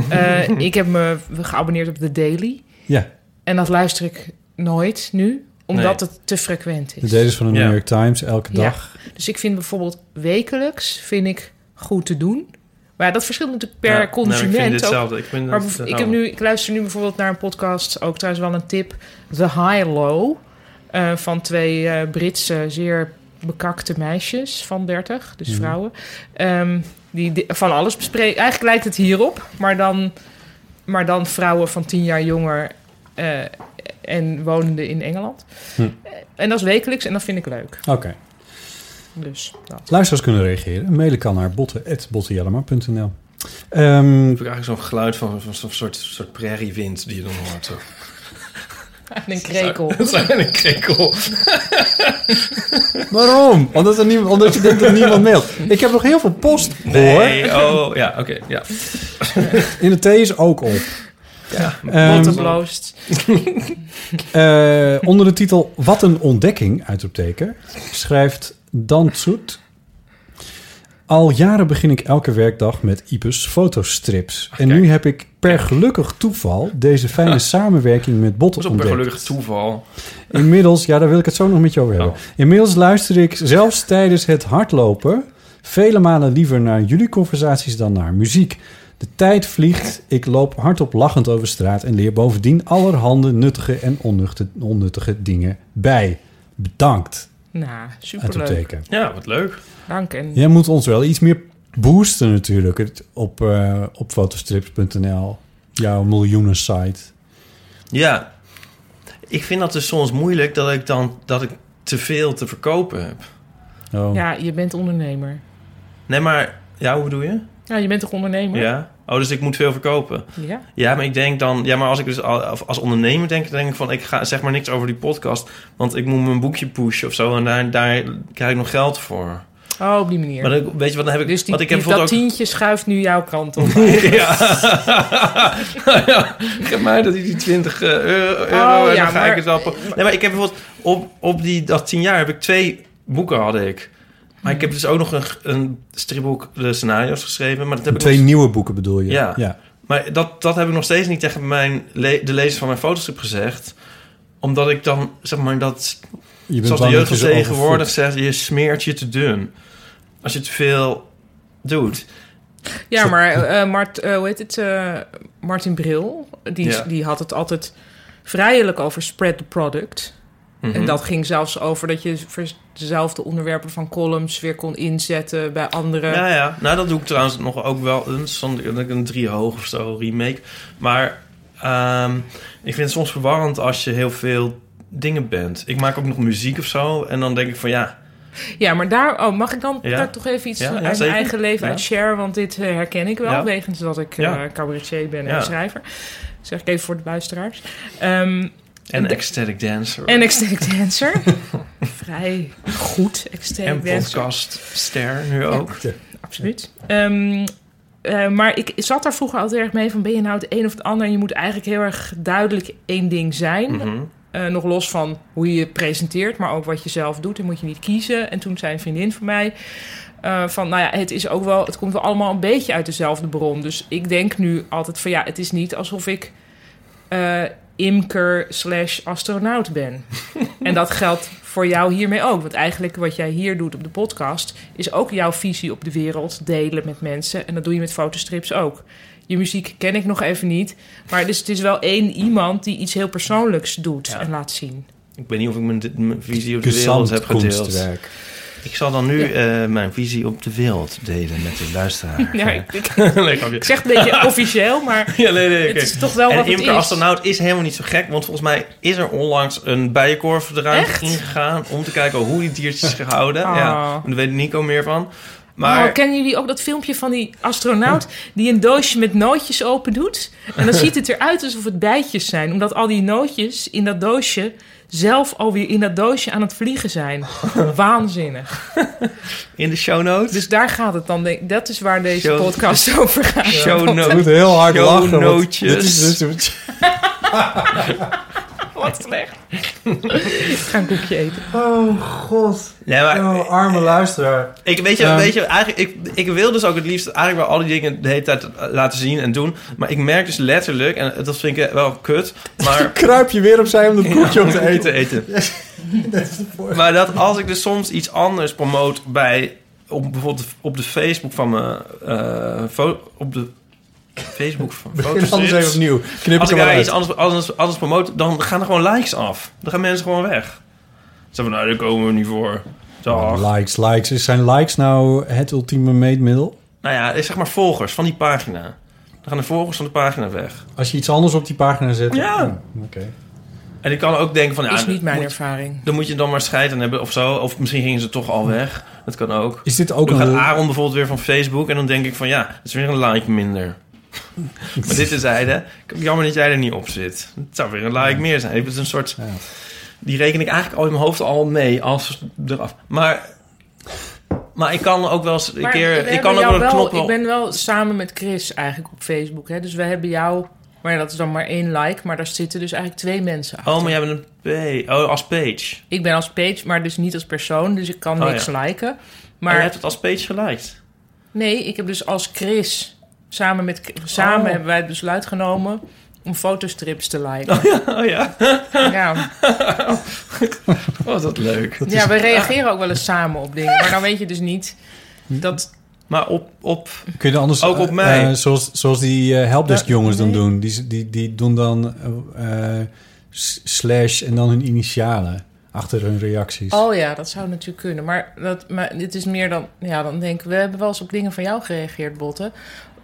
[SPEAKER 4] Eh, ik heb me geabonneerd op The Daily.
[SPEAKER 3] Ja,
[SPEAKER 4] En dat luister ik nooit nu, omdat het te frequent
[SPEAKER 3] de
[SPEAKER 4] is.
[SPEAKER 3] delis van de
[SPEAKER 5] Ja.
[SPEAKER 3] New York Times elke
[SPEAKER 4] Ja.
[SPEAKER 3] dag.
[SPEAKER 4] Dus ik vind bijvoorbeeld wekelijks vind ik goed te doen. Maar dat verschilt natuurlijk per
[SPEAKER 5] Ja, nee, ik vind
[SPEAKER 4] consument ook.
[SPEAKER 5] hetzelfde. Ik, vind
[SPEAKER 4] Maar
[SPEAKER 5] dat-
[SPEAKER 4] bijv- ik, heb nu, ik luister nu bijvoorbeeld naar een podcast, ook trouwens wel een tip, The High Low, eh, van twee eh, Britse zeer bekakte meisjes van 30, dus
[SPEAKER 3] Mhm.
[SPEAKER 4] vrouwen, ehm, die di- van alles bespreken. Eigenlijk lijkt het hierop, maar dan, maar dan vrouwen van 10 jaar jonger eh, en wonende in Engeland.
[SPEAKER 3] Hm.
[SPEAKER 4] Eh, En dat is wekelijks en dat vind ik leuk.
[SPEAKER 3] Oké.
[SPEAKER 4] Dus dat.
[SPEAKER 3] Luisteraars kunnen reageren. Mailen kan naar botten.bottenjellema.nl Ehm,
[SPEAKER 5] heb ik eigenlijk zo'n geluid van, van zo'n soort, soort prairiewind die je dan hoort. Zo.
[SPEAKER 4] En een krekel.
[SPEAKER 5] Dat zijn een krekel.
[SPEAKER 3] waarom? Omdat, er niemand, omdat je denkt dat niemand mailt. Ik heb nog heel veel post, hoor.
[SPEAKER 5] Nee, oh, ja, oké. ja.
[SPEAKER 3] In de thee is ook op. Ehm,
[SPEAKER 4] Bottenbloost.
[SPEAKER 3] eh, onder de titel Wat een ontdekking, uitroepteken, schrijft Dan Tsoet... Al jaren begin ik elke werkdag met Ipes fotostrips. En
[SPEAKER 5] kijk.
[SPEAKER 3] nu heb ik per gelukkig toeval deze fijne samenwerking met Botten
[SPEAKER 5] Dat is ook weer
[SPEAKER 3] ontdekt.
[SPEAKER 5] gelukkig toeval.
[SPEAKER 3] Inmiddels, ja, daar wil ik het zo nog met je over hebben.
[SPEAKER 5] Oh.
[SPEAKER 3] Inmiddels luister ik zelfs tijdens het hardlopen vele malen liever naar jullie conversaties dan naar muziek. De tijd vliegt, ik loop hardop lachend over straat en leer bovendien allerhande nuttige en onnuchte- onnuttige dingen bij. Bedankt,
[SPEAKER 4] Nou, superleuk.
[SPEAKER 3] uitroepteken.
[SPEAKER 5] Ja, wat leuk.
[SPEAKER 4] Dank en
[SPEAKER 3] Jij moet ons wel iets meer boosten natuurlijk het- op, eh, op fotostrips.nl, jouw miljoenen site.
[SPEAKER 5] Ja. Ik vind dat dus soms moeilijk dat ik dan dat ik te veel te verkopen heb.
[SPEAKER 3] Oh.
[SPEAKER 4] Ja, je bent ondernemer.
[SPEAKER 5] Nee, maar ja, hoe doe je?
[SPEAKER 4] Ja, Nou, je bent toch ondernemer?
[SPEAKER 5] Ja. Oh, dus ik moet veel verkopen.
[SPEAKER 4] Ja.
[SPEAKER 5] Ja, maar ik denk dan, ja, maar als ik dus al- of als ondernemer denk, denk ik van, ik ga zeg maar niks over die podcast, want ik moet mijn boekje pushen of zo, en daar, daar krijg ik nog geld voor.
[SPEAKER 4] Oh, op die manier.
[SPEAKER 5] Maar dan, weet je wat dan heb ik?
[SPEAKER 4] dus die,
[SPEAKER 5] want ik heb
[SPEAKER 4] die- dat
[SPEAKER 5] bijvoorbeeld ook.
[SPEAKER 4] tientje schuift nu jouw kant op.
[SPEAKER 5] Ja. Nou ja, geef mij dat die 20 eh, euro,
[SPEAKER 4] Oh, ja,
[SPEAKER 5] en dan ga ik
[SPEAKER 4] maar-
[SPEAKER 5] het wel... pro- Nee, maar ik heb bijvoorbeeld op, op die, dat 10 jaar heb ik twee boeken had ik. Maar ik heb dus ook nog een, een stripboek de scenario's geschreven, maar dat heb ik
[SPEAKER 3] Twee
[SPEAKER 5] nog-
[SPEAKER 3] nieuwe boeken bedoel je?
[SPEAKER 5] Ja.
[SPEAKER 3] ja.
[SPEAKER 5] Maar dat, dat heb ik nog steeds niet tegen mijn le- de lezers van mijn fotostrip gezegd. Omdat ik dan, zeg maar, dat...
[SPEAKER 3] Je bent
[SPEAKER 5] Zoals de
[SPEAKER 3] bang dat
[SPEAKER 5] jeugd
[SPEAKER 3] je
[SPEAKER 5] van
[SPEAKER 3] ze
[SPEAKER 5] tegenwoordig
[SPEAKER 3] overvoedt.
[SPEAKER 5] zegt, je smeert je te dun. Als je te veel doet.
[SPEAKER 4] ja, maar eh, Mart, eh, hoe heet het? eh, Martin Bril, die,
[SPEAKER 5] Ja.
[SPEAKER 4] die had het altijd vrijelijk over spread the product.
[SPEAKER 5] Mhm.
[SPEAKER 4] En dat ging zelfs over dat je voor dezelfde onderwerpen van columns weer kon inzetten bij anderen.
[SPEAKER 5] Ja, ja. Nou, dat doe ik trouwens nog ook wel eens. Dan heb ik een drie hoog of zo remake. Maar ehm, ik vind het soms verwarrend als je heel veel dingen bent. Ik maak ook nog muziek of zo. En dan denk ik van ja,
[SPEAKER 4] Ja, maar daar oh, mag ik dan
[SPEAKER 5] Ja.
[SPEAKER 4] daar toch even iets
[SPEAKER 5] Ja,
[SPEAKER 4] van
[SPEAKER 5] ja,
[SPEAKER 4] uit mijn
[SPEAKER 5] zeker.
[SPEAKER 4] eigen leven
[SPEAKER 5] Ja.
[SPEAKER 4] uit share? Want dit eh, herken ik wel,
[SPEAKER 5] Ja.
[SPEAKER 4] wegens dat ik
[SPEAKER 5] Ja.
[SPEAKER 4] eh, cabaretier ben en
[SPEAKER 5] Ja.
[SPEAKER 4] schrijver. zeg ik even voor de luisteraars. Ehm,
[SPEAKER 5] en ecstatic dancer.
[SPEAKER 4] en ecstatic dancer. vrij goed extreem
[SPEAKER 5] En
[SPEAKER 4] dancer.
[SPEAKER 5] podcastster nu ook.
[SPEAKER 4] Absoluut. Ehm, eh, maar ik zat daar vroeger altijd erg mee van... ben je nou het een of het ander? En je moet eigenlijk heel erg duidelijk één ding zijn.
[SPEAKER 5] Mhm.
[SPEAKER 4] Eh, nog los van hoe je je presenteert, maar ook wat je zelf doet. En moet je niet kiezen. En toen zei een vriendin van mij... eh, van, nou ja, het, is ook wel, het komt wel allemaal een beetje uit dezelfde bron. Dus ik denk nu altijd van... ja, het is niet alsof ik eh, imker slash astronaut ben. en dat geldt voor jou hiermee ook. Want eigenlijk wat jij hier doet op de podcast... is ook jouw visie op de wereld delen met mensen. En dat doe je met fotostrips ook. Je muziek ken ik nog even niet. Maar dus het is wel één iemand die iets heel persoonlijks doet
[SPEAKER 5] Ja.
[SPEAKER 4] en laat zien.
[SPEAKER 5] Ik weet niet of ik mijn, mijn visie op de wereld heb gedeeld.
[SPEAKER 3] Gezandkunstwerk.
[SPEAKER 5] Ik zal dan nu eh, mijn visie op de wereld delen met de luisteraar.
[SPEAKER 4] Ja, ik, ik-
[SPEAKER 5] Nee, grapje.
[SPEAKER 4] ik zeg het een beetje officieel, maar
[SPEAKER 5] Ja, nee, nee, oké.
[SPEAKER 4] het is toch wel wat
[SPEAKER 5] En
[SPEAKER 4] het
[SPEAKER 5] Imke
[SPEAKER 4] is.
[SPEAKER 5] Astronaut is helemaal niet zo gek. Want volgens mij is er onlangs een bijenkorfbedrijf
[SPEAKER 4] Echt?
[SPEAKER 5] ingegaan... om te kijken hoe die diertjes gehouden.
[SPEAKER 4] Ah.
[SPEAKER 5] Ja, daar weet Nico meer van.
[SPEAKER 4] Maar
[SPEAKER 5] Maar
[SPEAKER 4] Oh, kennen jullie ook dat filmpje van die astronaut die een doosje met nootjes open doet? En dan ziet het eruit alsof het bijtjes zijn, omdat al die nootjes in dat doosje zelf alweer in dat doosje aan het vliegen zijn. Waanzinnig.
[SPEAKER 5] in de show notes...
[SPEAKER 4] Dus daar gaat het dan. denk- Dat is waar deze
[SPEAKER 5] Show-
[SPEAKER 4] podcast over gaat.
[SPEAKER 5] show
[SPEAKER 3] Ik moet
[SPEAKER 5] notes.
[SPEAKER 3] heel hard
[SPEAKER 5] Show
[SPEAKER 3] lachen. want
[SPEAKER 5] notes.
[SPEAKER 3] dit is dus-
[SPEAKER 4] Wat slecht. Ik ga een koekje eten.
[SPEAKER 3] Oh god.
[SPEAKER 5] Nee, maar
[SPEAKER 3] Oh,
[SPEAKER 5] eh,
[SPEAKER 3] arme luisteraar.
[SPEAKER 5] Ik weet je,
[SPEAKER 3] Ehm.
[SPEAKER 5] weet je eigenlijk, ik, ik wil dus ook het liefst eigenlijk wel al die dingen de hele tijd eh, laten zien en doen. Maar ik merk dus letterlijk, en dat vind ik eh, wel kut, maar...
[SPEAKER 3] Kruip je weer opzij om dat koekje op te
[SPEAKER 5] Ja,
[SPEAKER 3] eten.
[SPEAKER 5] maar dat als ik dus soms iets anders promoot bij... Op, bijvoorbeeld op de Facebook van mijn... eh, fo- op de Facebook van
[SPEAKER 3] Begin anders even
[SPEAKER 5] fotostrips.
[SPEAKER 3] opnieuw. Knip
[SPEAKER 5] Als
[SPEAKER 3] ik
[SPEAKER 5] ik
[SPEAKER 3] er wel
[SPEAKER 5] daar iets
[SPEAKER 3] uit.
[SPEAKER 5] anders, anders, anders promoot, dan gaan er gewoon likes af. Dan gaan mensen gewoon weg. Ze van, nou, daar komen we niet voor. Dag.
[SPEAKER 3] Oh, Likes, likes. Is- Zijn likes nou het ultieme meetmiddel?
[SPEAKER 5] Nou ja, zeg maar volgers van die pagina. Dan gaan de volgers van de pagina weg.
[SPEAKER 3] Als je iets anders op die pagina zet. Oh,
[SPEAKER 5] Ja.
[SPEAKER 3] Oké.
[SPEAKER 5] En ik kan ook denken van... Ja,
[SPEAKER 4] Is niet mijn
[SPEAKER 5] Nou, moet-
[SPEAKER 4] ervaring.
[SPEAKER 5] dan moet je dan maar scheid aan hebben of zo. Of misschien gingen ze toch al weg. Dat kan ook.
[SPEAKER 3] Is dit ook
[SPEAKER 5] Dan gaat
[SPEAKER 3] een...
[SPEAKER 5] Aaron bijvoorbeeld weer van Facebook. En dan denk ik van ja, het is weer een like minder. maar dit is hij, hè. Jammer dat jij er niet op zit. Het zou weer een like meer zijn. Het is een soort...
[SPEAKER 3] Ja.
[SPEAKER 5] Die reken ik eigenlijk al in mijn hoofd al mee als eraf. Maar, maar ik kan ook wel eens een
[SPEAKER 4] Maar we
[SPEAKER 5] keer... Ik
[SPEAKER 4] hebben
[SPEAKER 5] kan ook
[SPEAKER 4] jou
[SPEAKER 5] wel een knop...
[SPEAKER 4] Ik ben wel samen met Chris eigenlijk op Facebook. Hè? Dus we hebben jou... Maar ja, dat is dan maar één like. Maar daar zitten dus eigenlijk twee mensen achter.
[SPEAKER 5] Oh, maar jij bent een P. Oh, als page.
[SPEAKER 4] Ik ben als page, maar dus niet als persoon. Dus ik kan
[SPEAKER 5] Oh,
[SPEAKER 4] niks liken.
[SPEAKER 5] Maar
[SPEAKER 4] Maar
[SPEAKER 5] je hebt het als page geliked.
[SPEAKER 4] nee, ik heb dus als Chris... Samen, met, samen
[SPEAKER 5] Oh.
[SPEAKER 4] hebben wij het besluit genomen... om fotostrips te liken.
[SPEAKER 5] Oh ja,
[SPEAKER 4] Ja.
[SPEAKER 5] oh, dat leuk.
[SPEAKER 4] ja, we reageren ook wel eens samen op dingen. Maar dan weet je dus niet...
[SPEAKER 5] Hm.
[SPEAKER 4] Dat,
[SPEAKER 5] Maar op, op
[SPEAKER 3] Kun je dan anders...
[SPEAKER 5] Ook op
[SPEAKER 3] eh,
[SPEAKER 5] mij.
[SPEAKER 3] eh, zoals, zoals die eh, helpdesk
[SPEAKER 4] Ja,
[SPEAKER 3] jongens dan
[SPEAKER 4] nee.
[SPEAKER 3] doen. Die, die, die doen dan eh, eh, s- slash en dan hun initialen achter hun reacties.
[SPEAKER 4] oh ja, dat zou natuurlijk kunnen. Maar, dat, maar dit is meer dan... Ja, dan denk ik... We hebben wel eens op dingen van jou gereageerd, Botte.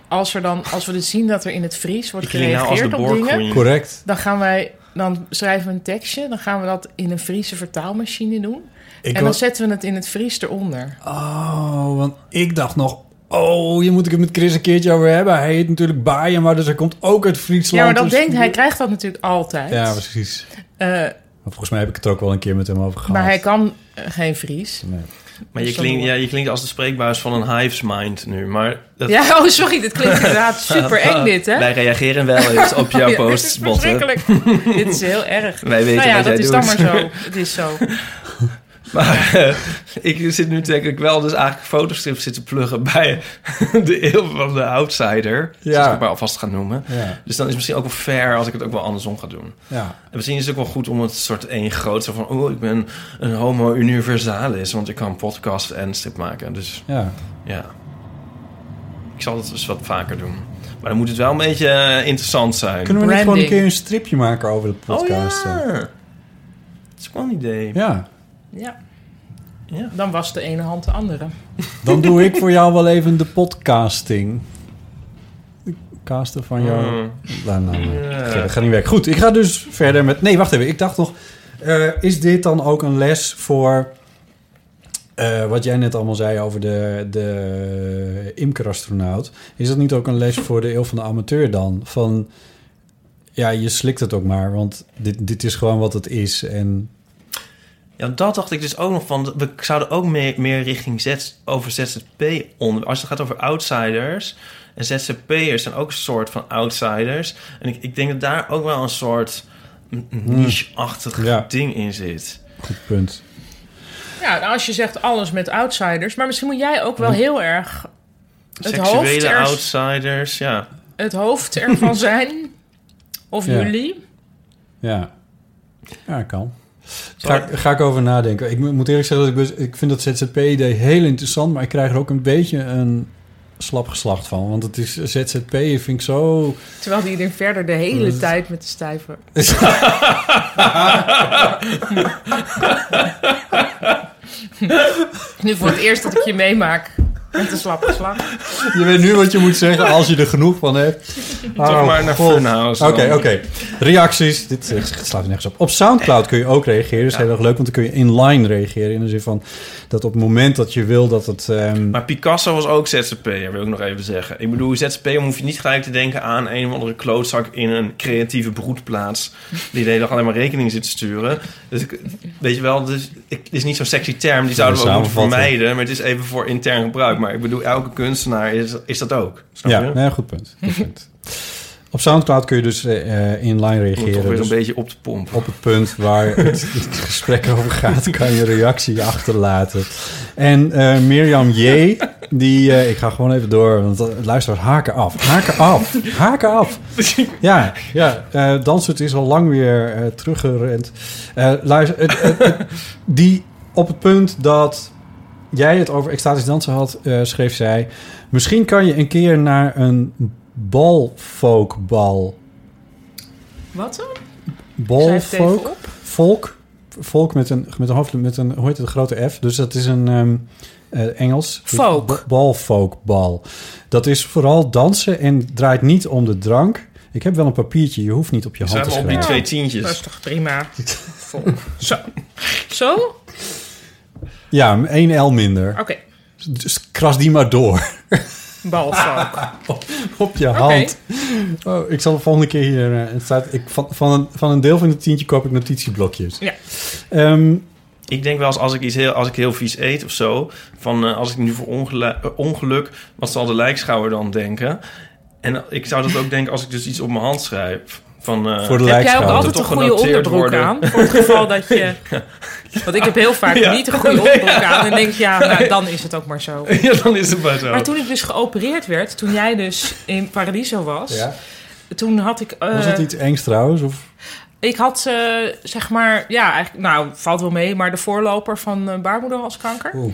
[SPEAKER 4] Als, er dan, als we dus zien dat er in het Fries wordt
[SPEAKER 5] Ik klink nou als de
[SPEAKER 4] gereageerd op dingen...
[SPEAKER 5] boorqueen.
[SPEAKER 3] Correct.
[SPEAKER 4] Dan gaan wij, dan schrijven we een tekstje, dan gaan we dat in een Friese vertaalmachine doen.
[SPEAKER 3] Ik
[SPEAKER 4] en
[SPEAKER 3] wa-
[SPEAKER 4] dan zetten we het in het Fries eronder.
[SPEAKER 3] Oh, want ik dacht nog... Oh, je moet ik het met Chris een keertje over hebben. Hij heet natuurlijk Baaien, maar dus hij komt ook uit Friesland.
[SPEAKER 4] ja, maar dan
[SPEAKER 3] dus-
[SPEAKER 4] denkt hij, krijgt dat natuurlijk altijd.
[SPEAKER 3] Ja, precies.
[SPEAKER 4] Eh,
[SPEAKER 3] Maar volgens mij heb ik het er ook wel een keer met hem over gehad.
[SPEAKER 4] maar hij kan eh, geen Fries.
[SPEAKER 3] Nee.
[SPEAKER 5] Maar je
[SPEAKER 4] Dus dan
[SPEAKER 5] klinkt, ja,
[SPEAKER 4] doen
[SPEAKER 5] je klinkt als de spreekbuis van een hives mind nu. Maar dat,
[SPEAKER 4] Ja, oh sorry, dit klinkt inderdaad super eng dit, hè?
[SPEAKER 5] wij reageren wel eens op jouw
[SPEAKER 4] Ja, dit is
[SPEAKER 5] posts, Botte.
[SPEAKER 4] verschrikkelijk. dit is heel erg.
[SPEAKER 5] Wij weten
[SPEAKER 4] nou ja,
[SPEAKER 5] wat
[SPEAKER 4] dat
[SPEAKER 5] jij
[SPEAKER 4] is
[SPEAKER 5] doet.
[SPEAKER 4] dan maar zo. Het is zo.
[SPEAKER 5] Maar eh, ik zit nu denk ik wel dus eigenlijk fotostrips zitten pluggen bij de eeuw van de outsider.
[SPEAKER 3] Ja.
[SPEAKER 5] Zoals ik het maar alvast ga noemen.
[SPEAKER 3] Ja,
[SPEAKER 5] Dus dan is het misschien ook wel fair als ik het ook wel andersom ga doen.
[SPEAKER 3] ja.
[SPEAKER 5] En misschien is het ook wel goed om het soort één groot... Zo van, oh, ik ben een homo universalis. Want ik kan podcast en strip maken. Dus
[SPEAKER 3] ja.
[SPEAKER 5] Ja. Ik zal het dus wat vaker doen. Maar dan moet het wel een beetje eh, interessant zijn.
[SPEAKER 3] Kunnen we niet gewoon een
[SPEAKER 4] Branding.
[SPEAKER 3] keer een stripje maken over de
[SPEAKER 5] oh
[SPEAKER 3] podcast?
[SPEAKER 5] ja. Dat is wel een idee.
[SPEAKER 3] Ja.
[SPEAKER 4] Ja.
[SPEAKER 5] Ja.
[SPEAKER 4] Dan was de ene hand de andere.
[SPEAKER 3] Dan doe ik voor jou wel even de podcasting. De casten van jou.
[SPEAKER 5] Mm.
[SPEAKER 3] Nou, nou, nou.
[SPEAKER 5] Ja.
[SPEAKER 3] Ga- Dat gaat niet werken. Goed, ik ga dus verder met... Nee, wacht even. Ik dacht nog... eh, is dit dan ook een les voor... eh, wat jij net allemaal zei over de, de imkerastronaut. Is dat niet ook een les voor de eeuw van de amateur dan? Van, ja, je slikt het ook maar. Want dit, dit is gewoon wat het is. En
[SPEAKER 5] Ja, dat dacht ik dus ook nog van. We zouden ook meer, meer richting Z, over ZZP onder. Als het gaat over outsiders. En ZZP'ers zijn ook een soort van outsiders. En ik, ik denk dat daar ook wel een soort n- niche-achtig
[SPEAKER 3] Mm. Ja.
[SPEAKER 5] ding in zit.
[SPEAKER 3] Goed punt.
[SPEAKER 4] Ja, nou, als je zegt alles met outsiders. Maar misschien moet jij ook
[SPEAKER 3] Hm.
[SPEAKER 4] wel heel erg Het hoofd
[SPEAKER 5] Seksuele
[SPEAKER 4] er-
[SPEAKER 5] outsiders, ja.
[SPEAKER 4] het hoofd ervan zijn. Of
[SPEAKER 3] Ja.
[SPEAKER 4] jullie.
[SPEAKER 3] Ja. Ja, kan.
[SPEAKER 5] Zal
[SPEAKER 3] Ga,
[SPEAKER 5] ik-
[SPEAKER 3] ga ik over nadenken. Ik mo- moet eerlijk zeggen dat ik, best- ik vind dat ZZP-idee heel interessant, maar ik krijg er ook een beetje een slap geslacht van. Want het is ZZP, vind ik zo.
[SPEAKER 4] Terwijl die er verder de hele tijd met de stijver. nu voor het eerst dat ik je meemaak met een slap geslag.
[SPEAKER 3] Je weet nu wat je moet zeggen als je er genoeg van hebt.
[SPEAKER 5] Toch maar naar
[SPEAKER 3] Oh, God.
[SPEAKER 5] Funhouse.
[SPEAKER 3] Oké,
[SPEAKER 5] dan.
[SPEAKER 3] oké. Reacties. Dit eh, slaat nergens op. Op Soundcloud kun je ook reageren. Dat is heel erg leuk, want dan kun je inline reageren. In de zin van dat op het moment dat je wil dat het... ehm,
[SPEAKER 5] Maar Picasso was ook ZZP'er, wil ik nog even zeggen. Ik bedoel, ZZP'er hoef je niet gelijk te denken aan een of andere klootzak in een creatieve broedplaats. Die de hele dag alleen maar rekening zit te sturen. Dus ik, weet je wel, dus, ik, het is niet zo'n sexy term. Die zouden we ook moeten
[SPEAKER 3] samenvatting.
[SPEAKER 5] vermijden. Maar het is even voor intern gebruik. Maar ik bedoel, elke kunstenaar is, is dat ook. Snap
[SPEAKER 3] ja,
[SPEAKER 5] je?
[SPEAKER 3] nee, goed punt. Goed punt. Op Soundcloud kun je dus eh, eh, inline
[SPEAKER 5] Om het toch
[SPEAKER 3] reageren.
[SPEAKER 5] weer
[SPEAKER 3] Dus-
[SPEAKER 5] een beetje op te pompen.
[SPEAKER 3] op het punt waar het, het gesprek over gaat, kan je reactie achterlaten. En eh, Mirjam J., die, eh, ik ga gewoon even door, want eh, luisteraars haken af. Haken af, haken af. Ja, ja eh Dansert is al lang weer eh, teruggerend. Eh, luister, het- het- het- die op het punt dat jij het over extatisch dansen had, eh, schreef zij... Misschien kan je een keer naar een balfolkbal.
[SPEAKER 4] Wat dan? Schrijf het even
[SPEAKER 3] Balfolk?
[SPEAKER 4] op.
[SPEAKER 3] Volk. Volk met een, met een hoofd, met een, hoe heet het, een grote F. Dus dat is een ehm, eh, Engels.
[SPEAKER 4] Folk.
[SPEAKER 3] Ba- Bal, folk, bal. Dat is vooral dansen en draait niet om de drank. Ik heb wel een papiertje, je hoeft niet op je hand
[SPEAKER 5] Zijn
[SPEAKER 3] te
[SPEAKER 5] we op die
[SPEAKER 3] schrijven.
[SPEAKER 5] twee
[SPEAKER 4] Dat is
[SPEAKER 5] tientjes.
[SPEAKER 4] toch prima. Vol. Zo. Zo? Oké.
[SPEAKER 3] Ja, één L minder. Dus kras die maar door
[SPEAKER 4] Balvalk.
[SPEAKER 3] op je
[SPEAKER 4] Oké.
[SPEAKER 3] hand. Oh, ik zal de volgende keer hier... eh, het staat, ik, van, van, een, van een deel van het tientje koop ik notitieblokjes.
[SPEAKER 4] Ja.
[SPEAKER 3] Ehm,
[SPEAKER 5] Ik denk wel eens als ik iets heel, als ik heel vies eet of zo. Van eh, als ik nu voor ongelu- eh, ongeluk, wat zal de lijkschouwer dan denken? En ik zou dat ook denken als ik dus iets op mijn hand schrijf. Van, eh,
[SPEAKER 3] voor de
[SPEAKER 4] Heb jij ook
[SPEAKER 3] lijkschouder.
[SPEAKER 4] altijd een
[SPEAKER 5] Toch
[SPEAKER 4] goede
[SPEAKER 5] genoteerd
[SPEAKER 4] onderbroek
[SPEAKER 5] worden.
[SPEAKER 4] aan? Voor het geval dat je... Want ik heb heel vaak
[SPEAKER 5] Ja.
[SPEAKER 4] niet een goede onderbroek aan. En denk ja, nou, dan is het ook maar zo.
[SPEAKER 5] ja, dan is het maar zo.
[SPEAKER 4] Maar toen ik dus geopereerd werd, toen jij dus in Paradiso was...
[SPEAKER 3] Ja.
[SPEAKER 4] Toen had ik... eh,
[SPEAKER 3] Was dat iets engs trouwens? Of?
[SPEAKER 4] Ik had, eh, zeg maar... Ja, eigenlijk, nou, valt wel mee. Maar de voorloper van eh, baarmoederhalskanker.
[SPEAKER 3] Oeh.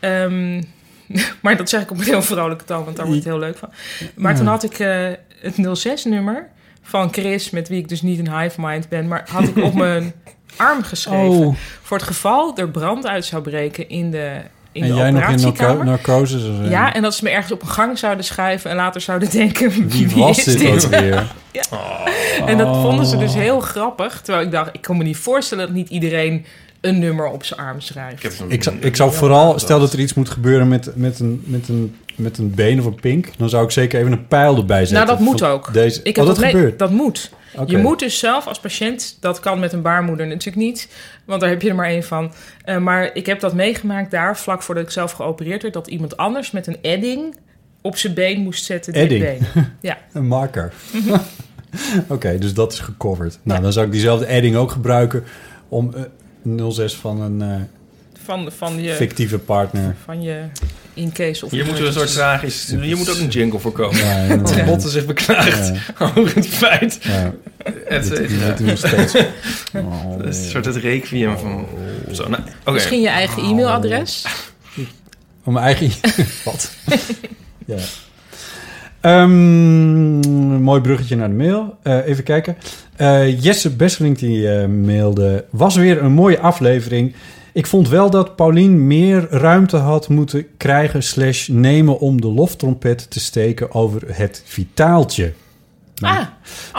[SPEAKER 4] Ehm, maar dat zeg ik op een heel vrolijke toon, want daar wordt het heel leuk van. Maar toen had ik eh, het 06-nummer van Chris, met wie ik dus niet een hive mind ben, maar had ik op mijn arm geschreven.
[SPEAKER 3] Oh.
[SPEAKER 4] Voor het geval er brand uit zou breken in de, in
[SPEAKER 3] En
[SPEAKER 4] de
[SPEAKER 3] jij nog in
[SPEAKER 4] operatiekamer.
[SPEAKER 3] narco- narcose? zou zijn.
[SPEAKER 4] ja, en dat ze me ergens op een gang zouden schuiven en later zouden denken: wie,
[SPEAKER 3] Wie was
[SPEAKER 4] is
[SPEAKER 3] dit ook weer?
[SPEAKER 4] En dat
[SPEAKER 3] Oh.
[SPEAKER 4] vonden ze dus heel grappig. Terwijl ik dacht: ik kan me niet voorstellen dat niet iedereen een nummer op zijn arm schrijft.
[SPEAKER 5] ik, heb een-
[SPEAKER 3] Ik zou, ik zou vooral, stel dat er iets moet gebeuren met, met, een, met, een, met een been of een pink, dan zou ik zeker even een pijl erbij zetten.
[SPEAKER 4] Nou, dat
[SPEAKER 3] Van
[SPEAKER 4] moet ook.
[SPEAKER 3] Deze. oh,
[SPEAKER 4] Ik heb
[SPEAKER 3] dat
[SPEAKER 4] nee,
[SPEAKER 3] gebeurt.
[SPEAKER 4] Dat moet.
[SPEAKER 3] Oké.
[SPEAKER 4] Je moet dus zelf als patiënt, dat kan met een baarmoeder natuurlijk niet, want daar heb je er maar één van. Eh, maar ik heb dat meegemaakt daar, vlak voordat ik zelf geopereerd werd, dat iemand anders met een edding op zijn been moest zetten. dit
[SPEAKER 3] Edding?
[SPEAKER 4] been. Ja.
[SPEAKER 3] Een marker.
[SPEAKER 4] Mhm.
[SPEAKER 3] Oké, dus dat is gecoverd. Nou, dan zou ik diezelfde edding ook gebruiken om eh, 06 van een eh,
[SPEAKER 4] Van, van je,
[SPEAKER 3] fictieve partner.
[SPEAKER 4] van je in case of
[SPEAKER 5] Hier moeten we een soort tragisch... Hier moet ook een jingle voor
[SPEAKER 3] eh,
[SPEAKER 5] komen.
[SPEAKER 3] Ja,
[SPEAKER 5] Als
[SPEAKER 3] inderdaad.
[SPEAKER 5] Botte zich beklaagt over het feit.
[SPEAKER 3] ja,
[SPEAKER 5] Het,
[SPEAKER 3] dit- dit-
[SPEAKER 5] ja,
[SPEAKER 3] dit nog steeds. Oh,
[SPEAKER 5] het is een soort het requiem van... Zo, nou, oké.
[SPEAKER 4] Misschien je eigen
[SPEAKER 3] Oh.
[SPEAKER 4] e-mailadres.
[SPEAKER 3] Om mijn eigen... Wat? ja. Ehm, mooi bruggetje naar de mail. Eh, even kijken. Eh, Jesse Besselink die eh, mailde... Was weer een mooie aflevering. Ik vond wel dat Paulien meer ruimte had moeten krijgen... slash nemen om de loftrompet te steken over het vitaaltje.
[SPEAKER 4] Ah, andere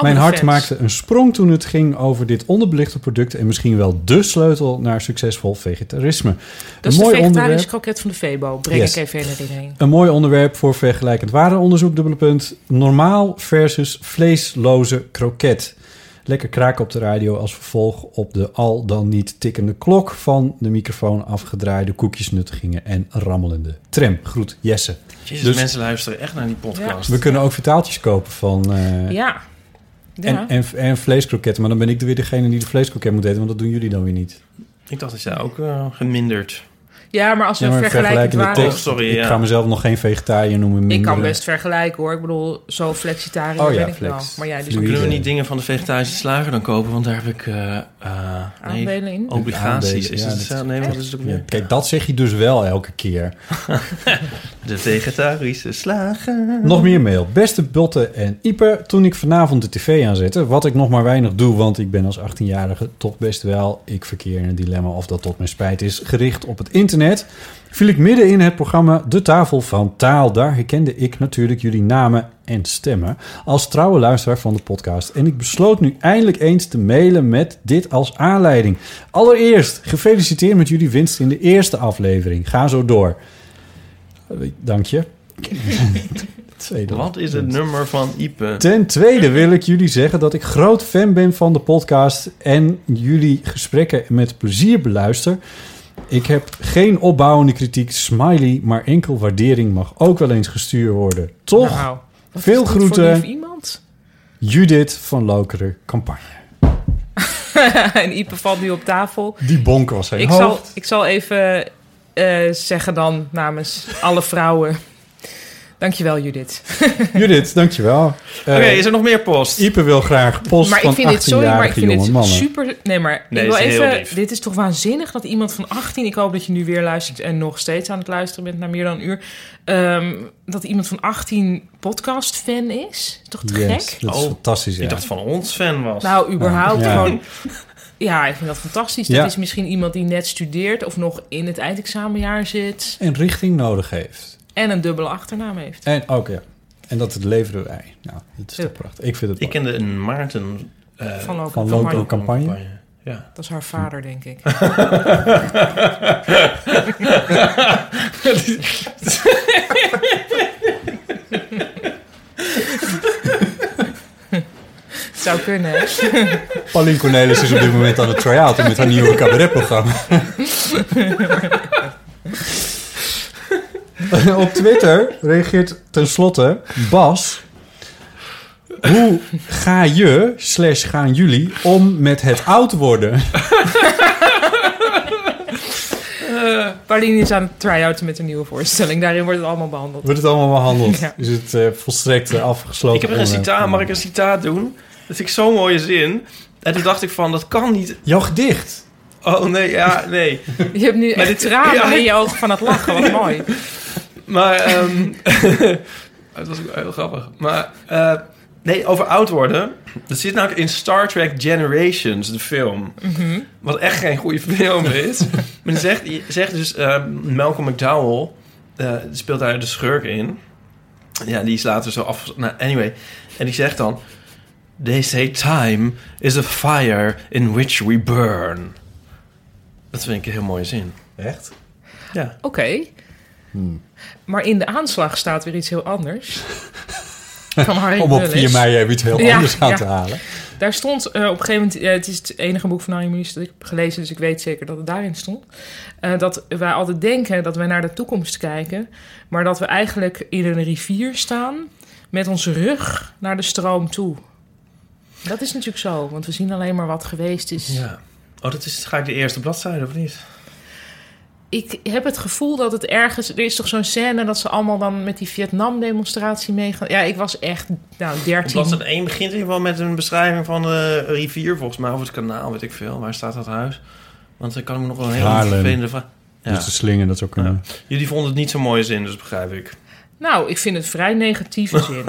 [SPEAKER 3] Mijn hart
[SPEAKER 4] fans.
[SPEAKER 3] maakte een sprong toen het ging over dit onderbelichte product... en misschien wel dé sleutel naar succesvol vegetarisme.
[SPEAKER 4] Dat
[SPEAKER 3] een
[SPEAKER 4] is de
[SPEAKER 3] mooi
[SPEAKER 4] vegetarische
[SPEAKER 3] onderwerp.
[SPEAKER 4] kroket van de Febo. Breng
[SPEAKER 3] Yes.
[SPEAKER 4] ik even in herinnering.
[SPEAKER 3] Een mooi onderwerp voor vergelijkend warenonderzoek, dubbele punt. Normaal versus vleesloze kroket. Lekker kraken op de radio als vervolg op de al dan niet tikkende klok van de microfoon afgedraaide koekjesnuttigingen en rammelende tram. Groet Jesse.
[SPEAKER 5] Jezus,
[SPEAKER 3] Dus-
[SPEAKER 5] mensen luisteren echt naar die podcast.
[SPEAKER 3] We kunnen ook vertaaltjes kopen van... eh,
[SPEAKER 4] Ja.
[SPEAKER 3] en, en, en vleeskroketten, maar dan ben ik weer degene die de vleeskroket moet eten, want dat doen jullie dan weer niet.
[SPEAKER 5] Ik dacht dat jij ook eh, geminderd.
[SPEAKER 4] ja, maar als we
[SPEAKER 3] Ja, maar
[SPEAKER 4] vergelijkend
[SPEAKER 3] vergelijkende
[SPEAKER 4] waren...
[SPEAKER 5] tekst.
[SPEAKER 3] tekst.
[SPEAKER 5] Oh, sorry,
[SPEAKER 3] ik
[SPEAKER 5] ja.
[SPEAKER 3] ga mezelf nog geen vegetariër noemen.
[SPEAKER 4] Ik kan
[SPEAKER 3] minder-
[SPEAKER 4] best vergelijken hoor. Ik bedoel, zo flexitariër
[SPEAKER 3] Oh ja,
[SPEAKER 4] ben ik
[SPEAKER 3] flex.
[SPEAKER 4] wel. Maar jij dus
[SPEAKER 3] Fluïde.
[SPEAKER 5] Kunnen we
[SPEAKER 3] Ja.
[SPEAKER 5] niet dingen van de vegetarische slager dan kopen? Want daar heb ik eh, eh, nee,
[SPEAKER 4] aandelen in.
[SPEAKER 5] obligaties.
[SPEAKER 3] Aandelen,
[SPEAKER 5] Is
[SPEAKER 3] ja,
[SPEAKER 5] het
[SPEAKER 3] dat-
[SPEAKER 5] hetzelfde? Nee, wat is het ook
[SPEAKER 3] Ja,
[SPEAKER 5] weer?
[SPEAKER 3] kijk, dat zeg je dus wel elke keer.
[SPEAKER 5] De vegetarische slager.
[SPEAKER 3] Nog meer mail. Beste Botte en Ieper, toen ik vanavond de tv aanzette, wat ik nog maar weinig doe, want ik ben als 18-jarige toch best wel, ik verkeer in een dilemma of dat tot mijn spijt is, gericht op het internet, viel ik midden in het programma De Tafel van Taal. Daar herkende ik natuurlijk jullie namen en stemmen als trouwe luisteraar van de podcast. En ik besloot nu eindelijk eens te mailen met dit als aanleiding. Allereerst, gefeliciteerd met jullie winst in de eerste aflevering. Ga zo door. Eh, Dank je. Tweede
[SPEAKER 5] Wat is het nummer van Ipe?
[SPEAKER 3] Ten tweede wil ik jullie zeggen dat ik groot fan ben van de podcast en jullie gesprekken met plezier beluister. Ik heb geen opbouwende kritiek, smiley, maar enkel waardering mag ook wel eens gestuurd worden. Toch?
[SPEAKER 4] Nou, wat
[SPEAKER 3] Veel
[SPEAKER 4] is dit voor
[SPEAKER 3] groeten.
[SPEAKER 4] lief iemand?
[SPEAKER 3] Judith van Lokeren Campagne.
[SPEAKER 4] en Ipe valt nu op tafel.
[SPEAKER 3] Die bonk was zijn
[SPEAKER 4] Ik
[SPEAKER 3] hoofd.
[SPEAKER 4] zal, ik zal even eh, zeggen dan namens alle vrouwen. Dankjewel Judith.
[SPEAKER 3] Judith, dankjewel. Eh
[SPEAKER 5] Oké, is er nog meer post?
[SPEAKER 3] Ieper wil graag post
[SPEAKER 4] maar
[SPEAKER 3] van
[SPEAKER 4] ik vind dit, sorry, maar ik
[SPEAKER 3] 18-jarige
[SPEAKER 4] vind
[SPEAKER 3] jonge
[SPEAKER 4] dit
[SPEAKER 3] mannen.
[SPEAKER 4] super... Nee, maar
[SPEAKER 5] Nee,
[SPEAKER 4] ik wil
[SPEAKER 5] is heel lief.
[SPEAKER 4] even... Dit is toch waanzinnig dat iemand van 18... Ik hoop dat je nu weer luistert en nog steeds aan het luisteren bent... na meer dan een uur. ehm, dat iemand van 18 podcast-fan is. Is toch te
[SPEAKER 3] Yes,
[SPEAKER 4] gek?
[SPEAKER 3] dat is
[SPEAKER 5] Oh,
[SPEAKER 3] fantastisch, ja.
[SPEAKER 5] Ik dacht van ons fan was.
[SPEAKER 4] Nou, überhaupt
[SPEAKER 3] Ja.
[SPEAKER 4] gewoon... Ja, ik vind dat fantastisch. Dat
[SPEAKER 3] Ja.
[SPEAKER 4] is misschien iemand die net studeert... of nog in het eindexamenjaar zit...
[SPEAKER 3] En richting nodig heeft.
[SPEAKER 4] en een dubbele achternaam heeft.
[SPEAKER 3] En ook, ja. En dat het leveren wij. Nou, dat is
[SPEAKER 4] Ja.
[SPEAKER 3] toch prachtig. Ik vind het
[SPEAKER 5] ik kende een Maarten. eh,
[SPEAKER 4] Van Loken.
[SPEAKER 3] van
[SPEAKER 4] Van
[SPEAKER 3] Loken.
[SPEAKER 4] Mark.
[SPEAKER 3] campagne.
[SPEAKER 5] Ja.
[SPEAKER 4] Dat is haar vader, denk ik. Zou kunnen, hè?
[SPEAKER 3] Pauline Cornelis is op dit moment aan het try-outen met haar nieuwe cabaretprogramma. op Twitter reageert tenslotte Bas. Hoe ga je, slash gaan jullie, om met het oud worden?
[SPEAKER 4] Pauline is aan het try-outen met een nieuwe voorstelling. Daarin wordt het allemaal behandeld.
[SPEAKER 3] Wordt het allemaal behandeld?
[SPEAKER 4] Ja.
[SPEAKER 3] Is het eh, volstrekt eh, afgesloten?
[SPEAKER 5] Ik heb er een
[SPEAKER 3] onderwerp?
[SPEAKER 5] citaat. Mag ik een citaat doen? Dat vind ik zo'n mooie zin. En toen dacht ik van, dat kan niet.
[SPEAKER 3] Jouw gedicht.
[SPEAKER 5] Oh nee, ja, nee.
[SPEAKER 4] Je hebt nu
[SPEAKER 5] Maar
[SPEAKER 4] echt
[SPEAKER 5] dit-
[SPEAKER 4] tranen
[SPEAKER 5] ja.
[SPEAKER 4] in je ogen van het lachen. Wat mooi.
[SPEAKER 5] Maar, ehm het was ook heel grappig. Maar, eh, nee, over oud worden. Dat zit namelijk in Star Trek Generations, de film. Wat echt geen goede film is. maar dan zegt, zegt dus eh, Malcolm McDowell, eh, speelt daar de schurk in. Ja, die is later zo af... Nou, anyway. En die zegt dan... They say time is a fire in which we burn. Dat vind ik een heel mooie zin.
[SPEAKER 3] Echt?
[SPEAKER 5] Ja.
[SPEAKER 4] Oké.
[SPEAKER 3] Hmm.
[SPEAKER 4] Maar in de aanslag staat weer iets heel anders. Van Harry
[SPEAKER 3] Om op
[SPEAKER 4] Mullis.
[SPEAKER 3] 4 mei even iets heel
[SPEAKER 4] Ja,
[SPEAKER 3] anders aan
[SPEAKER 4] ja.
[SPEAKER 3] te halen.
[SPEAKER 4] Daar stond eh, op een gegeven moment... eh, het is het enige boek van Harry Mullis dat ik heb gelezen... dus ik weet zeker dat het daarin stond. eh, dat wij altijd denken dat wij naar de toekomst kijken... maar dat we eigenlijk in een rivier staan... met onze rug naar de stroom toe. Dat is natuurlijk zo, want we zien alleen maar wat geweest is.
[SPEAKER 5] ja. Oh, dat is, ga ik de eerste bladzijde, of niet?
[SPEAKER 4] Ik heb het gevoel dat het ergens... Er is toch zo'n scène dat ze allemaal dan met die Vietnam-demonstratie meegaan. Ja, ik was echt, nou, dertien.
[SPEAKER 5] Bladzijde 1 begint in ieder geval met een beschrijving van de rivier, volgens mij, of het kanaal, weet ik veel. Waar staat dat huis? Want dan kan ik me nog wel een hele
[SPEAKER 3] Haarlem.
[SPEAKER 5] vervelende vraag... Ja.
[SPEAKER 3] Dus de slingen, dat zou kunnen.
[SPEAKER 5] Jullie vonden het niet zo'n mooie zin, dus begrijp ik.
[SPEAKER 4] Nou, ik vind het vrij negatieve zin.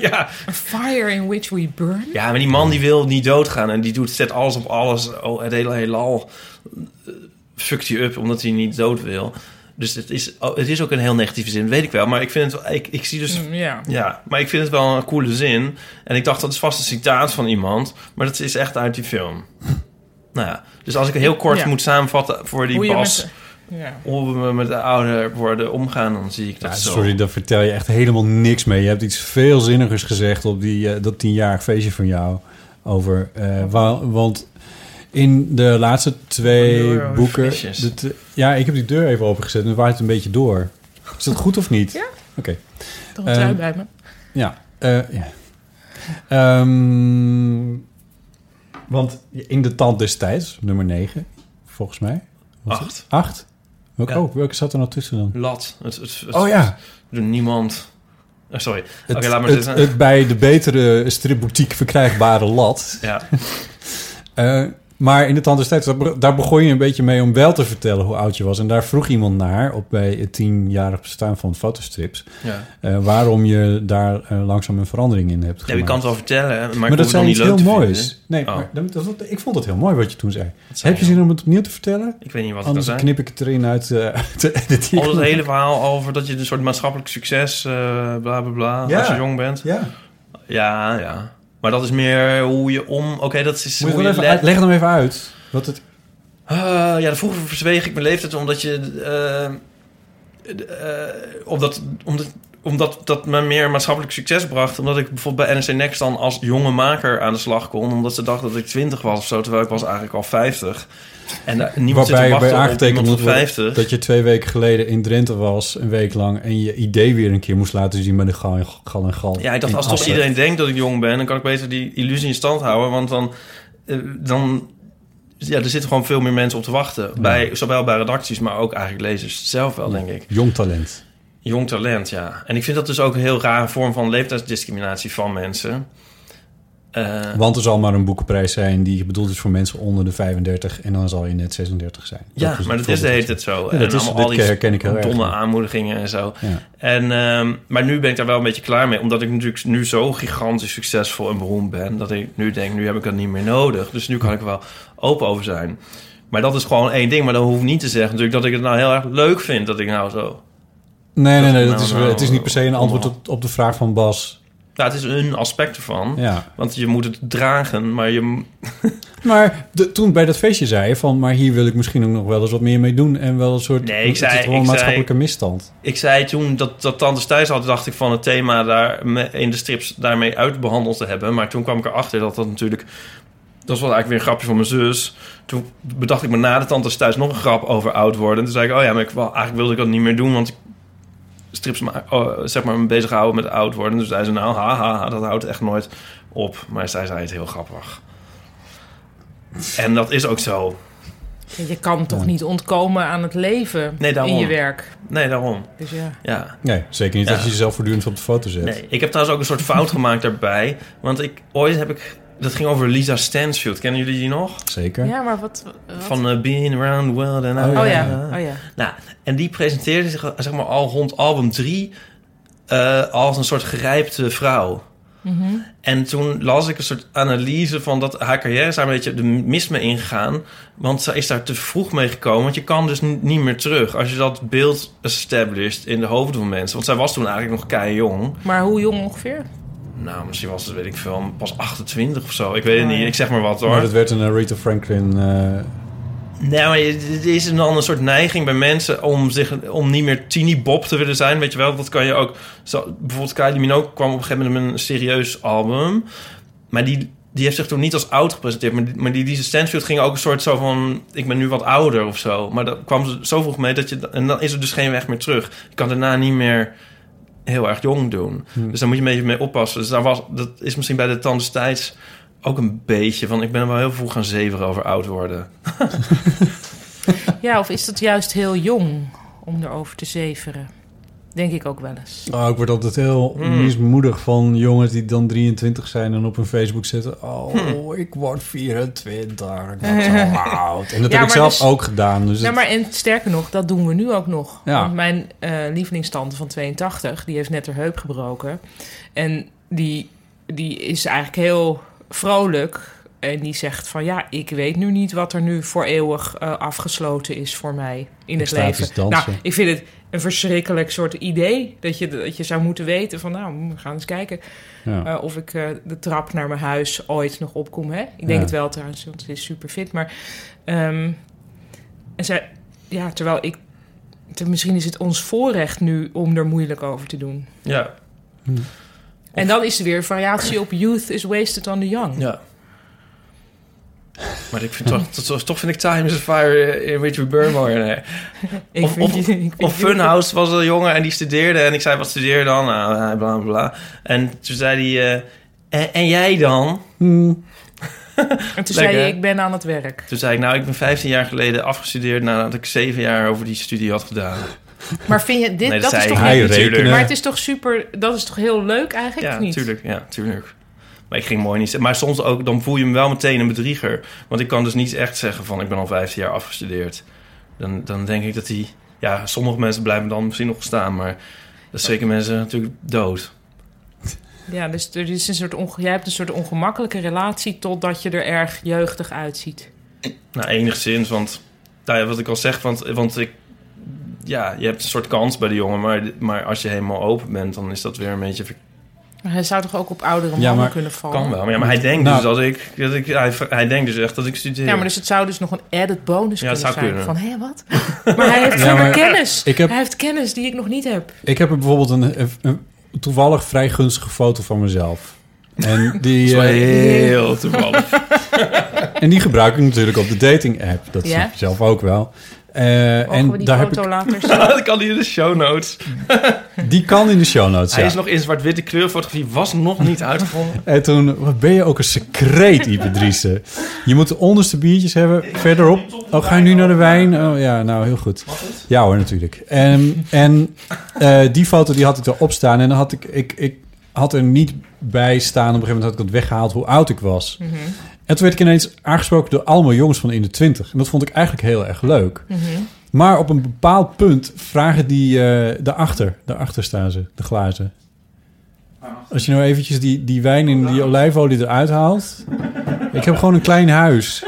[SPEAKER 5] ja.
[SPEAKER 4] A fire in which we burn?
[SPEAKER 5] ja, maar die man die wil niet doodgaan en die doet, zet alles op alles. Oh, het hele heelal eh, fuckt hij up omdat hij niet dood wil. Dus het is, oh, het is ook een heel negatieve zin, weet ik wel. Maar ik vind het wel, ik, ik zie dus
[SPEAKER 4] Mm, Ja.
[SPEAKER 5] Ja, maar ik vind het wel een coole zin. En ik dacht, dat is vast een citaat van iemand. Maar dat is echt uit die film. nou ja, dus als ik het heel kort
[SPEAKER 4] Ja.
[SPEAKER 5] moet samenvatten voor die
[SPEAKER 4] Hoe je
[SPEAKER 5] Bas...
[SPEAKER 4] met- Ja.
[SPEAKER 5] hoe we met de ouder worden omgaan, dan zie ik dat
[SPEAKER 3] Ja,
[SPEAKER 5] zo.
[SPEAKER 3] sorry, daar vertel je echt helemaal niks mee. Je hebt iets veel zinnigers gezegd op die, eh, dat tienjarig feestje van jou. over. eh, wa- want in de laatste
[SPEAKER 5] Door
[SPEAKER 3] twee
[SPEAKER 5] over
[SPEAKER 3] boeken...
[SPEAKER 5] visjes.
[SPEAKER 3] de t- ja, ik heb die deur even opengezet en dan waait het een beetje door. Is dat goed of niet?
[SPEAKER 4] Ja.
[SPEAKER 3] Oké.
[SPEAKER 4] Toch een trui
[SPEAKER 3] Ehm,
[SPEAKER 4] bij me.
[SPEAKER 3] Ja. eh, ja. Ehm, want in de tand destijds, nummer 9, volgens mij. Was het?
[SPEAKER 5] Acht.
[SPEAKER 3] Acht? Welke,
[SPEAKER 5] Ja.
[SPEAKER 3] oh, welke zat er nou tussen dan?
[SPEAKER 5] Lat. Het, het, het-
[SPEAKER 3] Oh ja,
[SPEAKER 5] Door niemand. Oh, sorry.
[SPEAKER 3] het,
[SPEAKER 5] Oké, laat maar
[SPEAKER 3] het,
[SPEAKER 5] zitten.
[SPEAKER 3] het bij de betere stripboutique verkrijgbare lat.
[SPEAKER 5] Ja.
[SPEAKER 3] Eh, maar in de tand destijds, daar be- daar begon je een beetje mee om wel te vertellen hoe oud je was. En daar vroeg iemand naar, op bij het tienjarig bestaan van fotostrips,
[SPEAKER 5] ja.
[SPEAKER 3] eh, waarom je daar eh, langzaam een verandering in hebt
[SPEAKER 5] Ja,
[SPEAKER 3] gemaakt.
[SPEAKER 5] je kan het wel vertellen, maar,
[SPEAKER 3] Maar, dat
[SPEAKER 5] ik hoef het nog
[SPEAKER 3] zijn
[SPEAKER 5] niet
[SPEAKER 3] iets heel
[SPEAKER 5] leuk te
[SPEAKER 3] moois.
[SPEAKER 5] vinden.
[SPEAKER 3] Nee,
[SPEAKER 5] Oh.
[SPEAKER 3] maar dat, dat- ik vond het heel mooi wat je toen zei.
[SPEAKER 5] Dat zijn
[SPEAKER 3] Heb je zin om het opnieuw te vertellen?
[SPEAKER 5] Ik weet niet wat het kan
[SPEAKER 3] Anders
[SPEAKER 5] zijn.
[SPEAKER 3] knip ik het erin uit eh, te editeren.
[SPEAKER 5] Al dat hele verhaal over dat je een soort maatschappelijk succes, eh, bla bla bla,
[SPEAKER 3] Ja.
[SPEAKER 5] als je jong bent.
[SPEAKER 3] Ja.
[SPEAKER 5] Ja, ja. Maar dat is meer hoe je om... Oké, dat is
[SPEAKER 3] Moet je
[SPEAKER 5] hoe
[SPEAKER 3] wel
[SPEAKER 5] je
[SPEAKER 3] even
[SPEAKER 5] let-
[SPEAKER 3] uit- leg hem even uit. Wat het,
[SPEAKER 5] Ah, ja, vroeger verzweeg ik mijn leeftijd omdat je... eh, d- eh, omdat, omdat, omdat dat me meer maatschappelijk succes bracht. Omdat ik bijvoorbeeld bij NRC Next dan als jonge maker aan de slag kon. Omdat ze dachten dat ik 20 was of zo, terwijl ik was eigenlijk al 50. En daar- niemand zit te
[SPEAKER 3] waarbij bij
[SPEAKER 5] wachten op
[SPEAKER 3] aangetekend
[SPEAKER 5] iemand
[SPEAKER 3] moet
[SPEAKER 5] van
[SPEAKER 3] worden
[SPEAKER 5] 50.
[SPEAKER 3] dat je twee weken geleden in Drenthe was, een week lang, en je idee weer een keer moest laten zien met de gal en gal. En gal
[SPEAKER 5] Ja, ik dacht,
[SPEAKER 3] in
[SPEAKER 5] als toch
[SPEAKER 3] Assen.
[SPEAKER 5] iedereen denkt dat ik jong ben, dan kan ik beter die illusie in stand houden. Want dan. eh, dan ja, er zitten gewoon veel meer mensen op te wachten. Bij, zowel bij redacties, maar ook eigenlijk lezers zelf wel, denk ik.
[SPEAKER 3] Jong talent.
[SPEAKER 5] Jong talent, ja. En ik vind dat dus ook een heel rare vorm van leeftijdsdiscriminatie van mensen. Eh,
[SPEAKER 3] Want er zal maar een boekenprijs zijn die bedoeld is voor mensen onder de 35 en dan zal je net 36 zijn.
[SPEAKER 5] ja, maar dat is de hele tijd zo. en
[SPEAKER 3] dat is-
[SPEAKER 5] allemaal al
[SPEAKER 3] dit
[SPEAKER 5] die
[SPEAKER 3] herken ik heel erg,
[SPEAKER 5] domme
[SPEAKER 3] ja.
[SPEAKER 5] aanmoedigingen en zo.
[SPEAKER 3] Ja.
[SPEAKER 5] En, ehm, maar nu ben ik daar wel een beetje klaar mee. Omdat ik natuurlijk nu zo gigantisch succesvol en beroemd ben. Dat ik nu denk, nu heb ik dat niet meer nodig. Dus nu kan ik er wel open over zijn. Maar dat is gewoon één ding. Maar dat hoeft niet te zeggen natuurlijk dat ik het nou heel erg leuk vind. Dat ik nou zo...
[SPEAKER 3] Nee, nee,
[SPEAKER 5] Dat
[SPEAKER 3] nee.
[SPEAKER 5] is
[SPEAKER 3] Dat is,
[SPEAKER 5] nou-
[SPEAKER 3] het is niet per se een
[SPEAKER 5] nou-
[SPEAKER 3] antwoord op, op de vraag van Bas.
[SPEAKER 5] Nou, het is een aspect ervan.
[SPEAKER 3] Ja.
[SPEAKER 5] Want je moet het dragen. Maar je...
[SPEAKER 3] Maar de- toen bij dat feestje zei je van, maar hier wil ik misschien ook nog wel eens wat meer mee doen en wel een soort.
[SPEAKER 5] Nee, ik
[SPEAKER 3] het is
[SPEAKER 5] zei-
[SPEAKER 3] gewoon
[SPEAKER 5] ik
[SPEAKER 3] een
[SPEAKER 5] zei-
[SPEAKER 3] maatschappelijke misstand.
[SPEAKER 5] Ik zei toen dat, dat Tante Thuis had, dacht ik van het thema daar me- in de strips daarmee uitbehandeld te hebben. Maar toen kwam ik erachter dat dat natuurlijk. Dat was eigenlijk weer een grapje van mijn zus. Toen bedacht ik me na de Tante Thuis nog een grap over oud worden. En toen zei ik, oh ja, maar ik, wel, eigenlijk wilde ik dat niet meer doen, want ik strips ma- oh, zeg maar me bezighouden met oud worden. Dus zei ze, nou, ha, ha, ha, dat houdt echt nooit op. Maar zij zei het heel grappig. En dat is ook zo.
[SPEAKER 4] Ja, Je kan toch niet ontkomen aan het leven
[SPEAKER 5] Nee, daarom.
[SPEAKER 4] in je werk.
[SPEAKER 5] Nee, daarom.
[SPEAKER 4] Dus ja.
[SPEAKER 5] Ja.
[SPEAKER 3] Nee, zeker niet
[SPEAKER 5] Ja.
[SPEAKER 3] als je jezelf voortdurend op de foto zet.
[SPEAKER 5] Nee, ik heb trouwens ook een soort fout gemaakt daarbij. Want ik, ooit heb ik... Dat ging over Lisa Stansfield. Kennen jullie die nog?
[SPEAKER 3] Zeker.
[SPEAKER 4] Ja, maar wat... wat-
[SPEAKER 5] Van eh, Being Around the World. En
[SPEAKER 3] Oh,
[SPEAKER 4] oh, ja. oh ja.
[SPEAKER 5] Nou, en die presenteerde zich zeg maar, al rond album 3... eh, als een soort gerijpte vrouw.
[SPEAKER 4] Mhm.
[SPEAKER 5] En toen las ik een soort analyse van dat haar carrière is daar een beetje de mis mee ingegaan. Want ze is daar te vroeg mee gekomen. Want je kan dus ni- niet meer terug als je dat beeld established in de hoofden van mensen. Want zij was toen eigenlijk nog kei jong.
[SPEAKER 4] Maar hoe jong ongeveer?
[SPEAKER 5] Nou, misschien was het, weet ik veel, pas 28 of zo. Ik weet het
[SPEAKER 4] Oh, ja.
[SPEAKER 5] niet, ik zeg maar wat hoor.
[SPEAKER 3] Maar dat werd een eh, Rita Franklin. eh,
[SPEAKER 5] Nee, maar het is dan een soort neiging bij mensen om, zich, om niet meer teeny Bob te willen zijn. Weet je wel, dat kan je ook... Zo, bijvoorbeeld Kylie Minogue kwam op een gegeven moment met een serieus album. Maar die, die heeft zich toen niet als oud gepresenteerd. Maar die, maar die Lisa Stansfield ging ook een soort zo van... Ik ben nu wat ouder of zo. Maar daar kwam ze zo vroeg mee dat je... En dan is er dus geen weg meer terug. Je kan daarna niet meer heel erg jong doen. Dus daar moet je een beetje mee oppassen. Dus daar was, dat is misschien bij de Tandes Tijds ook een beetje van... Ik ben wel heel vroeg gaan zeveren over oud worden.
[SPEAKER 4] Ja, of is dat juist heel jong om erover te zeveren? Denk ik ook wel eens.
[SPEAKER 3] Oh, ik word altijd heel
[SPEAKER 5] Hmm.
[SPEAKER 3] mismoedig van jongens die dan 23 zijn en op hun Facebook zetten. Oh,
[SPEAKER 4] Hmm.
[SPEAKER 3] ik word 24. Ik word zo oud. En dat
[SPEAKER 4] Ja,
[SPEAKER 3] heb ik
[SPEAKER 4] maar
[SPEAKER 3] zelf
[SPEAKER 4] dus-
[SPEAKER 3] ook gedaan. Dus
[SPEAKER 4] Nou,
[SPEAKER 3] het-
[SPEAKER 4] maar en sterker nog, dat doen we nu ook nog.
[SPEAKER 3] Ja.
[SPEAKER 4] Want mijn eh lievelingstante van 82, die heeft net haar heup gebroken. En die, die is eigenlijk heel vrolijk. En die zegt van ja, ik weet nu niet wat er nu voor eeuwig eh, afgesloten is voor mij in het
[SPEAKER 3] Extatisch
[SPEAKER 4] leven.
[SPEAKER 3] dansen.
[SPEAKER 4] Nou, ik vind het een verschrikkelijk soort idee dat je, dat je zou moeten weten van nou, we gaan eens kijken.
[SPEAKER 3] ja.
[SPEAKER 4] Eh, of ik eh, de trap naar mijn huis ooit nog opkom. Hè? Ik denk
[SPEAKER 3] Ja.
[SPEAKER 4] het wel trouwens, want ze is super fit. Maar ehm, en zij, ja, terwijl ik. te- misschien is het ons voorrecht nu om er moeilijk over te doen.
[SPEAKER 5] Ja,
[SPEAKER 4] En dan is er weer variatie op youth is wasted on the young.
[SPEAKER 5] ja. Maar ik vind toch, toch, toch vind ik Time is a Fire eh, in Richard Burmore. eh,
[SPEAKER 4] Ik
[SPEAKER 5] Of-
[SPEAKER 4] vind je- ik vind
[SPEAKER 5] Of
[SPEAKER 4] je-
[SPEAKER 5] Funhouse was een jongen en die studeerde. En ik zei, wat studeer je dan? Nou, eh, bla, bla, bla. En toen zei hij, eh, en, en jij dan?
[SPEAKER 4] En toen
[SPEAKER 5] Lekker,
[SPEAKER 4] zei je,
[SPEAKER 5] hè?
[SPEAKER 4] ik ben aan het werk.
[SPEAKER 5] Toen zei ik, nou, ik ben 15 jaar geleden afgestudeerd... nadat ik zeven jaar over die studie had gedaan.
[SPEAKER 4] Maar vind je dit,
[SPEAKER 5] Nee,
[SPEAKER 4] dat,
[SPEAKER 5] dat
[SPEAKER 4] is
[SPEAKER 5] zei
[SPEAKER 4] toch
[SPEAKER 5] ik.
[SPEAKER 3] Hij
[SPEAKER 4] niet-
[SPEAKER 3] rekenen.
[SPEAKER 4] Maar het is toch super, dat is toch heel leuk eigenlijk,
[SPEAKER 5] ja,
[SPEAKER 4] of niet?
[SPEAKER 5] tuurlijk. Ja, tuurlijk. Maar ik ging mooi niet... Maar soms ook, dan voel je hem wel meteen een bedrieger. Want ik kan dus niet echt zeggen van... ik ben al 15 jaar afgestudeerd. Dan, dan denk ik dat hij... Ja, sommige mensen blijven dan misschien nog staan. Maar dat zeker mensen natuurlijk dood.
[SPEAKER 4] Ja, dus er is een soort onge- jij hebt een soort ongemakkelijke relatie totdat je er erg jeugdig uitziet.
[SPEAKER 5] Nou, enigszins, want nou ja, wat ik al zeg, want, want ik, ja, je hebt een soort kans bij de jongen, maar, maar als je helemaal open bent, dan is dat weer een beetje. ver-
[SPEAKER 4] Maar hij zou toch ook op oudere
[SPEAKER 3] Ja,
[SPEAKER 4] mannen
[SPEAKER 3] maar-
[SPEAKER 4] kunnen vallen?
[SPEAKER 5] Kan wel, maar, ja, maar hij denkt
[SPEAKER 3] Nou.
[SPEAKER 5] dus dat ik, dat ik hij, hij denkt dus echt dat ik studeer.
[SPEAKER 4] Ja, maar dus het zou dus nog een added bonus
[SPEAKER 5] Ja, het
[SPEAKER 4] kunnen
[SPEAKER 5] zou
[SPEAKER 4] zijn.
[SPEAKER 5] kunnen.
[SPEAKER 4] Van, hé, wat? Maar hij heeft
[SPEAKER 3] Ja,
[SPEAKER 4] verder
[SPEAKER 3] maar
[SPEAKER 4] kennis.
[SPEAKER 3] ik heb-
[SPEAKER 4] Hij heeft kennis die ik nog niet heb.
[SPEAKER 3] Ik heb er bijvoorbeeld een, een- een toevallig vrij gunstige foto van mezelf. En die,
[SPEAKER 5] Dat is wel
[SPEAKER 3] eh,
[SPEAKER 5] heel toevallig.
[SPEAKER 3] en die gebruik ik natuurlijk op de dating app. Dat
[SPEAKER 4] Ja.
[SPEAKER 3] snap je zelf ook wel. Eh,
[SPEAKER 4] Mogen we
[SPEAKER 3] en
[SPEAKER 4] die
[SPEAKER 3] daar heb
[SPEAKER 4] foto
[SPEAKER 3] ik,
[SPEAKER 4] later zien?
[SPEAKER 5] dat kan hij in de show notes.
[SPEAKER 3] die kan in de show notes.
[SPEAKER 5] Hij
[SPEAKER 3] ja.
[SPEAKER 5] is nog in zwart-witte kleurfotografie, was nog niet uitgevonden.
[SPEAKER 3] En toen, wat ben je ook een secreet, Ipe Driessen. Je moet de onderste biertjes hebben. Verderop. Oh, ga je nu naar de wijn? Oh ja, nou heel goed. Ja hoor, natuurlijk. En, en eh, die foto die had ik erop staan. En dan had ik, ik, ik had er niet bij staan. Op een gegeven moment had ik dat weggehaald hoe oud ik was. En toen werd ik ineens aangesproken door allemaal jongens van in de twintig. En dat vond ik eigenlijk heel erg leuk. Maar op een bepaald punt vragen die eh daarachter. Daarachter staan ze, de glazen. Als je nou eventjes die, die wijn en die olijfolie eruit haalt. Ik heb gewoon een klein huis.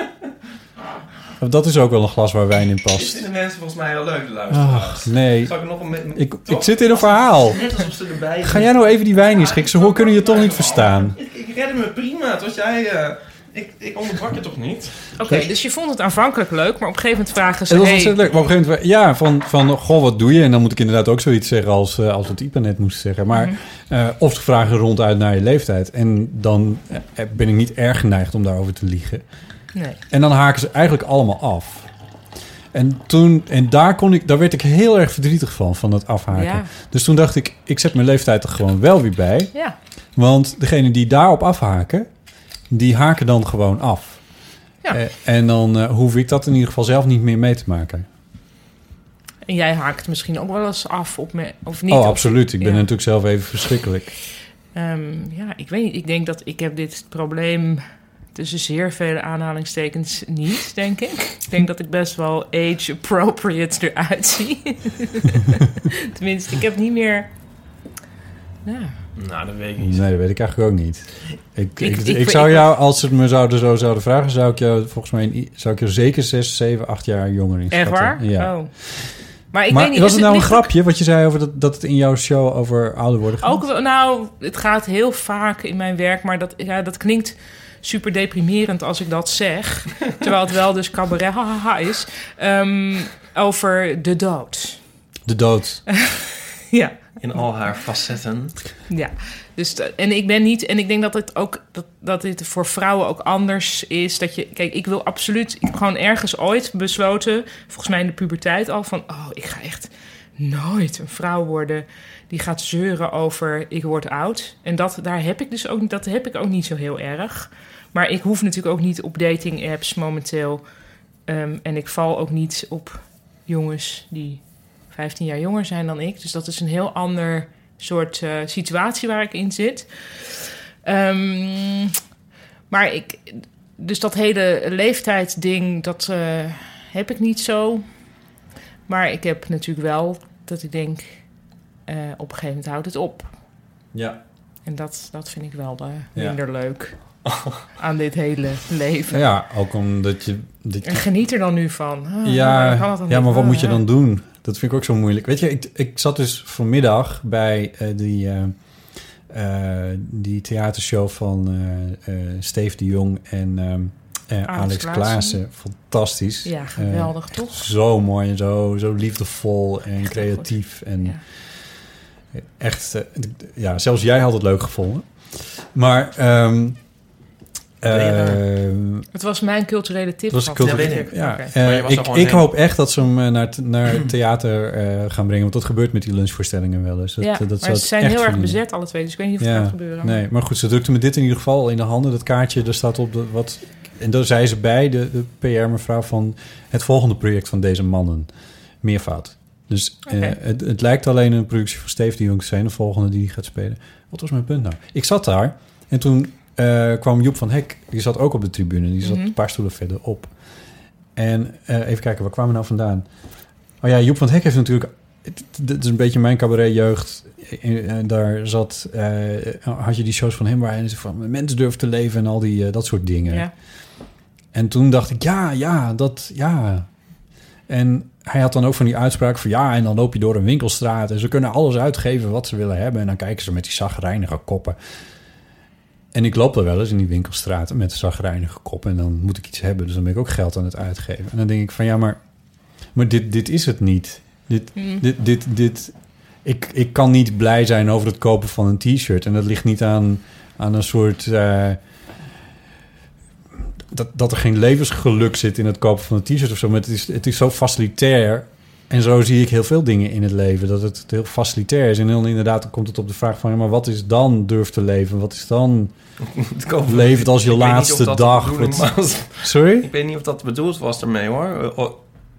[SPEAKER 3] Dat is ook wel een glas waar wijn in
[SPEAKER 5] Dit
[SPEAKER 3] past.
[SPEAKER 5] vinden mensen volgens mij heel leuk te luisteren.
[SPEAKER 3] Ach, nee.
[SPEAKER 5] Zal ik er nog een... met-
[SPEAKER 3] Ik, ik
[SPEAKER 5] toch?
[SPEAKER 3] zit in een verhaal.
[SPEAKER 5] Net alsof ze erbij
[SPEAKER 3] Ga jij nou even die wijn inschikken? Ze hoor- kunnen je toch niet verstaan.
[SPEAKER 5] Ik, ik redde me prima, tot jij... eh, ik, ik onderbrak je toch niet?
[SPEAKER 4] Oké, dus je vond het aanvankelijk leuk, maar op een gegeven moment vragen ze...
[SPEAKER 3] Het was
[SPEAKER 4] hey,
[SPEAKER 3] ontzettend leuk. Maar op een gegeven moment, ja, van, van goh, wat doe je? En dan moet ik inderdaad ook zoiets zeggen als, eh, als wat Ipa net moest zeggen. Maar eh, of ze vragen ronduit naar je leeftijd. En dan eh, ben ik niet erg geneigd om daarover te liegen.
[SPEAKER 4] nee.
[SPEAKER 3] En dan haken ze eigenlijk allemaal af. En, toen, en daar, kon ik, daar werd ik heel erg verdrietig van, van dat afhaken.
[SPEAKER 4] Ja.
[SPEAKER 3] Dus toen dacht ik, ik zet mijn leeftijd er gewoon wel weer bij.
[SPEAKER 4] Ja.
[SPEAKER 3] Want degene die daarop afhaken, die haken dan gewoon af.
[SPEAKER 4] Ja.
[SPEAKER 3] Eh, en dan eh, hoef ik dat in ieder geval zelf niet meer mee te maken.
[SPEAKER 4] En jij haakt misschien ook wel eens af op me, of niet?
[SPEAKER 3] oh,
[SPEAKER 4] Of-
[SPEAKER 3] absoluut. Ik ben
[SPEAKER 4] ja.
[SPEAKER 3] natuurlijk zelf even verschrikkelijk.
[SPEAKER 4] Ehm, ja, ik weet niet. Ik denk dat ik heb dit probleem tussen zeer vele aanhalingstekens niet, denk ik. Ik denk dat ik best wel age-appropriate eruit zie. Tenminste, ik heb niet meer... Ja.
[SPEAKER 5] Nou, dat weet ik niet.
[SPEAKER 3] Nee, dat weet ik eigenlijk ook niet. Ik, ik,
[SPEAKER 4] Ik-
[SPEAKER 3] ik,
[SPEAKER 4] ik-
[SPEAKER 3] zou
[SPEAKER 4] ik-
[SPEAKER 3] jou, als ze het me zouden, zo zouden vragen, zou ik jou volgens mij in- zou ik jou zeker 6, 7, 8 jaar jonger
[SPEAKER 4] Echt
[SPEAKER 3] inschatten.
[SPEAKER 4] waar?
[SPEAKER 3] Ja.
[SPEAKER 4] Oh. Maar ik
[SPEAKER 3] maar
[SPEAKER 4] weet niet.
[SPEAKER 3] was
[SPEAKER 4] is
[SPEAKER 3] het nou een
[SPEAKER 4] ligt ook-
[SPEAKER 3] grapje wat je zei over dat, dat het in jouw show over ouder worden gaat?
[SPEAKER 4] Ook wel, nou, het gaat heel vaak in mijn werk, maar dat, ja, dat klinkt super deprimerend als ik dat zeg. terwijl het wel dus cabaret hahaha is. Ehm, over de dood.
[SPEAKER 3] De dood.
[SPEAKER 4] Ja.
[SPEAKER 5] In al haar facetten.
[SPEAKER 4] Ja, dus dat- en ik ben niet, en ik denk dat het ook dat, dat dit voor vrouwen ook anders is. Dat je, kijk, ik wil absoluut, ik heb gewoon ergens ooit besloten, volgens mij in de puberteit al, van oh, ik ga echt nooit een vrouw worden die gaat zeuren over ik word oud. En dat daar heb ik dus ook, dat heb ik ook niet zo heel erg. Maar ik hoef natuurlijk ook niet op dating apps momenteel. Ehm, en ik val ook niet op jongens die 15 jaar jonger zijn dan ik. Dus dat is een heel ander soort eh, situatie waar ik in zit. Ehm, maar ik, dus dat hele leeftijdsding, dat eh, heb ik niet zo. Maar ik heb natuurlijk wel dat ik denk, eh, op een gegeven moment houdt het op.
[SPEAKER 3] Ja.
[SPEAKER 4] En dat, dat vind ik wel eh,
[SPEAKER 3] Ja.
[SPEAKER 4] minder leuk aan dit hele leven.
[SPEAKER 3] Ja, ook omdat je... dat je-
[SPEAKER 4] En geniet er dan nu van. Ah,
[SPEAKER 3] ja,
[SPEAKER 4] kan dat dan
[SPEAKER 3] ja,
[SPEAKER 4] niet?
[SPEAKER 3] maar wat
[SPEAKER 4] Ah,
[SPEAKER 3] moet je
[SPEAKER 4] ja.
[SPEAKER 3] dan doen? Dat vind ik ook zo moeilijk. Weet je, ik, ik zat dus vanmiddag bij eh, die, eh, eh, die theatershow van eh, eh, Steve de Jong en ehm, eh,
[SPEAKER 4] Alex
[SPEAKER 3] Alex
[SPEAKER 4] Klaassen.
[SPEAKER 3] Klaassen. Fantastisch.
[SPEAKER 4] Ja,
[SPEAKER 3] Eh,
[SPEAKER 4] geweldig toch?
[SPEAKER 3] zo mooi en zo, zo liefdevol en
[SPEAKER 4] Echt heel
[SPEAKER 3] creatief. En
[SPEAKER 4] Ja.
[SPEAKER 3] echt, eh, d- ja, zelfs jij had het leuk gevonden. Maar, ehm,
[SPEAKER 4] Ben je daar?
[SPEAKER 3] ehm,
[SPEAKER 4] Het was mijn culturele tip.
[SPEAKER 3] Dat was
[SPEAKER 4] van
[SPEAKER 3] de culturele-
[SPEAKER 4] vorige keer.
[SPEAKER 3] Ja,
[SPEAKER 4] Oké.
[SPEAKER 3] eh,
[SPEAKER 5] Maar je was er
[SPEAKER 3] ik,
[SPEAKER 5] gewoon
[SPEAKER 3] ik
[SPEAKER 5] heen.
[SPEAKER 3] hoop echt dat ze hem eh, naar, het- naar het theater eh, gaan brengen. Want dat gebeurt met die lunchvoorstellingen wel eens. Dat,
[SPEAKER 4] Ja,
[SPEAKER 3] eh, dat
[SPEAKER 4] maar
[SPEAKER 3] zou
[SPEAKER 4] ze
[SPEAKER 3] ik
[SPEAKER 4] zijn
[SPEAKER 3] echt
[SPEAKER 4] heel erg
[SPEAKER 3] vinden.
[SPEAKER 4] bezet, alle twee. Dus ik weet niet of het
[SPEAKER 3] Ja,
[SPEAKER 4] gaat gebeuren.
[SPEAKER 3] Nee, maar goed, ze drukte me dit in ieder geval al in de handen. Dat kaartje, daar staat op dat wat... En daar zei ze bij, de, de PR-mevrouw, van het volgende project van deze mannen. Meervoud. Dus eh,
[SPEAKER 4] Oké.
[SPEAKER 3] het, het lijkt alleen een productie van Steve de Jong te zijn, de volgende die die gaat spelen. Wat was mijn punt nou? Ik zat daar en toen eh, kwam Joep van Hek, die zat ook op de tribune. Die zat
[SPEAKER 4] Mhm.
[SPEAKER 3] een paar stoelen verderop. En eh, even kijken, waar kwamen we nou vandaan? Oh ja, Joep van het Hek heeft natuurlijk... het- Dit is een beetje mijn cabaretjeugd. Eh, eh, Daar zat, eh, had je die shows van hem... waar hij van mensen durft te leven en al die, eh, dat soort dingen.
[SPEAKER 4] Ja.
[SPEAKER 3] En toen dacht ik, ja, ja, dat, ja. En hij had dan ook van die uitspraak van... ja, en dan loop je door een winkelstraat... en ze kunnen alles uitgeven wat ze willen hebben... en dan kijken ze met die zagrijnige koppen. En ik loop er wel eens in die winkelstraten met zagrijnige koppen... en dan moet ik iets hebben, dus dan ben ik ook geld aan het uitgeven. En dan denk ik van, ja, maar, maar dit, dit is het niet. Dit,
[SPEAKER 4] Hm.
[SPEAKER 3] dit, dit, dit, ik, ik kan niet blij zijn over het kopen van een t-shirt. En dat ligt niet aan, aan een soort... eh, dat, dat er geen levensgeluk zit in het kopen van een t-shirt of zo. Maar het is, het is zo facilitair. En zo zie ik heel veel dingen in het leven. Dat het heel facilitair is. En dan inderdaad dan komt het op de vraag van... Ja, maar wat is dan durf te leven? Wat is dan...
[SPEAKER 5] Het komen-
[SPEAKER 3] Leef het als je
[SPEAKER 5] Ik weet niet of
[SPEAKER 3] laatste
[SPEAKER 5] dat de
[SPEAKER 3] dag.
[SPEAKER 5] bedoeling
[SPEAKER 3] Wat-
[SPEAKER 5] was.
[SPEAKER 3] Sorry?
[SPEAKER 5] Ik weet niet of dat bedoeld was ermee hoor. Eh, oh,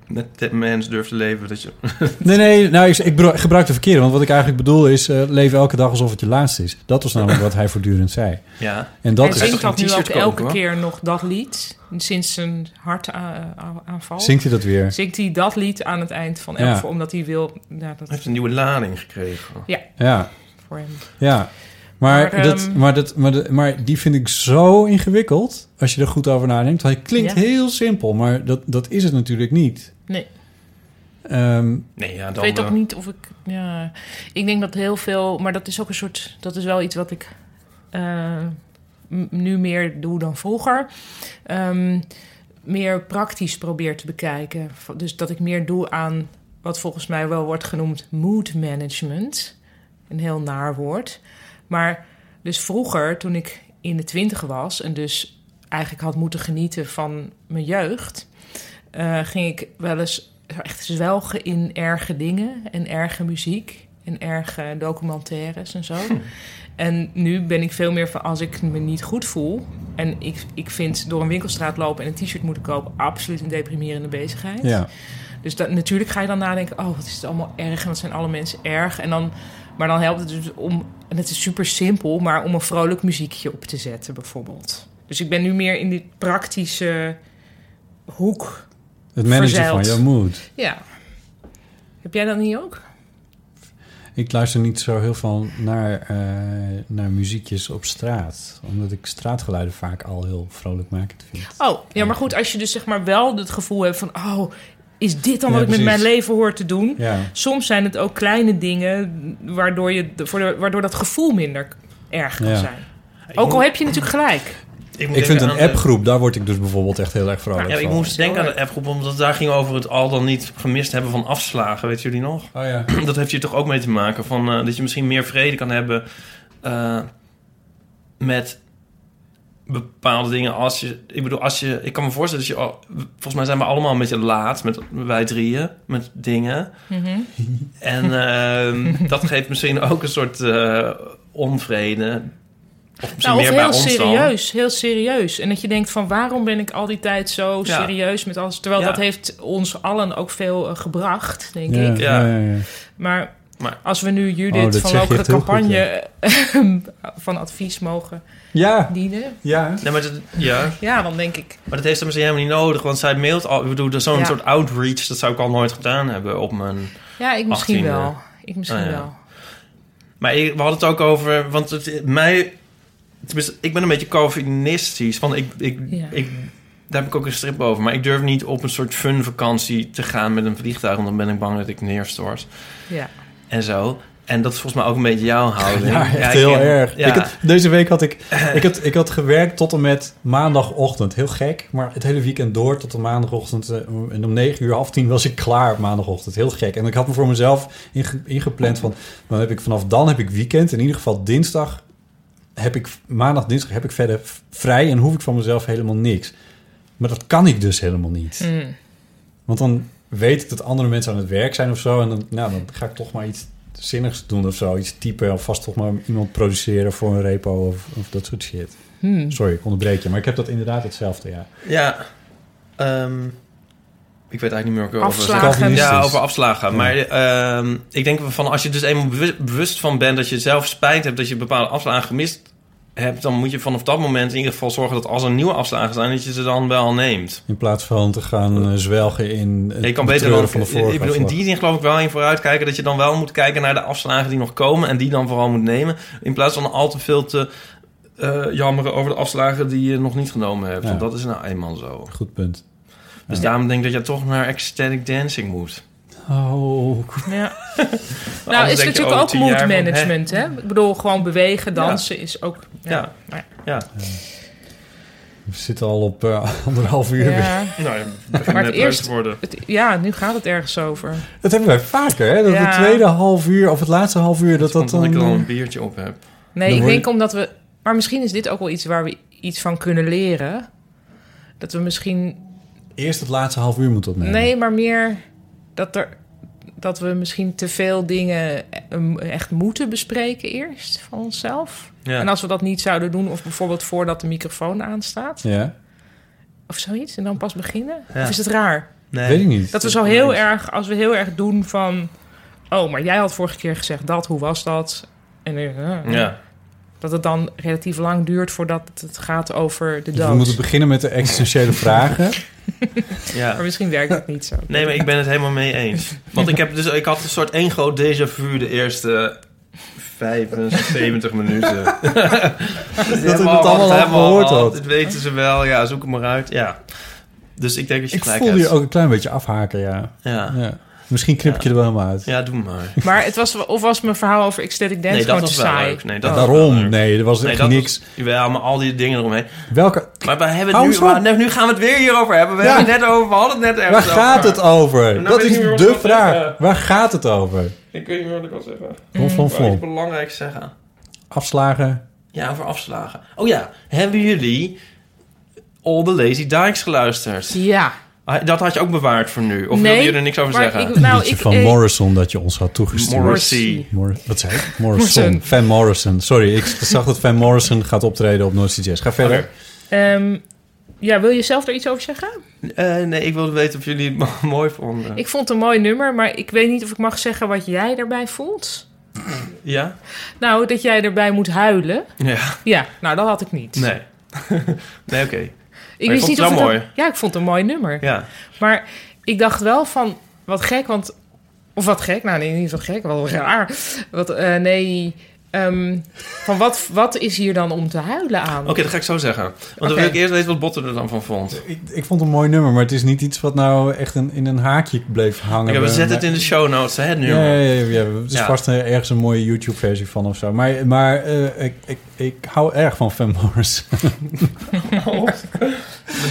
[SPEAKER 5] Met de mens durft te leven. Dat je...
[SPEAKER 3] Nee, nee. Nou, ik, ik bro- gebruik de verkeerde. Want wat ik eigenlijk bedoel is... eh, leef elke dag alsof het je laatste is. Dat was namelijk wat hij voortdurend zei.
[SPEAKER 5] Ja.
[SPEAKER 3] En dat
[SPEAKER 4] Hij
[SPEAKER 5] is-
[SPEAKER 4] zingt
[SPEAKER 5] Hij
[SPEAKER 4] dat
[SPEAKER 5] gaat
[SPEAKER 4] nu
[SPEAKER 5] geen
[SPEAKER 4] ook
[SPEAKER 5] t-shirt kopen,
[SPEAKER 4] elke
[SPEAKER 5] hoor.
[SPEAKER 4] keer nog dat lied. Sinds zijn hartaanval.
[SPEAKER 3] Zingt hij dat weer?
[SPEAKER 4] Zingt hij dat lied aan het eind van
[SPEAKER 3] Ja.
[SPEAKER 4] elke omdat hij wil... Ja, dat
[SPEAKER 5] Hij
[SPEAKER 4] is
[SPEAKER 5] heeft een nieuwe lading gekregen.
[SPEAKER 3] Ja,
[SPEAKER 4] voor hem.
[SPEAKER 3] ja. Maar,
[SPEAKER 4] Maar,
[SPEAKER 3] dat,
[SPEAKER 4] ehm,
[SPEAKER 3] maar, dat, maar, dat- maar die vind ik zo ingewikkeld, als je er goed over nadenkt. Hij klinkt
[SPEAKER 4] Ja.
[SPEAKER 3] heel simpel, maar dat, dat is het natuurlijk niet.
[SPEAKER 4] Nee.
[SPEAKER 3] Ehm,
[SPEAKER 5] Nee, ja,
[SPEAKER 4] Ik
[SPEAKER 5] dan...
[SPEAKER 4] weet ook
[SPEAKER 5] eh,
[SPEAKER 4] niet of ik... Ja, ik denk dat heel veel... Maar dat is ook een soort... Dat is wel iets wat ik eh, m- nu meer doe dan vroeger. Ehm, meer praktisch probeer te bekijken. Va- Dus dat ik meer doe aan wat volgens mij wel wordt genoemd mood management. Een heel naar woord. Maar dus vroeger, toen ik in de twintig was... en dus eigenlijk had moeten genieten van mijn jeugd... eh, ging ik wel eens echt zwelgen in erge dingen en erge muziek en erge documentaires en zo. En nu ben ik veel meer van als ik me niet goed voel. En ik, ik vind door een winkelstraat lopen en een t-shirt moeten kopen absoluut een deprimerende bezigheid.
[SPEAKER 3] ja.
[SPEAKER 4] Dus dat, natuurlijk ga je dan nadenken, oh, wat is het allemaal erg en wat zijn alle mensen erg. En dan, maar dan helpt het dus om, en het is super simpel, maar om een vrolijk muziekje op te zetten bijvoorbeeld. Dus ik ben nu meer in die praktische hoek.
[SPEAKER 3] Het managen van
[SPEAKER 4] Verzeild.
[SPEAKER 3] jouw mood.
[SPEAKER 4] Ja. Heb jij dat niet ook?
[SPEAKER 3] Ik luister niet zo heel veel naar, eh, naar muziekjes op straat. Omdat ik straatgeluiden vaak al heel vrolijk makend vind.
[SPEAKER 4] Oh, ja, maar goed, als je dus zeg maar wel het gevoel hebt van... oh, is dit dan wat
[SPEAKER 3] Ja,
[SPEAKER 4] ik met
[SPEAKER 3] precies.
[SPEAKER 4] mijn leven hoor te doen?
[SPEAKER 3] Ja,
[SPEAKER 4] Soms zijn het ook kleine dingen waardoor, je, de- voor de- waardoor dat gevoel minder erg kan
[SPEAKER 3] Ja.
[SPEAKER 4] zijn.
[SPEAKER 5] ik
[SPEAKER 4] Ook
[SPEAKER 5] moet-
[SPEAKER 4] al heb je natuurlijk gelijk.
[SPEAKER 5] moet
[SPEAKER 3] ik
[SPEAKER 5] denken
[SPEAKER 3] vind een
[SPEAKER 5] aan de-
[SPEAKER 3] appgroep, daar word ik dus bijvoorbeeld echt heel erg vrolijk
[SPEAKER 5] Ja, ik
[SPEAKER 3] van.
[SPEAKER 5] moest denken aan de appgroep, omdat daar ging over het al dan niet gemist hebben van afslagen. Weet jullie nog?
[SPEAKER 3] Oh ja.
[SPEAKER 5] dat heeft hier toch ook mee te maken. Van, eh, dat je misschien meer vrede kan hebben eh, met bepaalde dingen. Als je, ik bedoel, als je, ik kan me voorstellen dat je al, volgens mij zijn we allemaal een beetje laat met wij drieën met dingen.
[SPEAKER 4] Mhm.
[SPEAKER 5] En ehm, dat geeft misschien ook een soort eh, onvrede. Of misschien
[SPEAKER 4] Nou, of
[SPEAKER 5] meer bij
[SPEAKER 4] heel
[SPEAKER 5] ons dan.
[SPEAKER 4] serieus, heel serieus. En dat je denkt van waarom ben ik al die tijd zo
[SPEAKER 5] Ja.
[SPEAKER 4] serieus met alles... terwijl
[SPEAKER 5] Ja.
[SPEAKER 4] dat heeft ons allen ook veel eh, gebracht, denk
[SPEAKER 3] Ja,
[SPEAKER 4] ik.
[SPEAKER 3] ja, ja, ja.
[SPEAKER 4] Maar,
[SPEAKER 5] Maar-
[SPEAKER 4] als we nu
[SPEAKER 3] Oh,
[SPEAKER 4] Judith
[SPEAKER 3] dat
[SPEAKER 4] van
[SPEAKER 3] zeg je
[SPEAKER 4] ook de
[SPEAKER 3] echt heel goed,
[SPEAKER 4] campagne eh, van advies mogen
[SPEAKER 3] Ja,
[SPEAKER 4] dienen...
[SPEAKER 3] ja.
[SPEAKER 5] Nee, maar dat, ja,
[SPEAKER 4] ja, dan denk ik...
[SPEAKER 5] maar dat heeft ze misschien helemaal niet nodig. Want zij mailt al. Ik bedoel, dat is zo'n
[SPEAKER 4] Ja.
[SPEAKER 5] soort outreach. Dat zou ik al nooit gedaan hebben op mijn
[SPEAKER 4] Ja, ik misschien
[SPEAKER 5] 18e.
[SPEAKER 4] wel. Ik misschien
[SPEAKER 5] Ah, ja.
[SPEAKER 4] wel.
[SPEAKER 5] Maar ik- we hadden het ook over... Want het, mij... Tenminste, ik ben een beetje Calvinistisch. Van ik, ik,
[SPEAKER 4] Ja.
[SPEAKER 5] ik, daar heb ik ook een strip over. Maar ik durf niet op een soort fun vakantie te gaan met een vliegtuig. Want dan ben ik bang dat ik neerstort.
[SPEAKER 4] Ja.
[SPEAKER 5] En zo. En dat is volgens mij ook een beetje jouw houding.
[SPEAKER 3] Ja, echt
[SPEAKER 5] ik
[SPEAKER 3] heel
[SPEAKER 5] ken-
[SPEAKER 3] erg.
[SPEAKER 5] Ja.
[SPEAKER 3] Ik had- deze week had ik, ik, had, ik had gewerkt tot en met maandagochtend. Heel gek, maar het hele weekend door tot en maandagochtend. eh, En om negen uur, half tien was ik klaar op maandagochtend. Heel gek. En ik had me voor mezelf inge- ingepland van... Dan heb ik, vanaf dan heb ik weekend. In ieder geval dinsdag heb ik... Maandag, dinsdag heb ik verder v- vrij en hoef ik van mezelf helemaal niks. Maar dat kan ik dus helemaal niet. Want dan weet ik dat andere mensen aan het werk zijn of zo. En dan, nou, dan ga ik toch maar iets zinnigs doen of zo. Iets typen of vast toch maar iemand produceren voor een repo of, of dat soort shit.
[SPEAKER 4] Hmm.
[SPEAKER 3] Sorry, ik onderbreek je. Maar ik heb dat inderdaad hetzelfde, ja.
[SPEAKER 5] Ja, ehm, ik weet eigenlijk niet meer ook
[SPEAKER 4] Afslagen.
[SPEAKER 5] Ja, over afslagen.
[SPEAKER 3] Ja.
[SPEAKER 5] Maar ehm, ik denk van als je dus eenmaal bewust, bewust van bent dat je zelf spijt hebt dat je bepaalde afslagen gemist hebt, dan moet je vanaf dat moment in ieder geval zorgen dat als er nieuwe afslagen zijn, dat je ze dan wel neemt.
[SPEAKER 3] In plaats van te gaan eh, zwelgen in het
[SPEAKER 5] je kan beter
[SPEAKER 3] betreuren
[SPEAKER 5] dan,
[SPEAKER 3] van de vorige
[SPEAKER 5] ik bedoel, in die zin geloof ik wel in vooruitkijken dat je dan wel moet kijken naar de afslagen die nog komen en die dan vooral moet nemen, in plaats van al te veel te eh, jammeren over de afslagen die je nog niet genomen hebt.
[SPEAKER 3] Ja.
[SPEAKER 5] Want dat is nou eenmaal zo.
[SPEAKER 3] Goed punt.
[SPEAKER 5] Dus
[SPEAKER 3] Ja.
[SPEAKER 5] daarom denk ik dat je toch naar ecstatic dancing moet.
[SPEAKER 3] Oh,
[SPEAKER 4] Ja.
[SPEAKER 5] Want
[SPEAKER 4] Nou,
[SPEAKER 5] anders
[SPEAKER 4] is
[SPEAKER 5] denk je
[SPEAKER 4] natuurlijk
[SPEAKER 5] over
[SPEAKER 4] ook
[SPEAKER 5] tien
[SPEAKER 4] mood
[SPEAKER 5] jaar van, hè?
[SPEAKER 4] management, hè? Ik bedoel, gewoon bewegen, dansen is ook...
[SPEAKER 5] Ja.
[SPEAKER 4] Ja.
[SPEAKER 3] we zitten al op eh, anderhalf uur weer.
[SPEAKER 4] Ja.
[SPEAKER 5] Nou, ja, we beginnen net
[SPEAKER 4] eerst-
[SPEAKER 5] leuk te worden.
[SPEAKER 4] Het- ja, nu gaat het ergens over.
[SPEAKER 3] Dat hebben wij vaker, hè? Dat
[SPEAKER 4] Ja.
[SPEAKER 3] het tweede half uur of het laatste half uur... Dat dat
[SPEAKER 5] Omdat
[SPEAKER 3] dan... eh,
[SPEAKER 5] ik er al een biertje op heb.
[SPEAKER 4] Nee,
[SPEAKER 3] Dan
[SPEAKER 4] ik
[SPEAKER 3] word
[SPEAKER 4] denk omdat we... Maar misschien is dit ook wel iets waar we iets van kunnen leren. Dat we misschien...
[SPEAKER 3] Eerst het laatste half uur moet opnemen.
[SPEAKER 4] Nee, maar meer dat, er, dat we misschien te veel dingen eh, echt moeten bespreken eerst van onszelf.
[SPEAKER 5] Ja.
[SPEAKER 4] En
[SPEAKER 3] Nou,
[SPEAKER 4] als we dat niet zouden doen, of bijvoorbeeld voordat de microfoon aanstaat,
[SPEAKER 3] Ja?
[SPEAKER 4] of zoiets, en dan pas beginnen.
[SPEAKER 5] Ja.
[SPEAKER 4] Of is het raar?
[SPEAKER 5] nee.
[SPEAKER 3] Weet ik niet.
[SPEAKER 4] Dat we zo heel erg, als we heel erg doen van... Oh, maar jij had vorige keer gezegd dat, hoe was dat? En eh, eh,
[SPEAKER 5] Ja.
[SPEAKER 4] dat het dan relatief lang duurt voordat het gaat over de
[SPEAKER 3] Dus
[SPEAKER 4] dood.
[SPEAKER 3] we moeten beginnen met de existentiële vragen.
[SPEAKER 4] Maar
[SPEAKER 5] ja.
[SPEAKER 4] misschien werkt het niet zo.
[SPEAKER 5] Nee, maar ik ben het helemaal mee eens. Want ik, heb dus, ik had een soort één groot déjà vu de eerste 75 minuten. dat
[SPEAKER 3] we het allemaal al gehoord had.
[SPEAKER 5] Dat weten ze wel. Ja, zoek het maar uit. Ja. Dus ik denk dat je
[SPEAKER 3] Ik
[SPEAKER 5] gelijk
[SPEAKER 3] voelde
[SPEAKER 5] hebt.
[SPEAKER 3] je ook een klein beetje afhaken, ja.
[SPEAKER 5] Ja.
[SPEAKER 3] ja. Misschien knip ik je er wel helemaal uit.
[SPEAKER 5] ja, doe maar.
[SPEAKER 4] Maar het was, of was mijn verhaal over ecstatic dance
[SPEAKER 5] Nee, dat
[SPEAKER 4] gewoon te
[SPEAKER 5] was wel
[SPEAKER 4] saai?
[SPEAKER 5] leuk. Nee, dat
[SPEAKER 3] Ja,
[SPEAKER 5] was wel
[SPEAKER 3] Daarom,
[SPEAKER 5] leuk.
[SPEAKER 3] nee, er was
[SPEAKER 5] Nee,
[SPEAKER 3] echt
[SPEAKER 5] dat
[SPEAKER 3] niks.
[SPEAKER 5] was- Jawel, maar al die dingen eromheen.
[SPEAKER 3] Welke,
[SPEAKER 5] Maar we hebben het
[SPEAKER 3] Hou
[SPEAKER 5] nu,
[SPEAKER 3] eens op.
[SPEAKER 5] maar, nu gaan we het weer hierover hebben. We
[SPEAKER 3] Ja.
[SPEAKER 5] hebben het net over, we hadden het net ergens
[SPEAKER 3] waar gaat
[SPEAKER 5] over.
[SPEAKER 3] het over?
[SPEAKER 5] Nou
[SPEAKER 3] dat
[SPEAKER 5] weet
[SPEAKER 3] is
[SPEAKER 5] ik niet meer wat eh.
[SPEAKER 3] de
[SPEAKER 5] ik wil
[SPEAKER 3] vraag.
[SPEAKER 5] zeggen.
[SPEAKER 3] Waar gaat het over?
[SPEAKER 5] Ik weet niet meer wat ik wil zeggen.
[SPEAKER 3] Ron van
[SPEAKER 5] Wou iets
[SPEAKER 3] Vlon.
[SPEAKER 5] belangrijks zeggen?
[SPEAKER 3] Afslagen.
[SPEAKER 5] Ja, over afslagen. Oh ja, hebben jullie All the Lazy Dykes geluisterd?
[SPEAKER 4] Ja.
[SPEAKER 5] Ah, Dat had je ook bewaard voor nu? Of
[SPEAKER 4] Nee,
[SPEAKER 5] wilde je er niks over
[SPEAKER 4] maar
[SPEAKER 5] zeggen?
[SPEAKER 4] ik-
[SPEAKER 3] Een
[SPEAKER 4] Nou,
[SPEAKER 3] liedje
[SPEAKER 4] ik-
[SPEAKER 3] van
[SPEAKER 4] eh,
[SPEAKER 3] Morrison dat je ons had toegestuurd.
[SPEAKER 5] Morrissey.
[SPEAKER 3] Mor- wat zei ik? Morrison.
[SPEAKER 4] Morrison.
[SPEAKER 3] Van Morrison. Sorry, ik zag dat Van Morrison gaat optreden op Noordse Jazz. Ga verder.
[SPEAKER 5] Oké.
[SPEAKER 4] Ehm, ja, wil je zelf er iets over zeggen?
[SPEAKER 5] Eh, nee, ik wilde weten of jullie het mo- mooi vonden.
[SPEAKER 4] Ik vond het een mooi nummer, maar ik weet niet of ik mag zeggen wat jij erbij voelt.
[SPEAKER 5] Ja?
[SPEAKER 4] Nou, dat jij erbij moet huilen.
[SPEAKER 5] Ja.
[SPEAKER 4] Ja, nou, dat had ik niet.
[SPEAKER 5] Nee. nee, oké.
[SPEAKER 4] Ik
[SPEAKER 5] Maar je vond het wel
[SPEAKER 4] of het
[SPEAKER 5] mooi.
[SPEAKER 4] een- ja, ik vond het een mooi nummer.
[SPEAKER 5] Ja.
[SPEAKER 4] Maar ik dacht wel van, wat gek, want... Of wat gek, nou nee, niet wat gek, wel raar. Wat, eh, nee, ehm, van wat, wat is hier dan om te huilen aan?
[SPEAKER 5] Oké, dat ga ik zo zeggen. Want dan
[SPEAKER 4] Oké.
[SPEAKER 5] wil ik eerst weten wat Botte er dan van vond.
[SPEAKER 3] Ik, ik vond het een mooi nummer, maar het is niet iets wat nou echt een, in een haakje bleef hangen.
[SPEAKER 5] Oké, we
[SPEAKER 3] bij
[SPEAKER 5] zetten
[SPEAKER 3] mij.
[SPEAKER 5] het in de show notes, hè, nu.
[SPEAKER 3] Ja, ja, ja, ja, er is
[SPEAKER 5] Ja.
[SPEAKER 3] vast eh, ergens een mooie YouTube-versie van of zo. Maar, maar eh, ik, ik, ik hou erg van Van Morrison.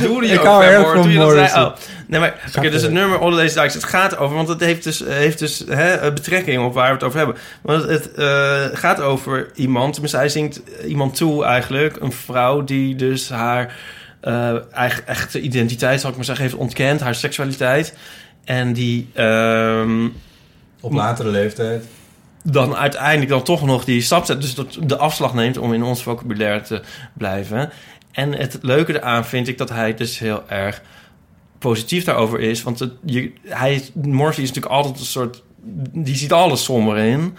[SPEAKER 5] bedoelde je
[SPEAKER 3] Ik
[SPEAKER 5] ook
[SPEAKER 3] hou
[SPEAKER 5] Van
[SPEAKER 3] erg van
[SPEAKER 5] Morrison,
[SPEAKER 3] eh,
[SPEAKER 5] toen je dat
[SPEAKER 3] Morrison.
[SPEAKER 5] zei? Oh, nee, maar oké, dus het nummer All the Lazy Dykes, het gaat over, want het heeft dus, heeft dus hè, eh, betrekking op waar we het over hebben. Want het eh, gaat over iemand, tenminste hij zingt iemand toe eigenlijk, een vrouw die dus haar eh, eigen, echte identiteit, zal ik maar zeggen, heeft ontkend, haar seksualiteit. En die ehm,
[SPEAKER 3] Op latere leeftijd.
[SPEAKER 5] dan uiteindelijk dan toch nog die stap zet. Dus dat de afslag neemt om in ons vocabulaire te blijven. En het leuke eraan vind ik dat hij dus heel erg positief daarover is. Want het, je, hij, Morphy is natuurlijk altijd een soort... Die ziet alles somber in.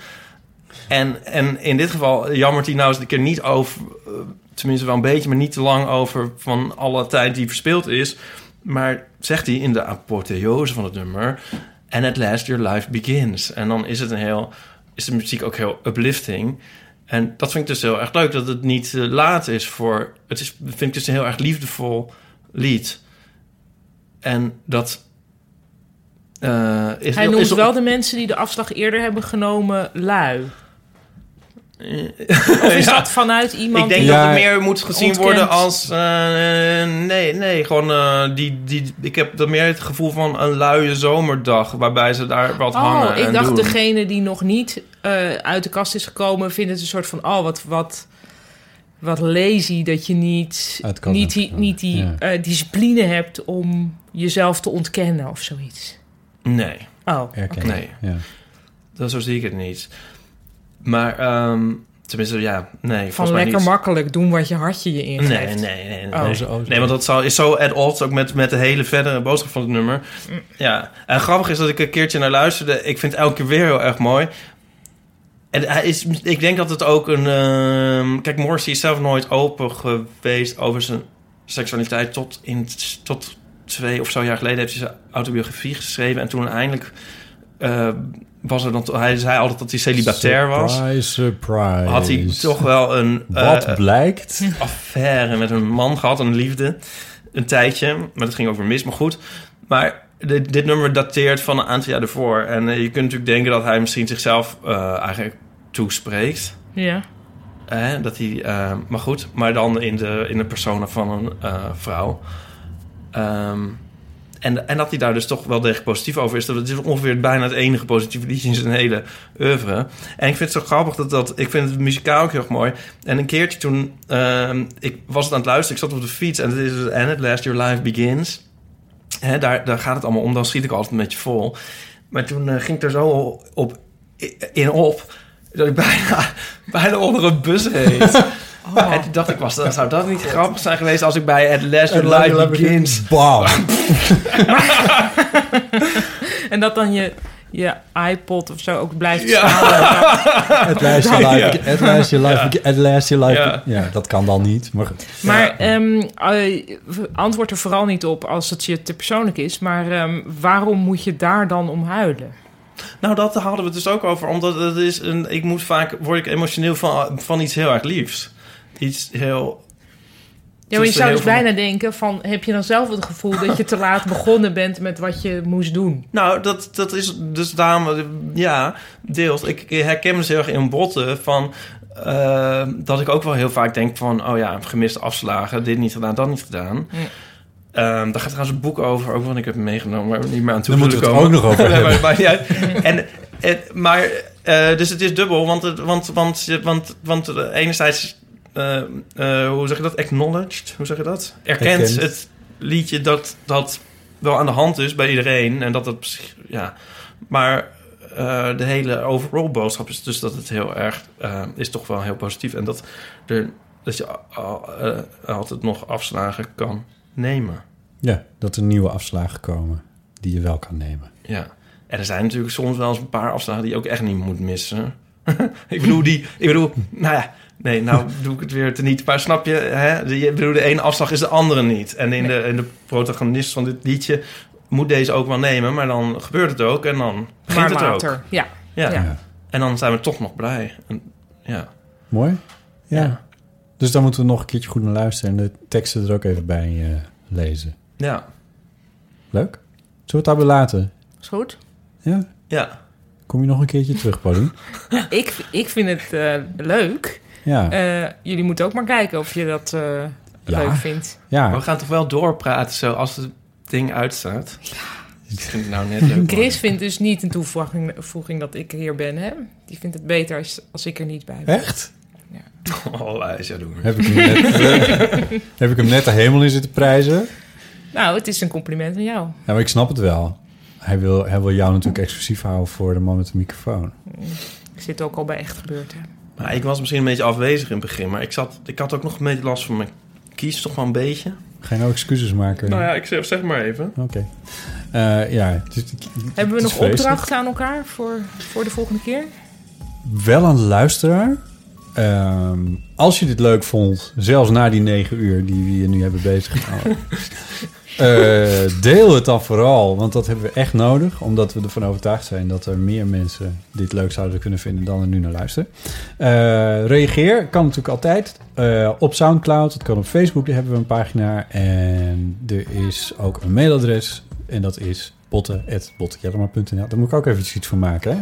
[SPEAKER 5] En, en in dit geval jammert hij nou eens een keer niet over... eh, tenminste wel een beetje, maar niet te lang over... van alle tijd die verspild is. Maar zegt hij in de apotheose van het nummer... And at last your life begins. En dan is het een heel is de muziek ook heel uplifting. En dat vind ik dus heel erg leuk, dat het niet eh, laat is voor... Het is, vind ik dus een heel erg liefdevol lied. En dat... eh, is,
[SPEAKER 4] Hij
[SPEAKER 5] is-
[SPEAKER 4] noemt
[SPEAKER 5] is-
[SPEAKER 4] wel de mensen die de afslag eerder hebben genomen lui. Of is
[SPEAKER 5] Ja.
[SPEAKER 4] dat vanuit iemand...
[SPEAKER 5] Eh, Ik denk
[SPEAKER 4] die-
[SPEAKER 3] Ja,
[SPEAKER 5] dat het meer moet gezien
[SPEAKER 4] ontkent.
[SPEAKER 5] worden als... eh, eh, nee, nee, gewoon eh, die, die... Ik heb dan meer het gevoel van een luie zomerdag... waarbij ze daar wat
[SPEAKER 4] Oh,
[SPEAKER 5] hangen
[SPEAKER 4] ik
[SPEAKER 5] en
[SPEAKER 4] dacht
[SPEAKER 5] doen.
[SPEAKER 4] degene die nog niet eh, uit de kast is gekomen... vindt het een soort van, oh, wat, wat wat lazy dat je niet,
[SPEAKER 3] Het kan
[SPEAKER 4] niet, die,
[SPEAKER 3] ook,
[SPEAKER 4] niet die
[SPEAKER 3] ja.
[SPEAKER 4] eh, discipline hebt om jezelf te ontkennen of zoiets.
[SPEAKER 5] Nee,
[SPEAKER 4] Oh,
[SPEAKER 3] Erkennen.
[SPEAKER 5] Nee.
[SPEAKER 3] Ja.
[SPEAKER 5] dat, zo zie ik het niet. Maar, ehm, tenminste, ja, nee.
[SPEAKER 4] van
[SPEAKER 5] volgens mij
[SPEAKER 4] lekker
[SPEAKER 5] niet.
[SPEAKER 4] makkelijk doen wat je hartje je ingeeft.
[SPEAKER 5] Nee, nee, nee. nee,
[SPEAKER 4] Oh.
[SPEAKER 5] nee.
[SPEAKER 3] Oh, zo- oh, zo.
[SPEAKER 5] Nee, want dat zou- is zo at odds ook met, met de hele verdere boodschap van het nummer. Ja, en grappig is dat ik een keertje naar luisterde. Ik vind het elke keer weer heel erg mooi. En hij is, ik denk dat het ook een... ehm, kijk, Morrissey is zelf nooit open geweest over zijn seksualiteit. Tot, in, tot twee of zo jaar geleden heeft hij zijn autobiografie geschreven. En toen eindelijk eh, was er dan... Hij zei altijd dat hij celibatair was.
[SPEAKER 3] Surprise, surprise.
[SPEAKER 5] Had hij toch wel een...
[SPEAKER 3] Wat
[SPEAKER 5] eh,
[SPEAKER 3] blijkt?
[SPEAKER 5] affaire met een man gehad, een liefde. Een tijdje, maar dat ging over mis, maar goed. Maar dit, dit nummer dateert van een aantal jaar ervoor. En eh, je kunt natuurlijk denken dat hij misschien zichzelf eh, eigenlijk toespreekt.
[SPEAKER 4] Ja.
[SPEAKER 5] Hè? Dat hij, eh, maar goed, maar dan in de, in de persona van een eh, vrouw. Ehm, en, en dat hij daar dus toch wel degelijk positief over is. Dat is ongeveer bijna het enige positieve liedje in zijn hele oeuvre. En ik vind het zo grappig dat dat... Ik vind het muzikaal ook heel erg mooi. En een keertje toen... ehm, ik was het aan het luisteren. Ik zat op de fiets. En het is dus... And at last your life begins. Hè, daar, daar gaat het allemaal om. Dan schiet ik altijd een beetje vol. Maar toen eh, ging ik er zo op, in op... dat ik bijna, bijna onder een bus reed. En toen dacht ik, was, dat, zou dat niet grappig zijn geweest... als ik bij At last your life begins...
[SPEAKER 3] Bam.
[SPEAKER 4] En dat dan je, je iPod of zo ook blijft
[SPEAKER 5] Ja.
[SPEAKER 4] staan.
[SPEAKER 3] At last your life, at last your life, at last your life.
[SPEAKER 5] Ja.
[SPEAKER 3] Ja. dat kan dan niet. Maar goed.
[SPEAKER 4] Maar ehm, eh, antwoord er vooral niet op als het je te persoonlijk is. Maar ehm, waarom moet je daar dan om huilen?
[SPEAKER 5] Nou, dat hadden we het dus ook over. Omdat het is een. Ik moet vaak. Word ik emotioneel van, van iets heel erg liefs. Iets heel.
[SPEAKER 4] Ja, maar je
[SPEAKER 5] is
[SPEAKER 4] zou
[SPEAKER 5] heel
[SPEAKER 4] dus
[SPEAKER 5] veel-
[SPEAKER 4] bijna denken van... heb je dan zelf het gevoel dat je te laat begonnen bent met wat je moest doen?
[SPEAKER 5] Nou, dat, dat is dus daarom. Ja, deels. Ik ik herken me dus heel erg in botten van. eh, dat ik ook wel heel vaak denk van. Oh ja, gemiste afslagen. Dit niet gedaan, dat niet gedaan.
[SPEAKER 4] Ja.
[SPEAKER 5] Ehm, daar gaat trouwens een boek over, ook want ik heb hem meegenomen, maar niet meer aan toe
[SPEAKER 3] Daar moeten we
[SPEAKER 5] zullen
[SPEAKER 3] het ook
[SPEAKER 5] komen.
[SPEAKER 3] nog over
[SPEAKER 5] Nee,
[SPEAKER 3] hebben.
[SPEAKER 5] maar, maakt niet uit. en, en, maar, eh, dus het is dubbel, want, het- want, want, je- want, want eh, enerzijds, eh, eh, hoe zeg je dat, acknowledged, hoe zeg je dat? Erkent,
[SPEAKER 3] Erkent.
[SPEAKER 5] het liedje dat dat wel aan de hand is bij iedereen en dat dat, misschien- ja, maar eh, de hele overall boodschap is dus dat het heel erg, eh, is toch wel heel positief en dat, er, dat je al- al- eh, altijd nog afslagen kan nemen.
[SPEAKER 3] Ja, dat er nieuwe afslagen komen die je wel kan nemen.
[SPEAKER 5] Ja. En er zijn natuurlijk soms wel eens een paar afslagen die je ook echt niet moet missen. ik bedoel die, ik bedoel, nou ja, nee, nou doe ik het weer te niet. Maar snap je, hè? De, ik bedoel, de ene afslag is de andere niet. En in, de, in de protagonist van dit liedje moet deze ook wel nemen, maar dan gebeurt het ook en dan begint
[SPEAKER 4] Maar
[SPEAKER 5] het
[SPEAKER 4] later.
[SPEAKER 5] ook.
[SPEAKER 4] Ja.
[SPEAKER 5] Ja.
[SPEAKER 4] Ja.
[SPEAKER 5] En dan zijn we toch nog blij. En, ja.
[SPEAKER 3] Mooi? Ja.
[SPEAKER 5] Ja.
[SPEAKER 3] Dus daar moeten we nog een keertje goed naar luisteren en de teksten er ook even bij eh, lezen.
[SPEAKER 5] ja,
[SPEAKER 3] Leuk? Zullen we het daarbij laten?
[SPEAKER 4] Is goed?
[SPEAKER 3] Ja?
[SPEAKER 5] ja,
[SPEAKER 3] Kom je nog een keertje terug, Paulien?
[SPEAKER 4] Ik, ik vind het eh, leuk.
[SPEAKER 3] Ja.
[SPEAKER 4] Eh, jullie moeten ook maar kijken of je dat eh, leuk vindt.
[SPEAKER 5] Maar we
[SPEAKER 3] ja.
[SPEAKER 5] gaan toch wel doorpraten zo als het ding uitstaat. Ja. Ik vind het nou net leuk.
[SPEAKER 4] Chris vindt dus niet een toevoeging voeging dat ik hier ben, hè? Die vindt het beter als, als ik er niet bij ben.
[SPEAKER 3] Echt?
[SPEAKER 5] man. Oh, hij is jaloers.
[SPEAKER 3] Heb ik, hem net, eh, heb ik hem net de hemel in zitten prijzen?
[SPEAKER 4] Nou, het is een compliment aan jou.
[SPEAKER 3] Ja, maar ik snap het wel. Hij wil, hij wil jou natuurlijk exclusief houden voor de man met de microfoon.
[SPEAKER 4] Ik zit ook al bij echt gebeurd, hè?
[SPEAKER 5] Maar ik was misschien een beetje afwezig in het begin, maar ik, zat, ik had ook nog een beetje last van mijn kies, toch wel een beetje.
[SPEAKER 3] Ga je nou excuses maken?
[SPEAKER 5] Nou ja, ik zeg, zeg maar even.
[SPEAKER 3] Oké. Eh, ja, het is-
[SPEAKER 4] Hebben we
[SPEAKER 3] het is
[SPEAKER 4] nog
[SPEAKER 3] vreselijk.
[SPEAKER 4] opdrachten aan elkaar voor, voor de volgende keer?
[SPEAKER 3] Wel een luisteraar. Ehm, als je dit leuk vond, zelfs na die negen uur die we hier nu hebben bezig gehouden, eh, deel het dan vooral, want dat hebben we echt nodig, omdat we ervan overtuigd zijn dat er meer mensen dit leuk zouden kunnen vinden dan er nu naar luisteren. Eh, reageer kan natuurlijk altijd eh, op Soundcloud, het kan op Facebook, daar hebben we een pagina en er is ook een mailadres en dat is botten@bottenjellerma.nl. Daar moet ik ook even iets van maken. Hè?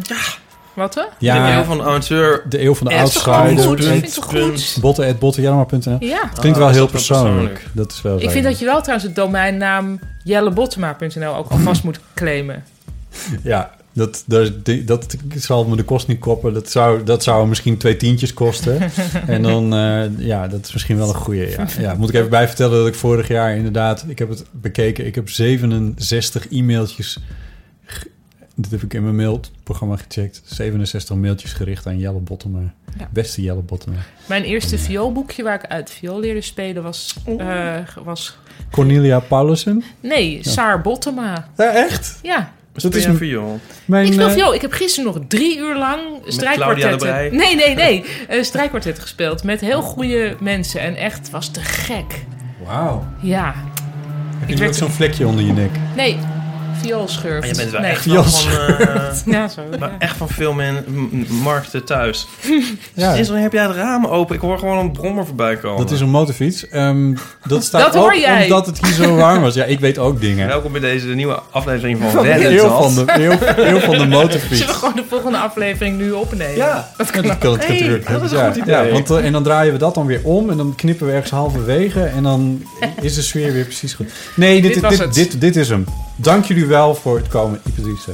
[SPEAKER 4] Wat, hè?
[SPEAKER 5] Ja. Ik ben heel van de auteur.
[SPEAKER 3] De eeuw van de
[SPEAKER 4] Ja, is toch gewoon
[SPEAKER 3] oudschouder.
[SPEAKER 4] goed? Ik vind Oh, het toch goed?
[SPEAKER 3] Botten.bottenjarma.nl
[SPEAKER 4] Ja.
[SPEAKER 3] Het klinkt
[SPEAKER 5] Ah,
[SPEAKER 3] wel heel
[SPEAKER 5] is dat wel persoonlijk?
[SPEAKER 3] persoonlijk. Dat is wel zo.
[SPEAKER 4] Ik vind dat je wel trouwens het domeinnaam jellebottema.nl ook alvast moet claimen.
[SPEAKER 3] Ja, Dat, dat, dat zal me de kost niet koppen. Dat zou, dat zou misschien twee tientjes kosten. en dan, eh, ja, dat is misschien wel een goede. Ja. ja, moet ik even bij vertellen dat ik vorig jaar inderdaad... Ik heb het bekeken. Ik heb 67 e-mailtjes... ge- Dit heb ik in mijn mailprogramma gecheckt. 67 mailtjes gericht aan Jelle Bottomer.
[SPEAKER 4] Ja.
[SPEAKER 3] Beste Jelle Bottomer.
[SPEAKER 4] Mijn eerste vioolboekje waar ik uit viool leerde spelen was... eh, was
[SPEAKER 3] Cornelia Paulussen.
[SPEAKER 4] nee, Saar Bottema.
[SPEAKER 3] Ja, echt?
[SPEAKER 4] Ja,
[SPEAKER 5] Dat
[SPEAKER 3] is
[SPEAKER 5] is
[SPEAKER 3] een-
[SPEAKER 5] een viool.
[SPEAKER 3] Mijn,
[SPEAKER 4] ik speel
[SPEAKER 3] eh,
[SPEAKER 4] viool. Ik heb gisteren nog drie uur lang
[SPEAKER 5] Claudia de Brij.
[SPEAKER 4] strijkkwartetten... Nee, nee, nee. eh, strijkkwartet gespeeld met heel goede mensen. En echt, het was te gek.
[SPEAKER 3] Wauw.
[SPEAKER 4] Ja.
[SPEAKER 3] Heb
[SPEAKER 4] Ik
[SPEAKER 3] je nu
[SPEAKER 4] werd-
[SPEAKER 3] ook zo'n vlekje onder je nek?
[SPEAKER 4] Nee, vioolschurf.
[SPEAKER 5] Maar Ah, je bent wel
[SPEAKER 4] nee.
[SPEAKER 5] echt wel
[SPEAKER 3] Jos.
[SPEAKER 5] van, eh,
[SPEAKER 4] Ja, zo. ja.
[SPEAKER 5] maar echt van veel men, m- markten thuis. Dus dan heb jij het raam open. Ik hoor gewoon een brommer voorbij komen.
[SPEAKER 3] Dat is een motorfiets. Ehm, dat staat
[SPEAKER 4] Dat hoor
[SPEAKER 3] ook
[SPEAKER 4] jij.
[SPEAKER 3] omdat het hier zo warm was. Ja, ik weet ook dingen.
[SPEAKER 5] Welkom bij deze nieuwe aflevering van,
[SPEAKER 3] Heel
[SPEAKER 5] Reddit.
[SPEAKER 3] van de, heel, heel van de motorfiets.
[SPEAKER 4] Zullen we gewoon de volgende aflevering nu opnemen?
[SPEAKER 5] Ja,
[SPEAKER 3] dat kan, dat kan
[SPEAKER 5] Hey,
[SPEAKER 3] natuurlijk.
[SPEAKER 5] dat is een
[SPEAKER 3] Ja,
[SPEAKER 5] goed idee.
[SPEAKER 3] ja, want, eh, en dan draaien we dat dan weer om en dan knippen we ergens halverwege en dan is de sfeer weer precies goed. Nee, dit,
[SPEAKER 4] Dit
[SPEAKER 3] dit,
[SPEAKER 4] was
[SPEAKER 3] dit,
[SPEAKER 4] het.
[SPEAKER 3] dit, is hem. Dank jullie wel voor het komen, Ipatrice,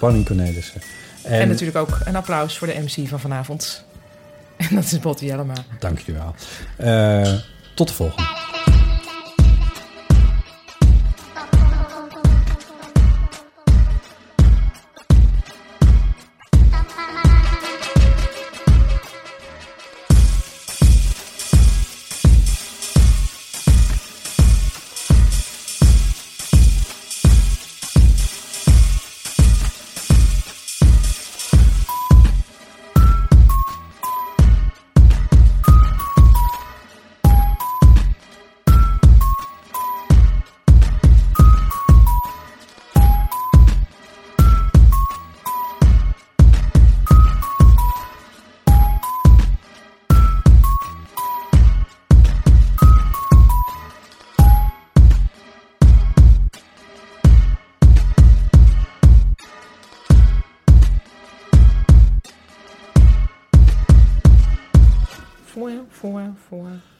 [SPEAKER 3] Panning Cornelissen.
[SPEAKER 4] En,
[SPEAKER 3] En,
[SPEAKER 4] natuurlijk ook een applaus voor de MC van vanavond. En dat is Botte Jellema.
[SPEAKER 3] dank jullie wel. Eh, tot de volgende.
[SPEAKER 4] Voor, voor, voor.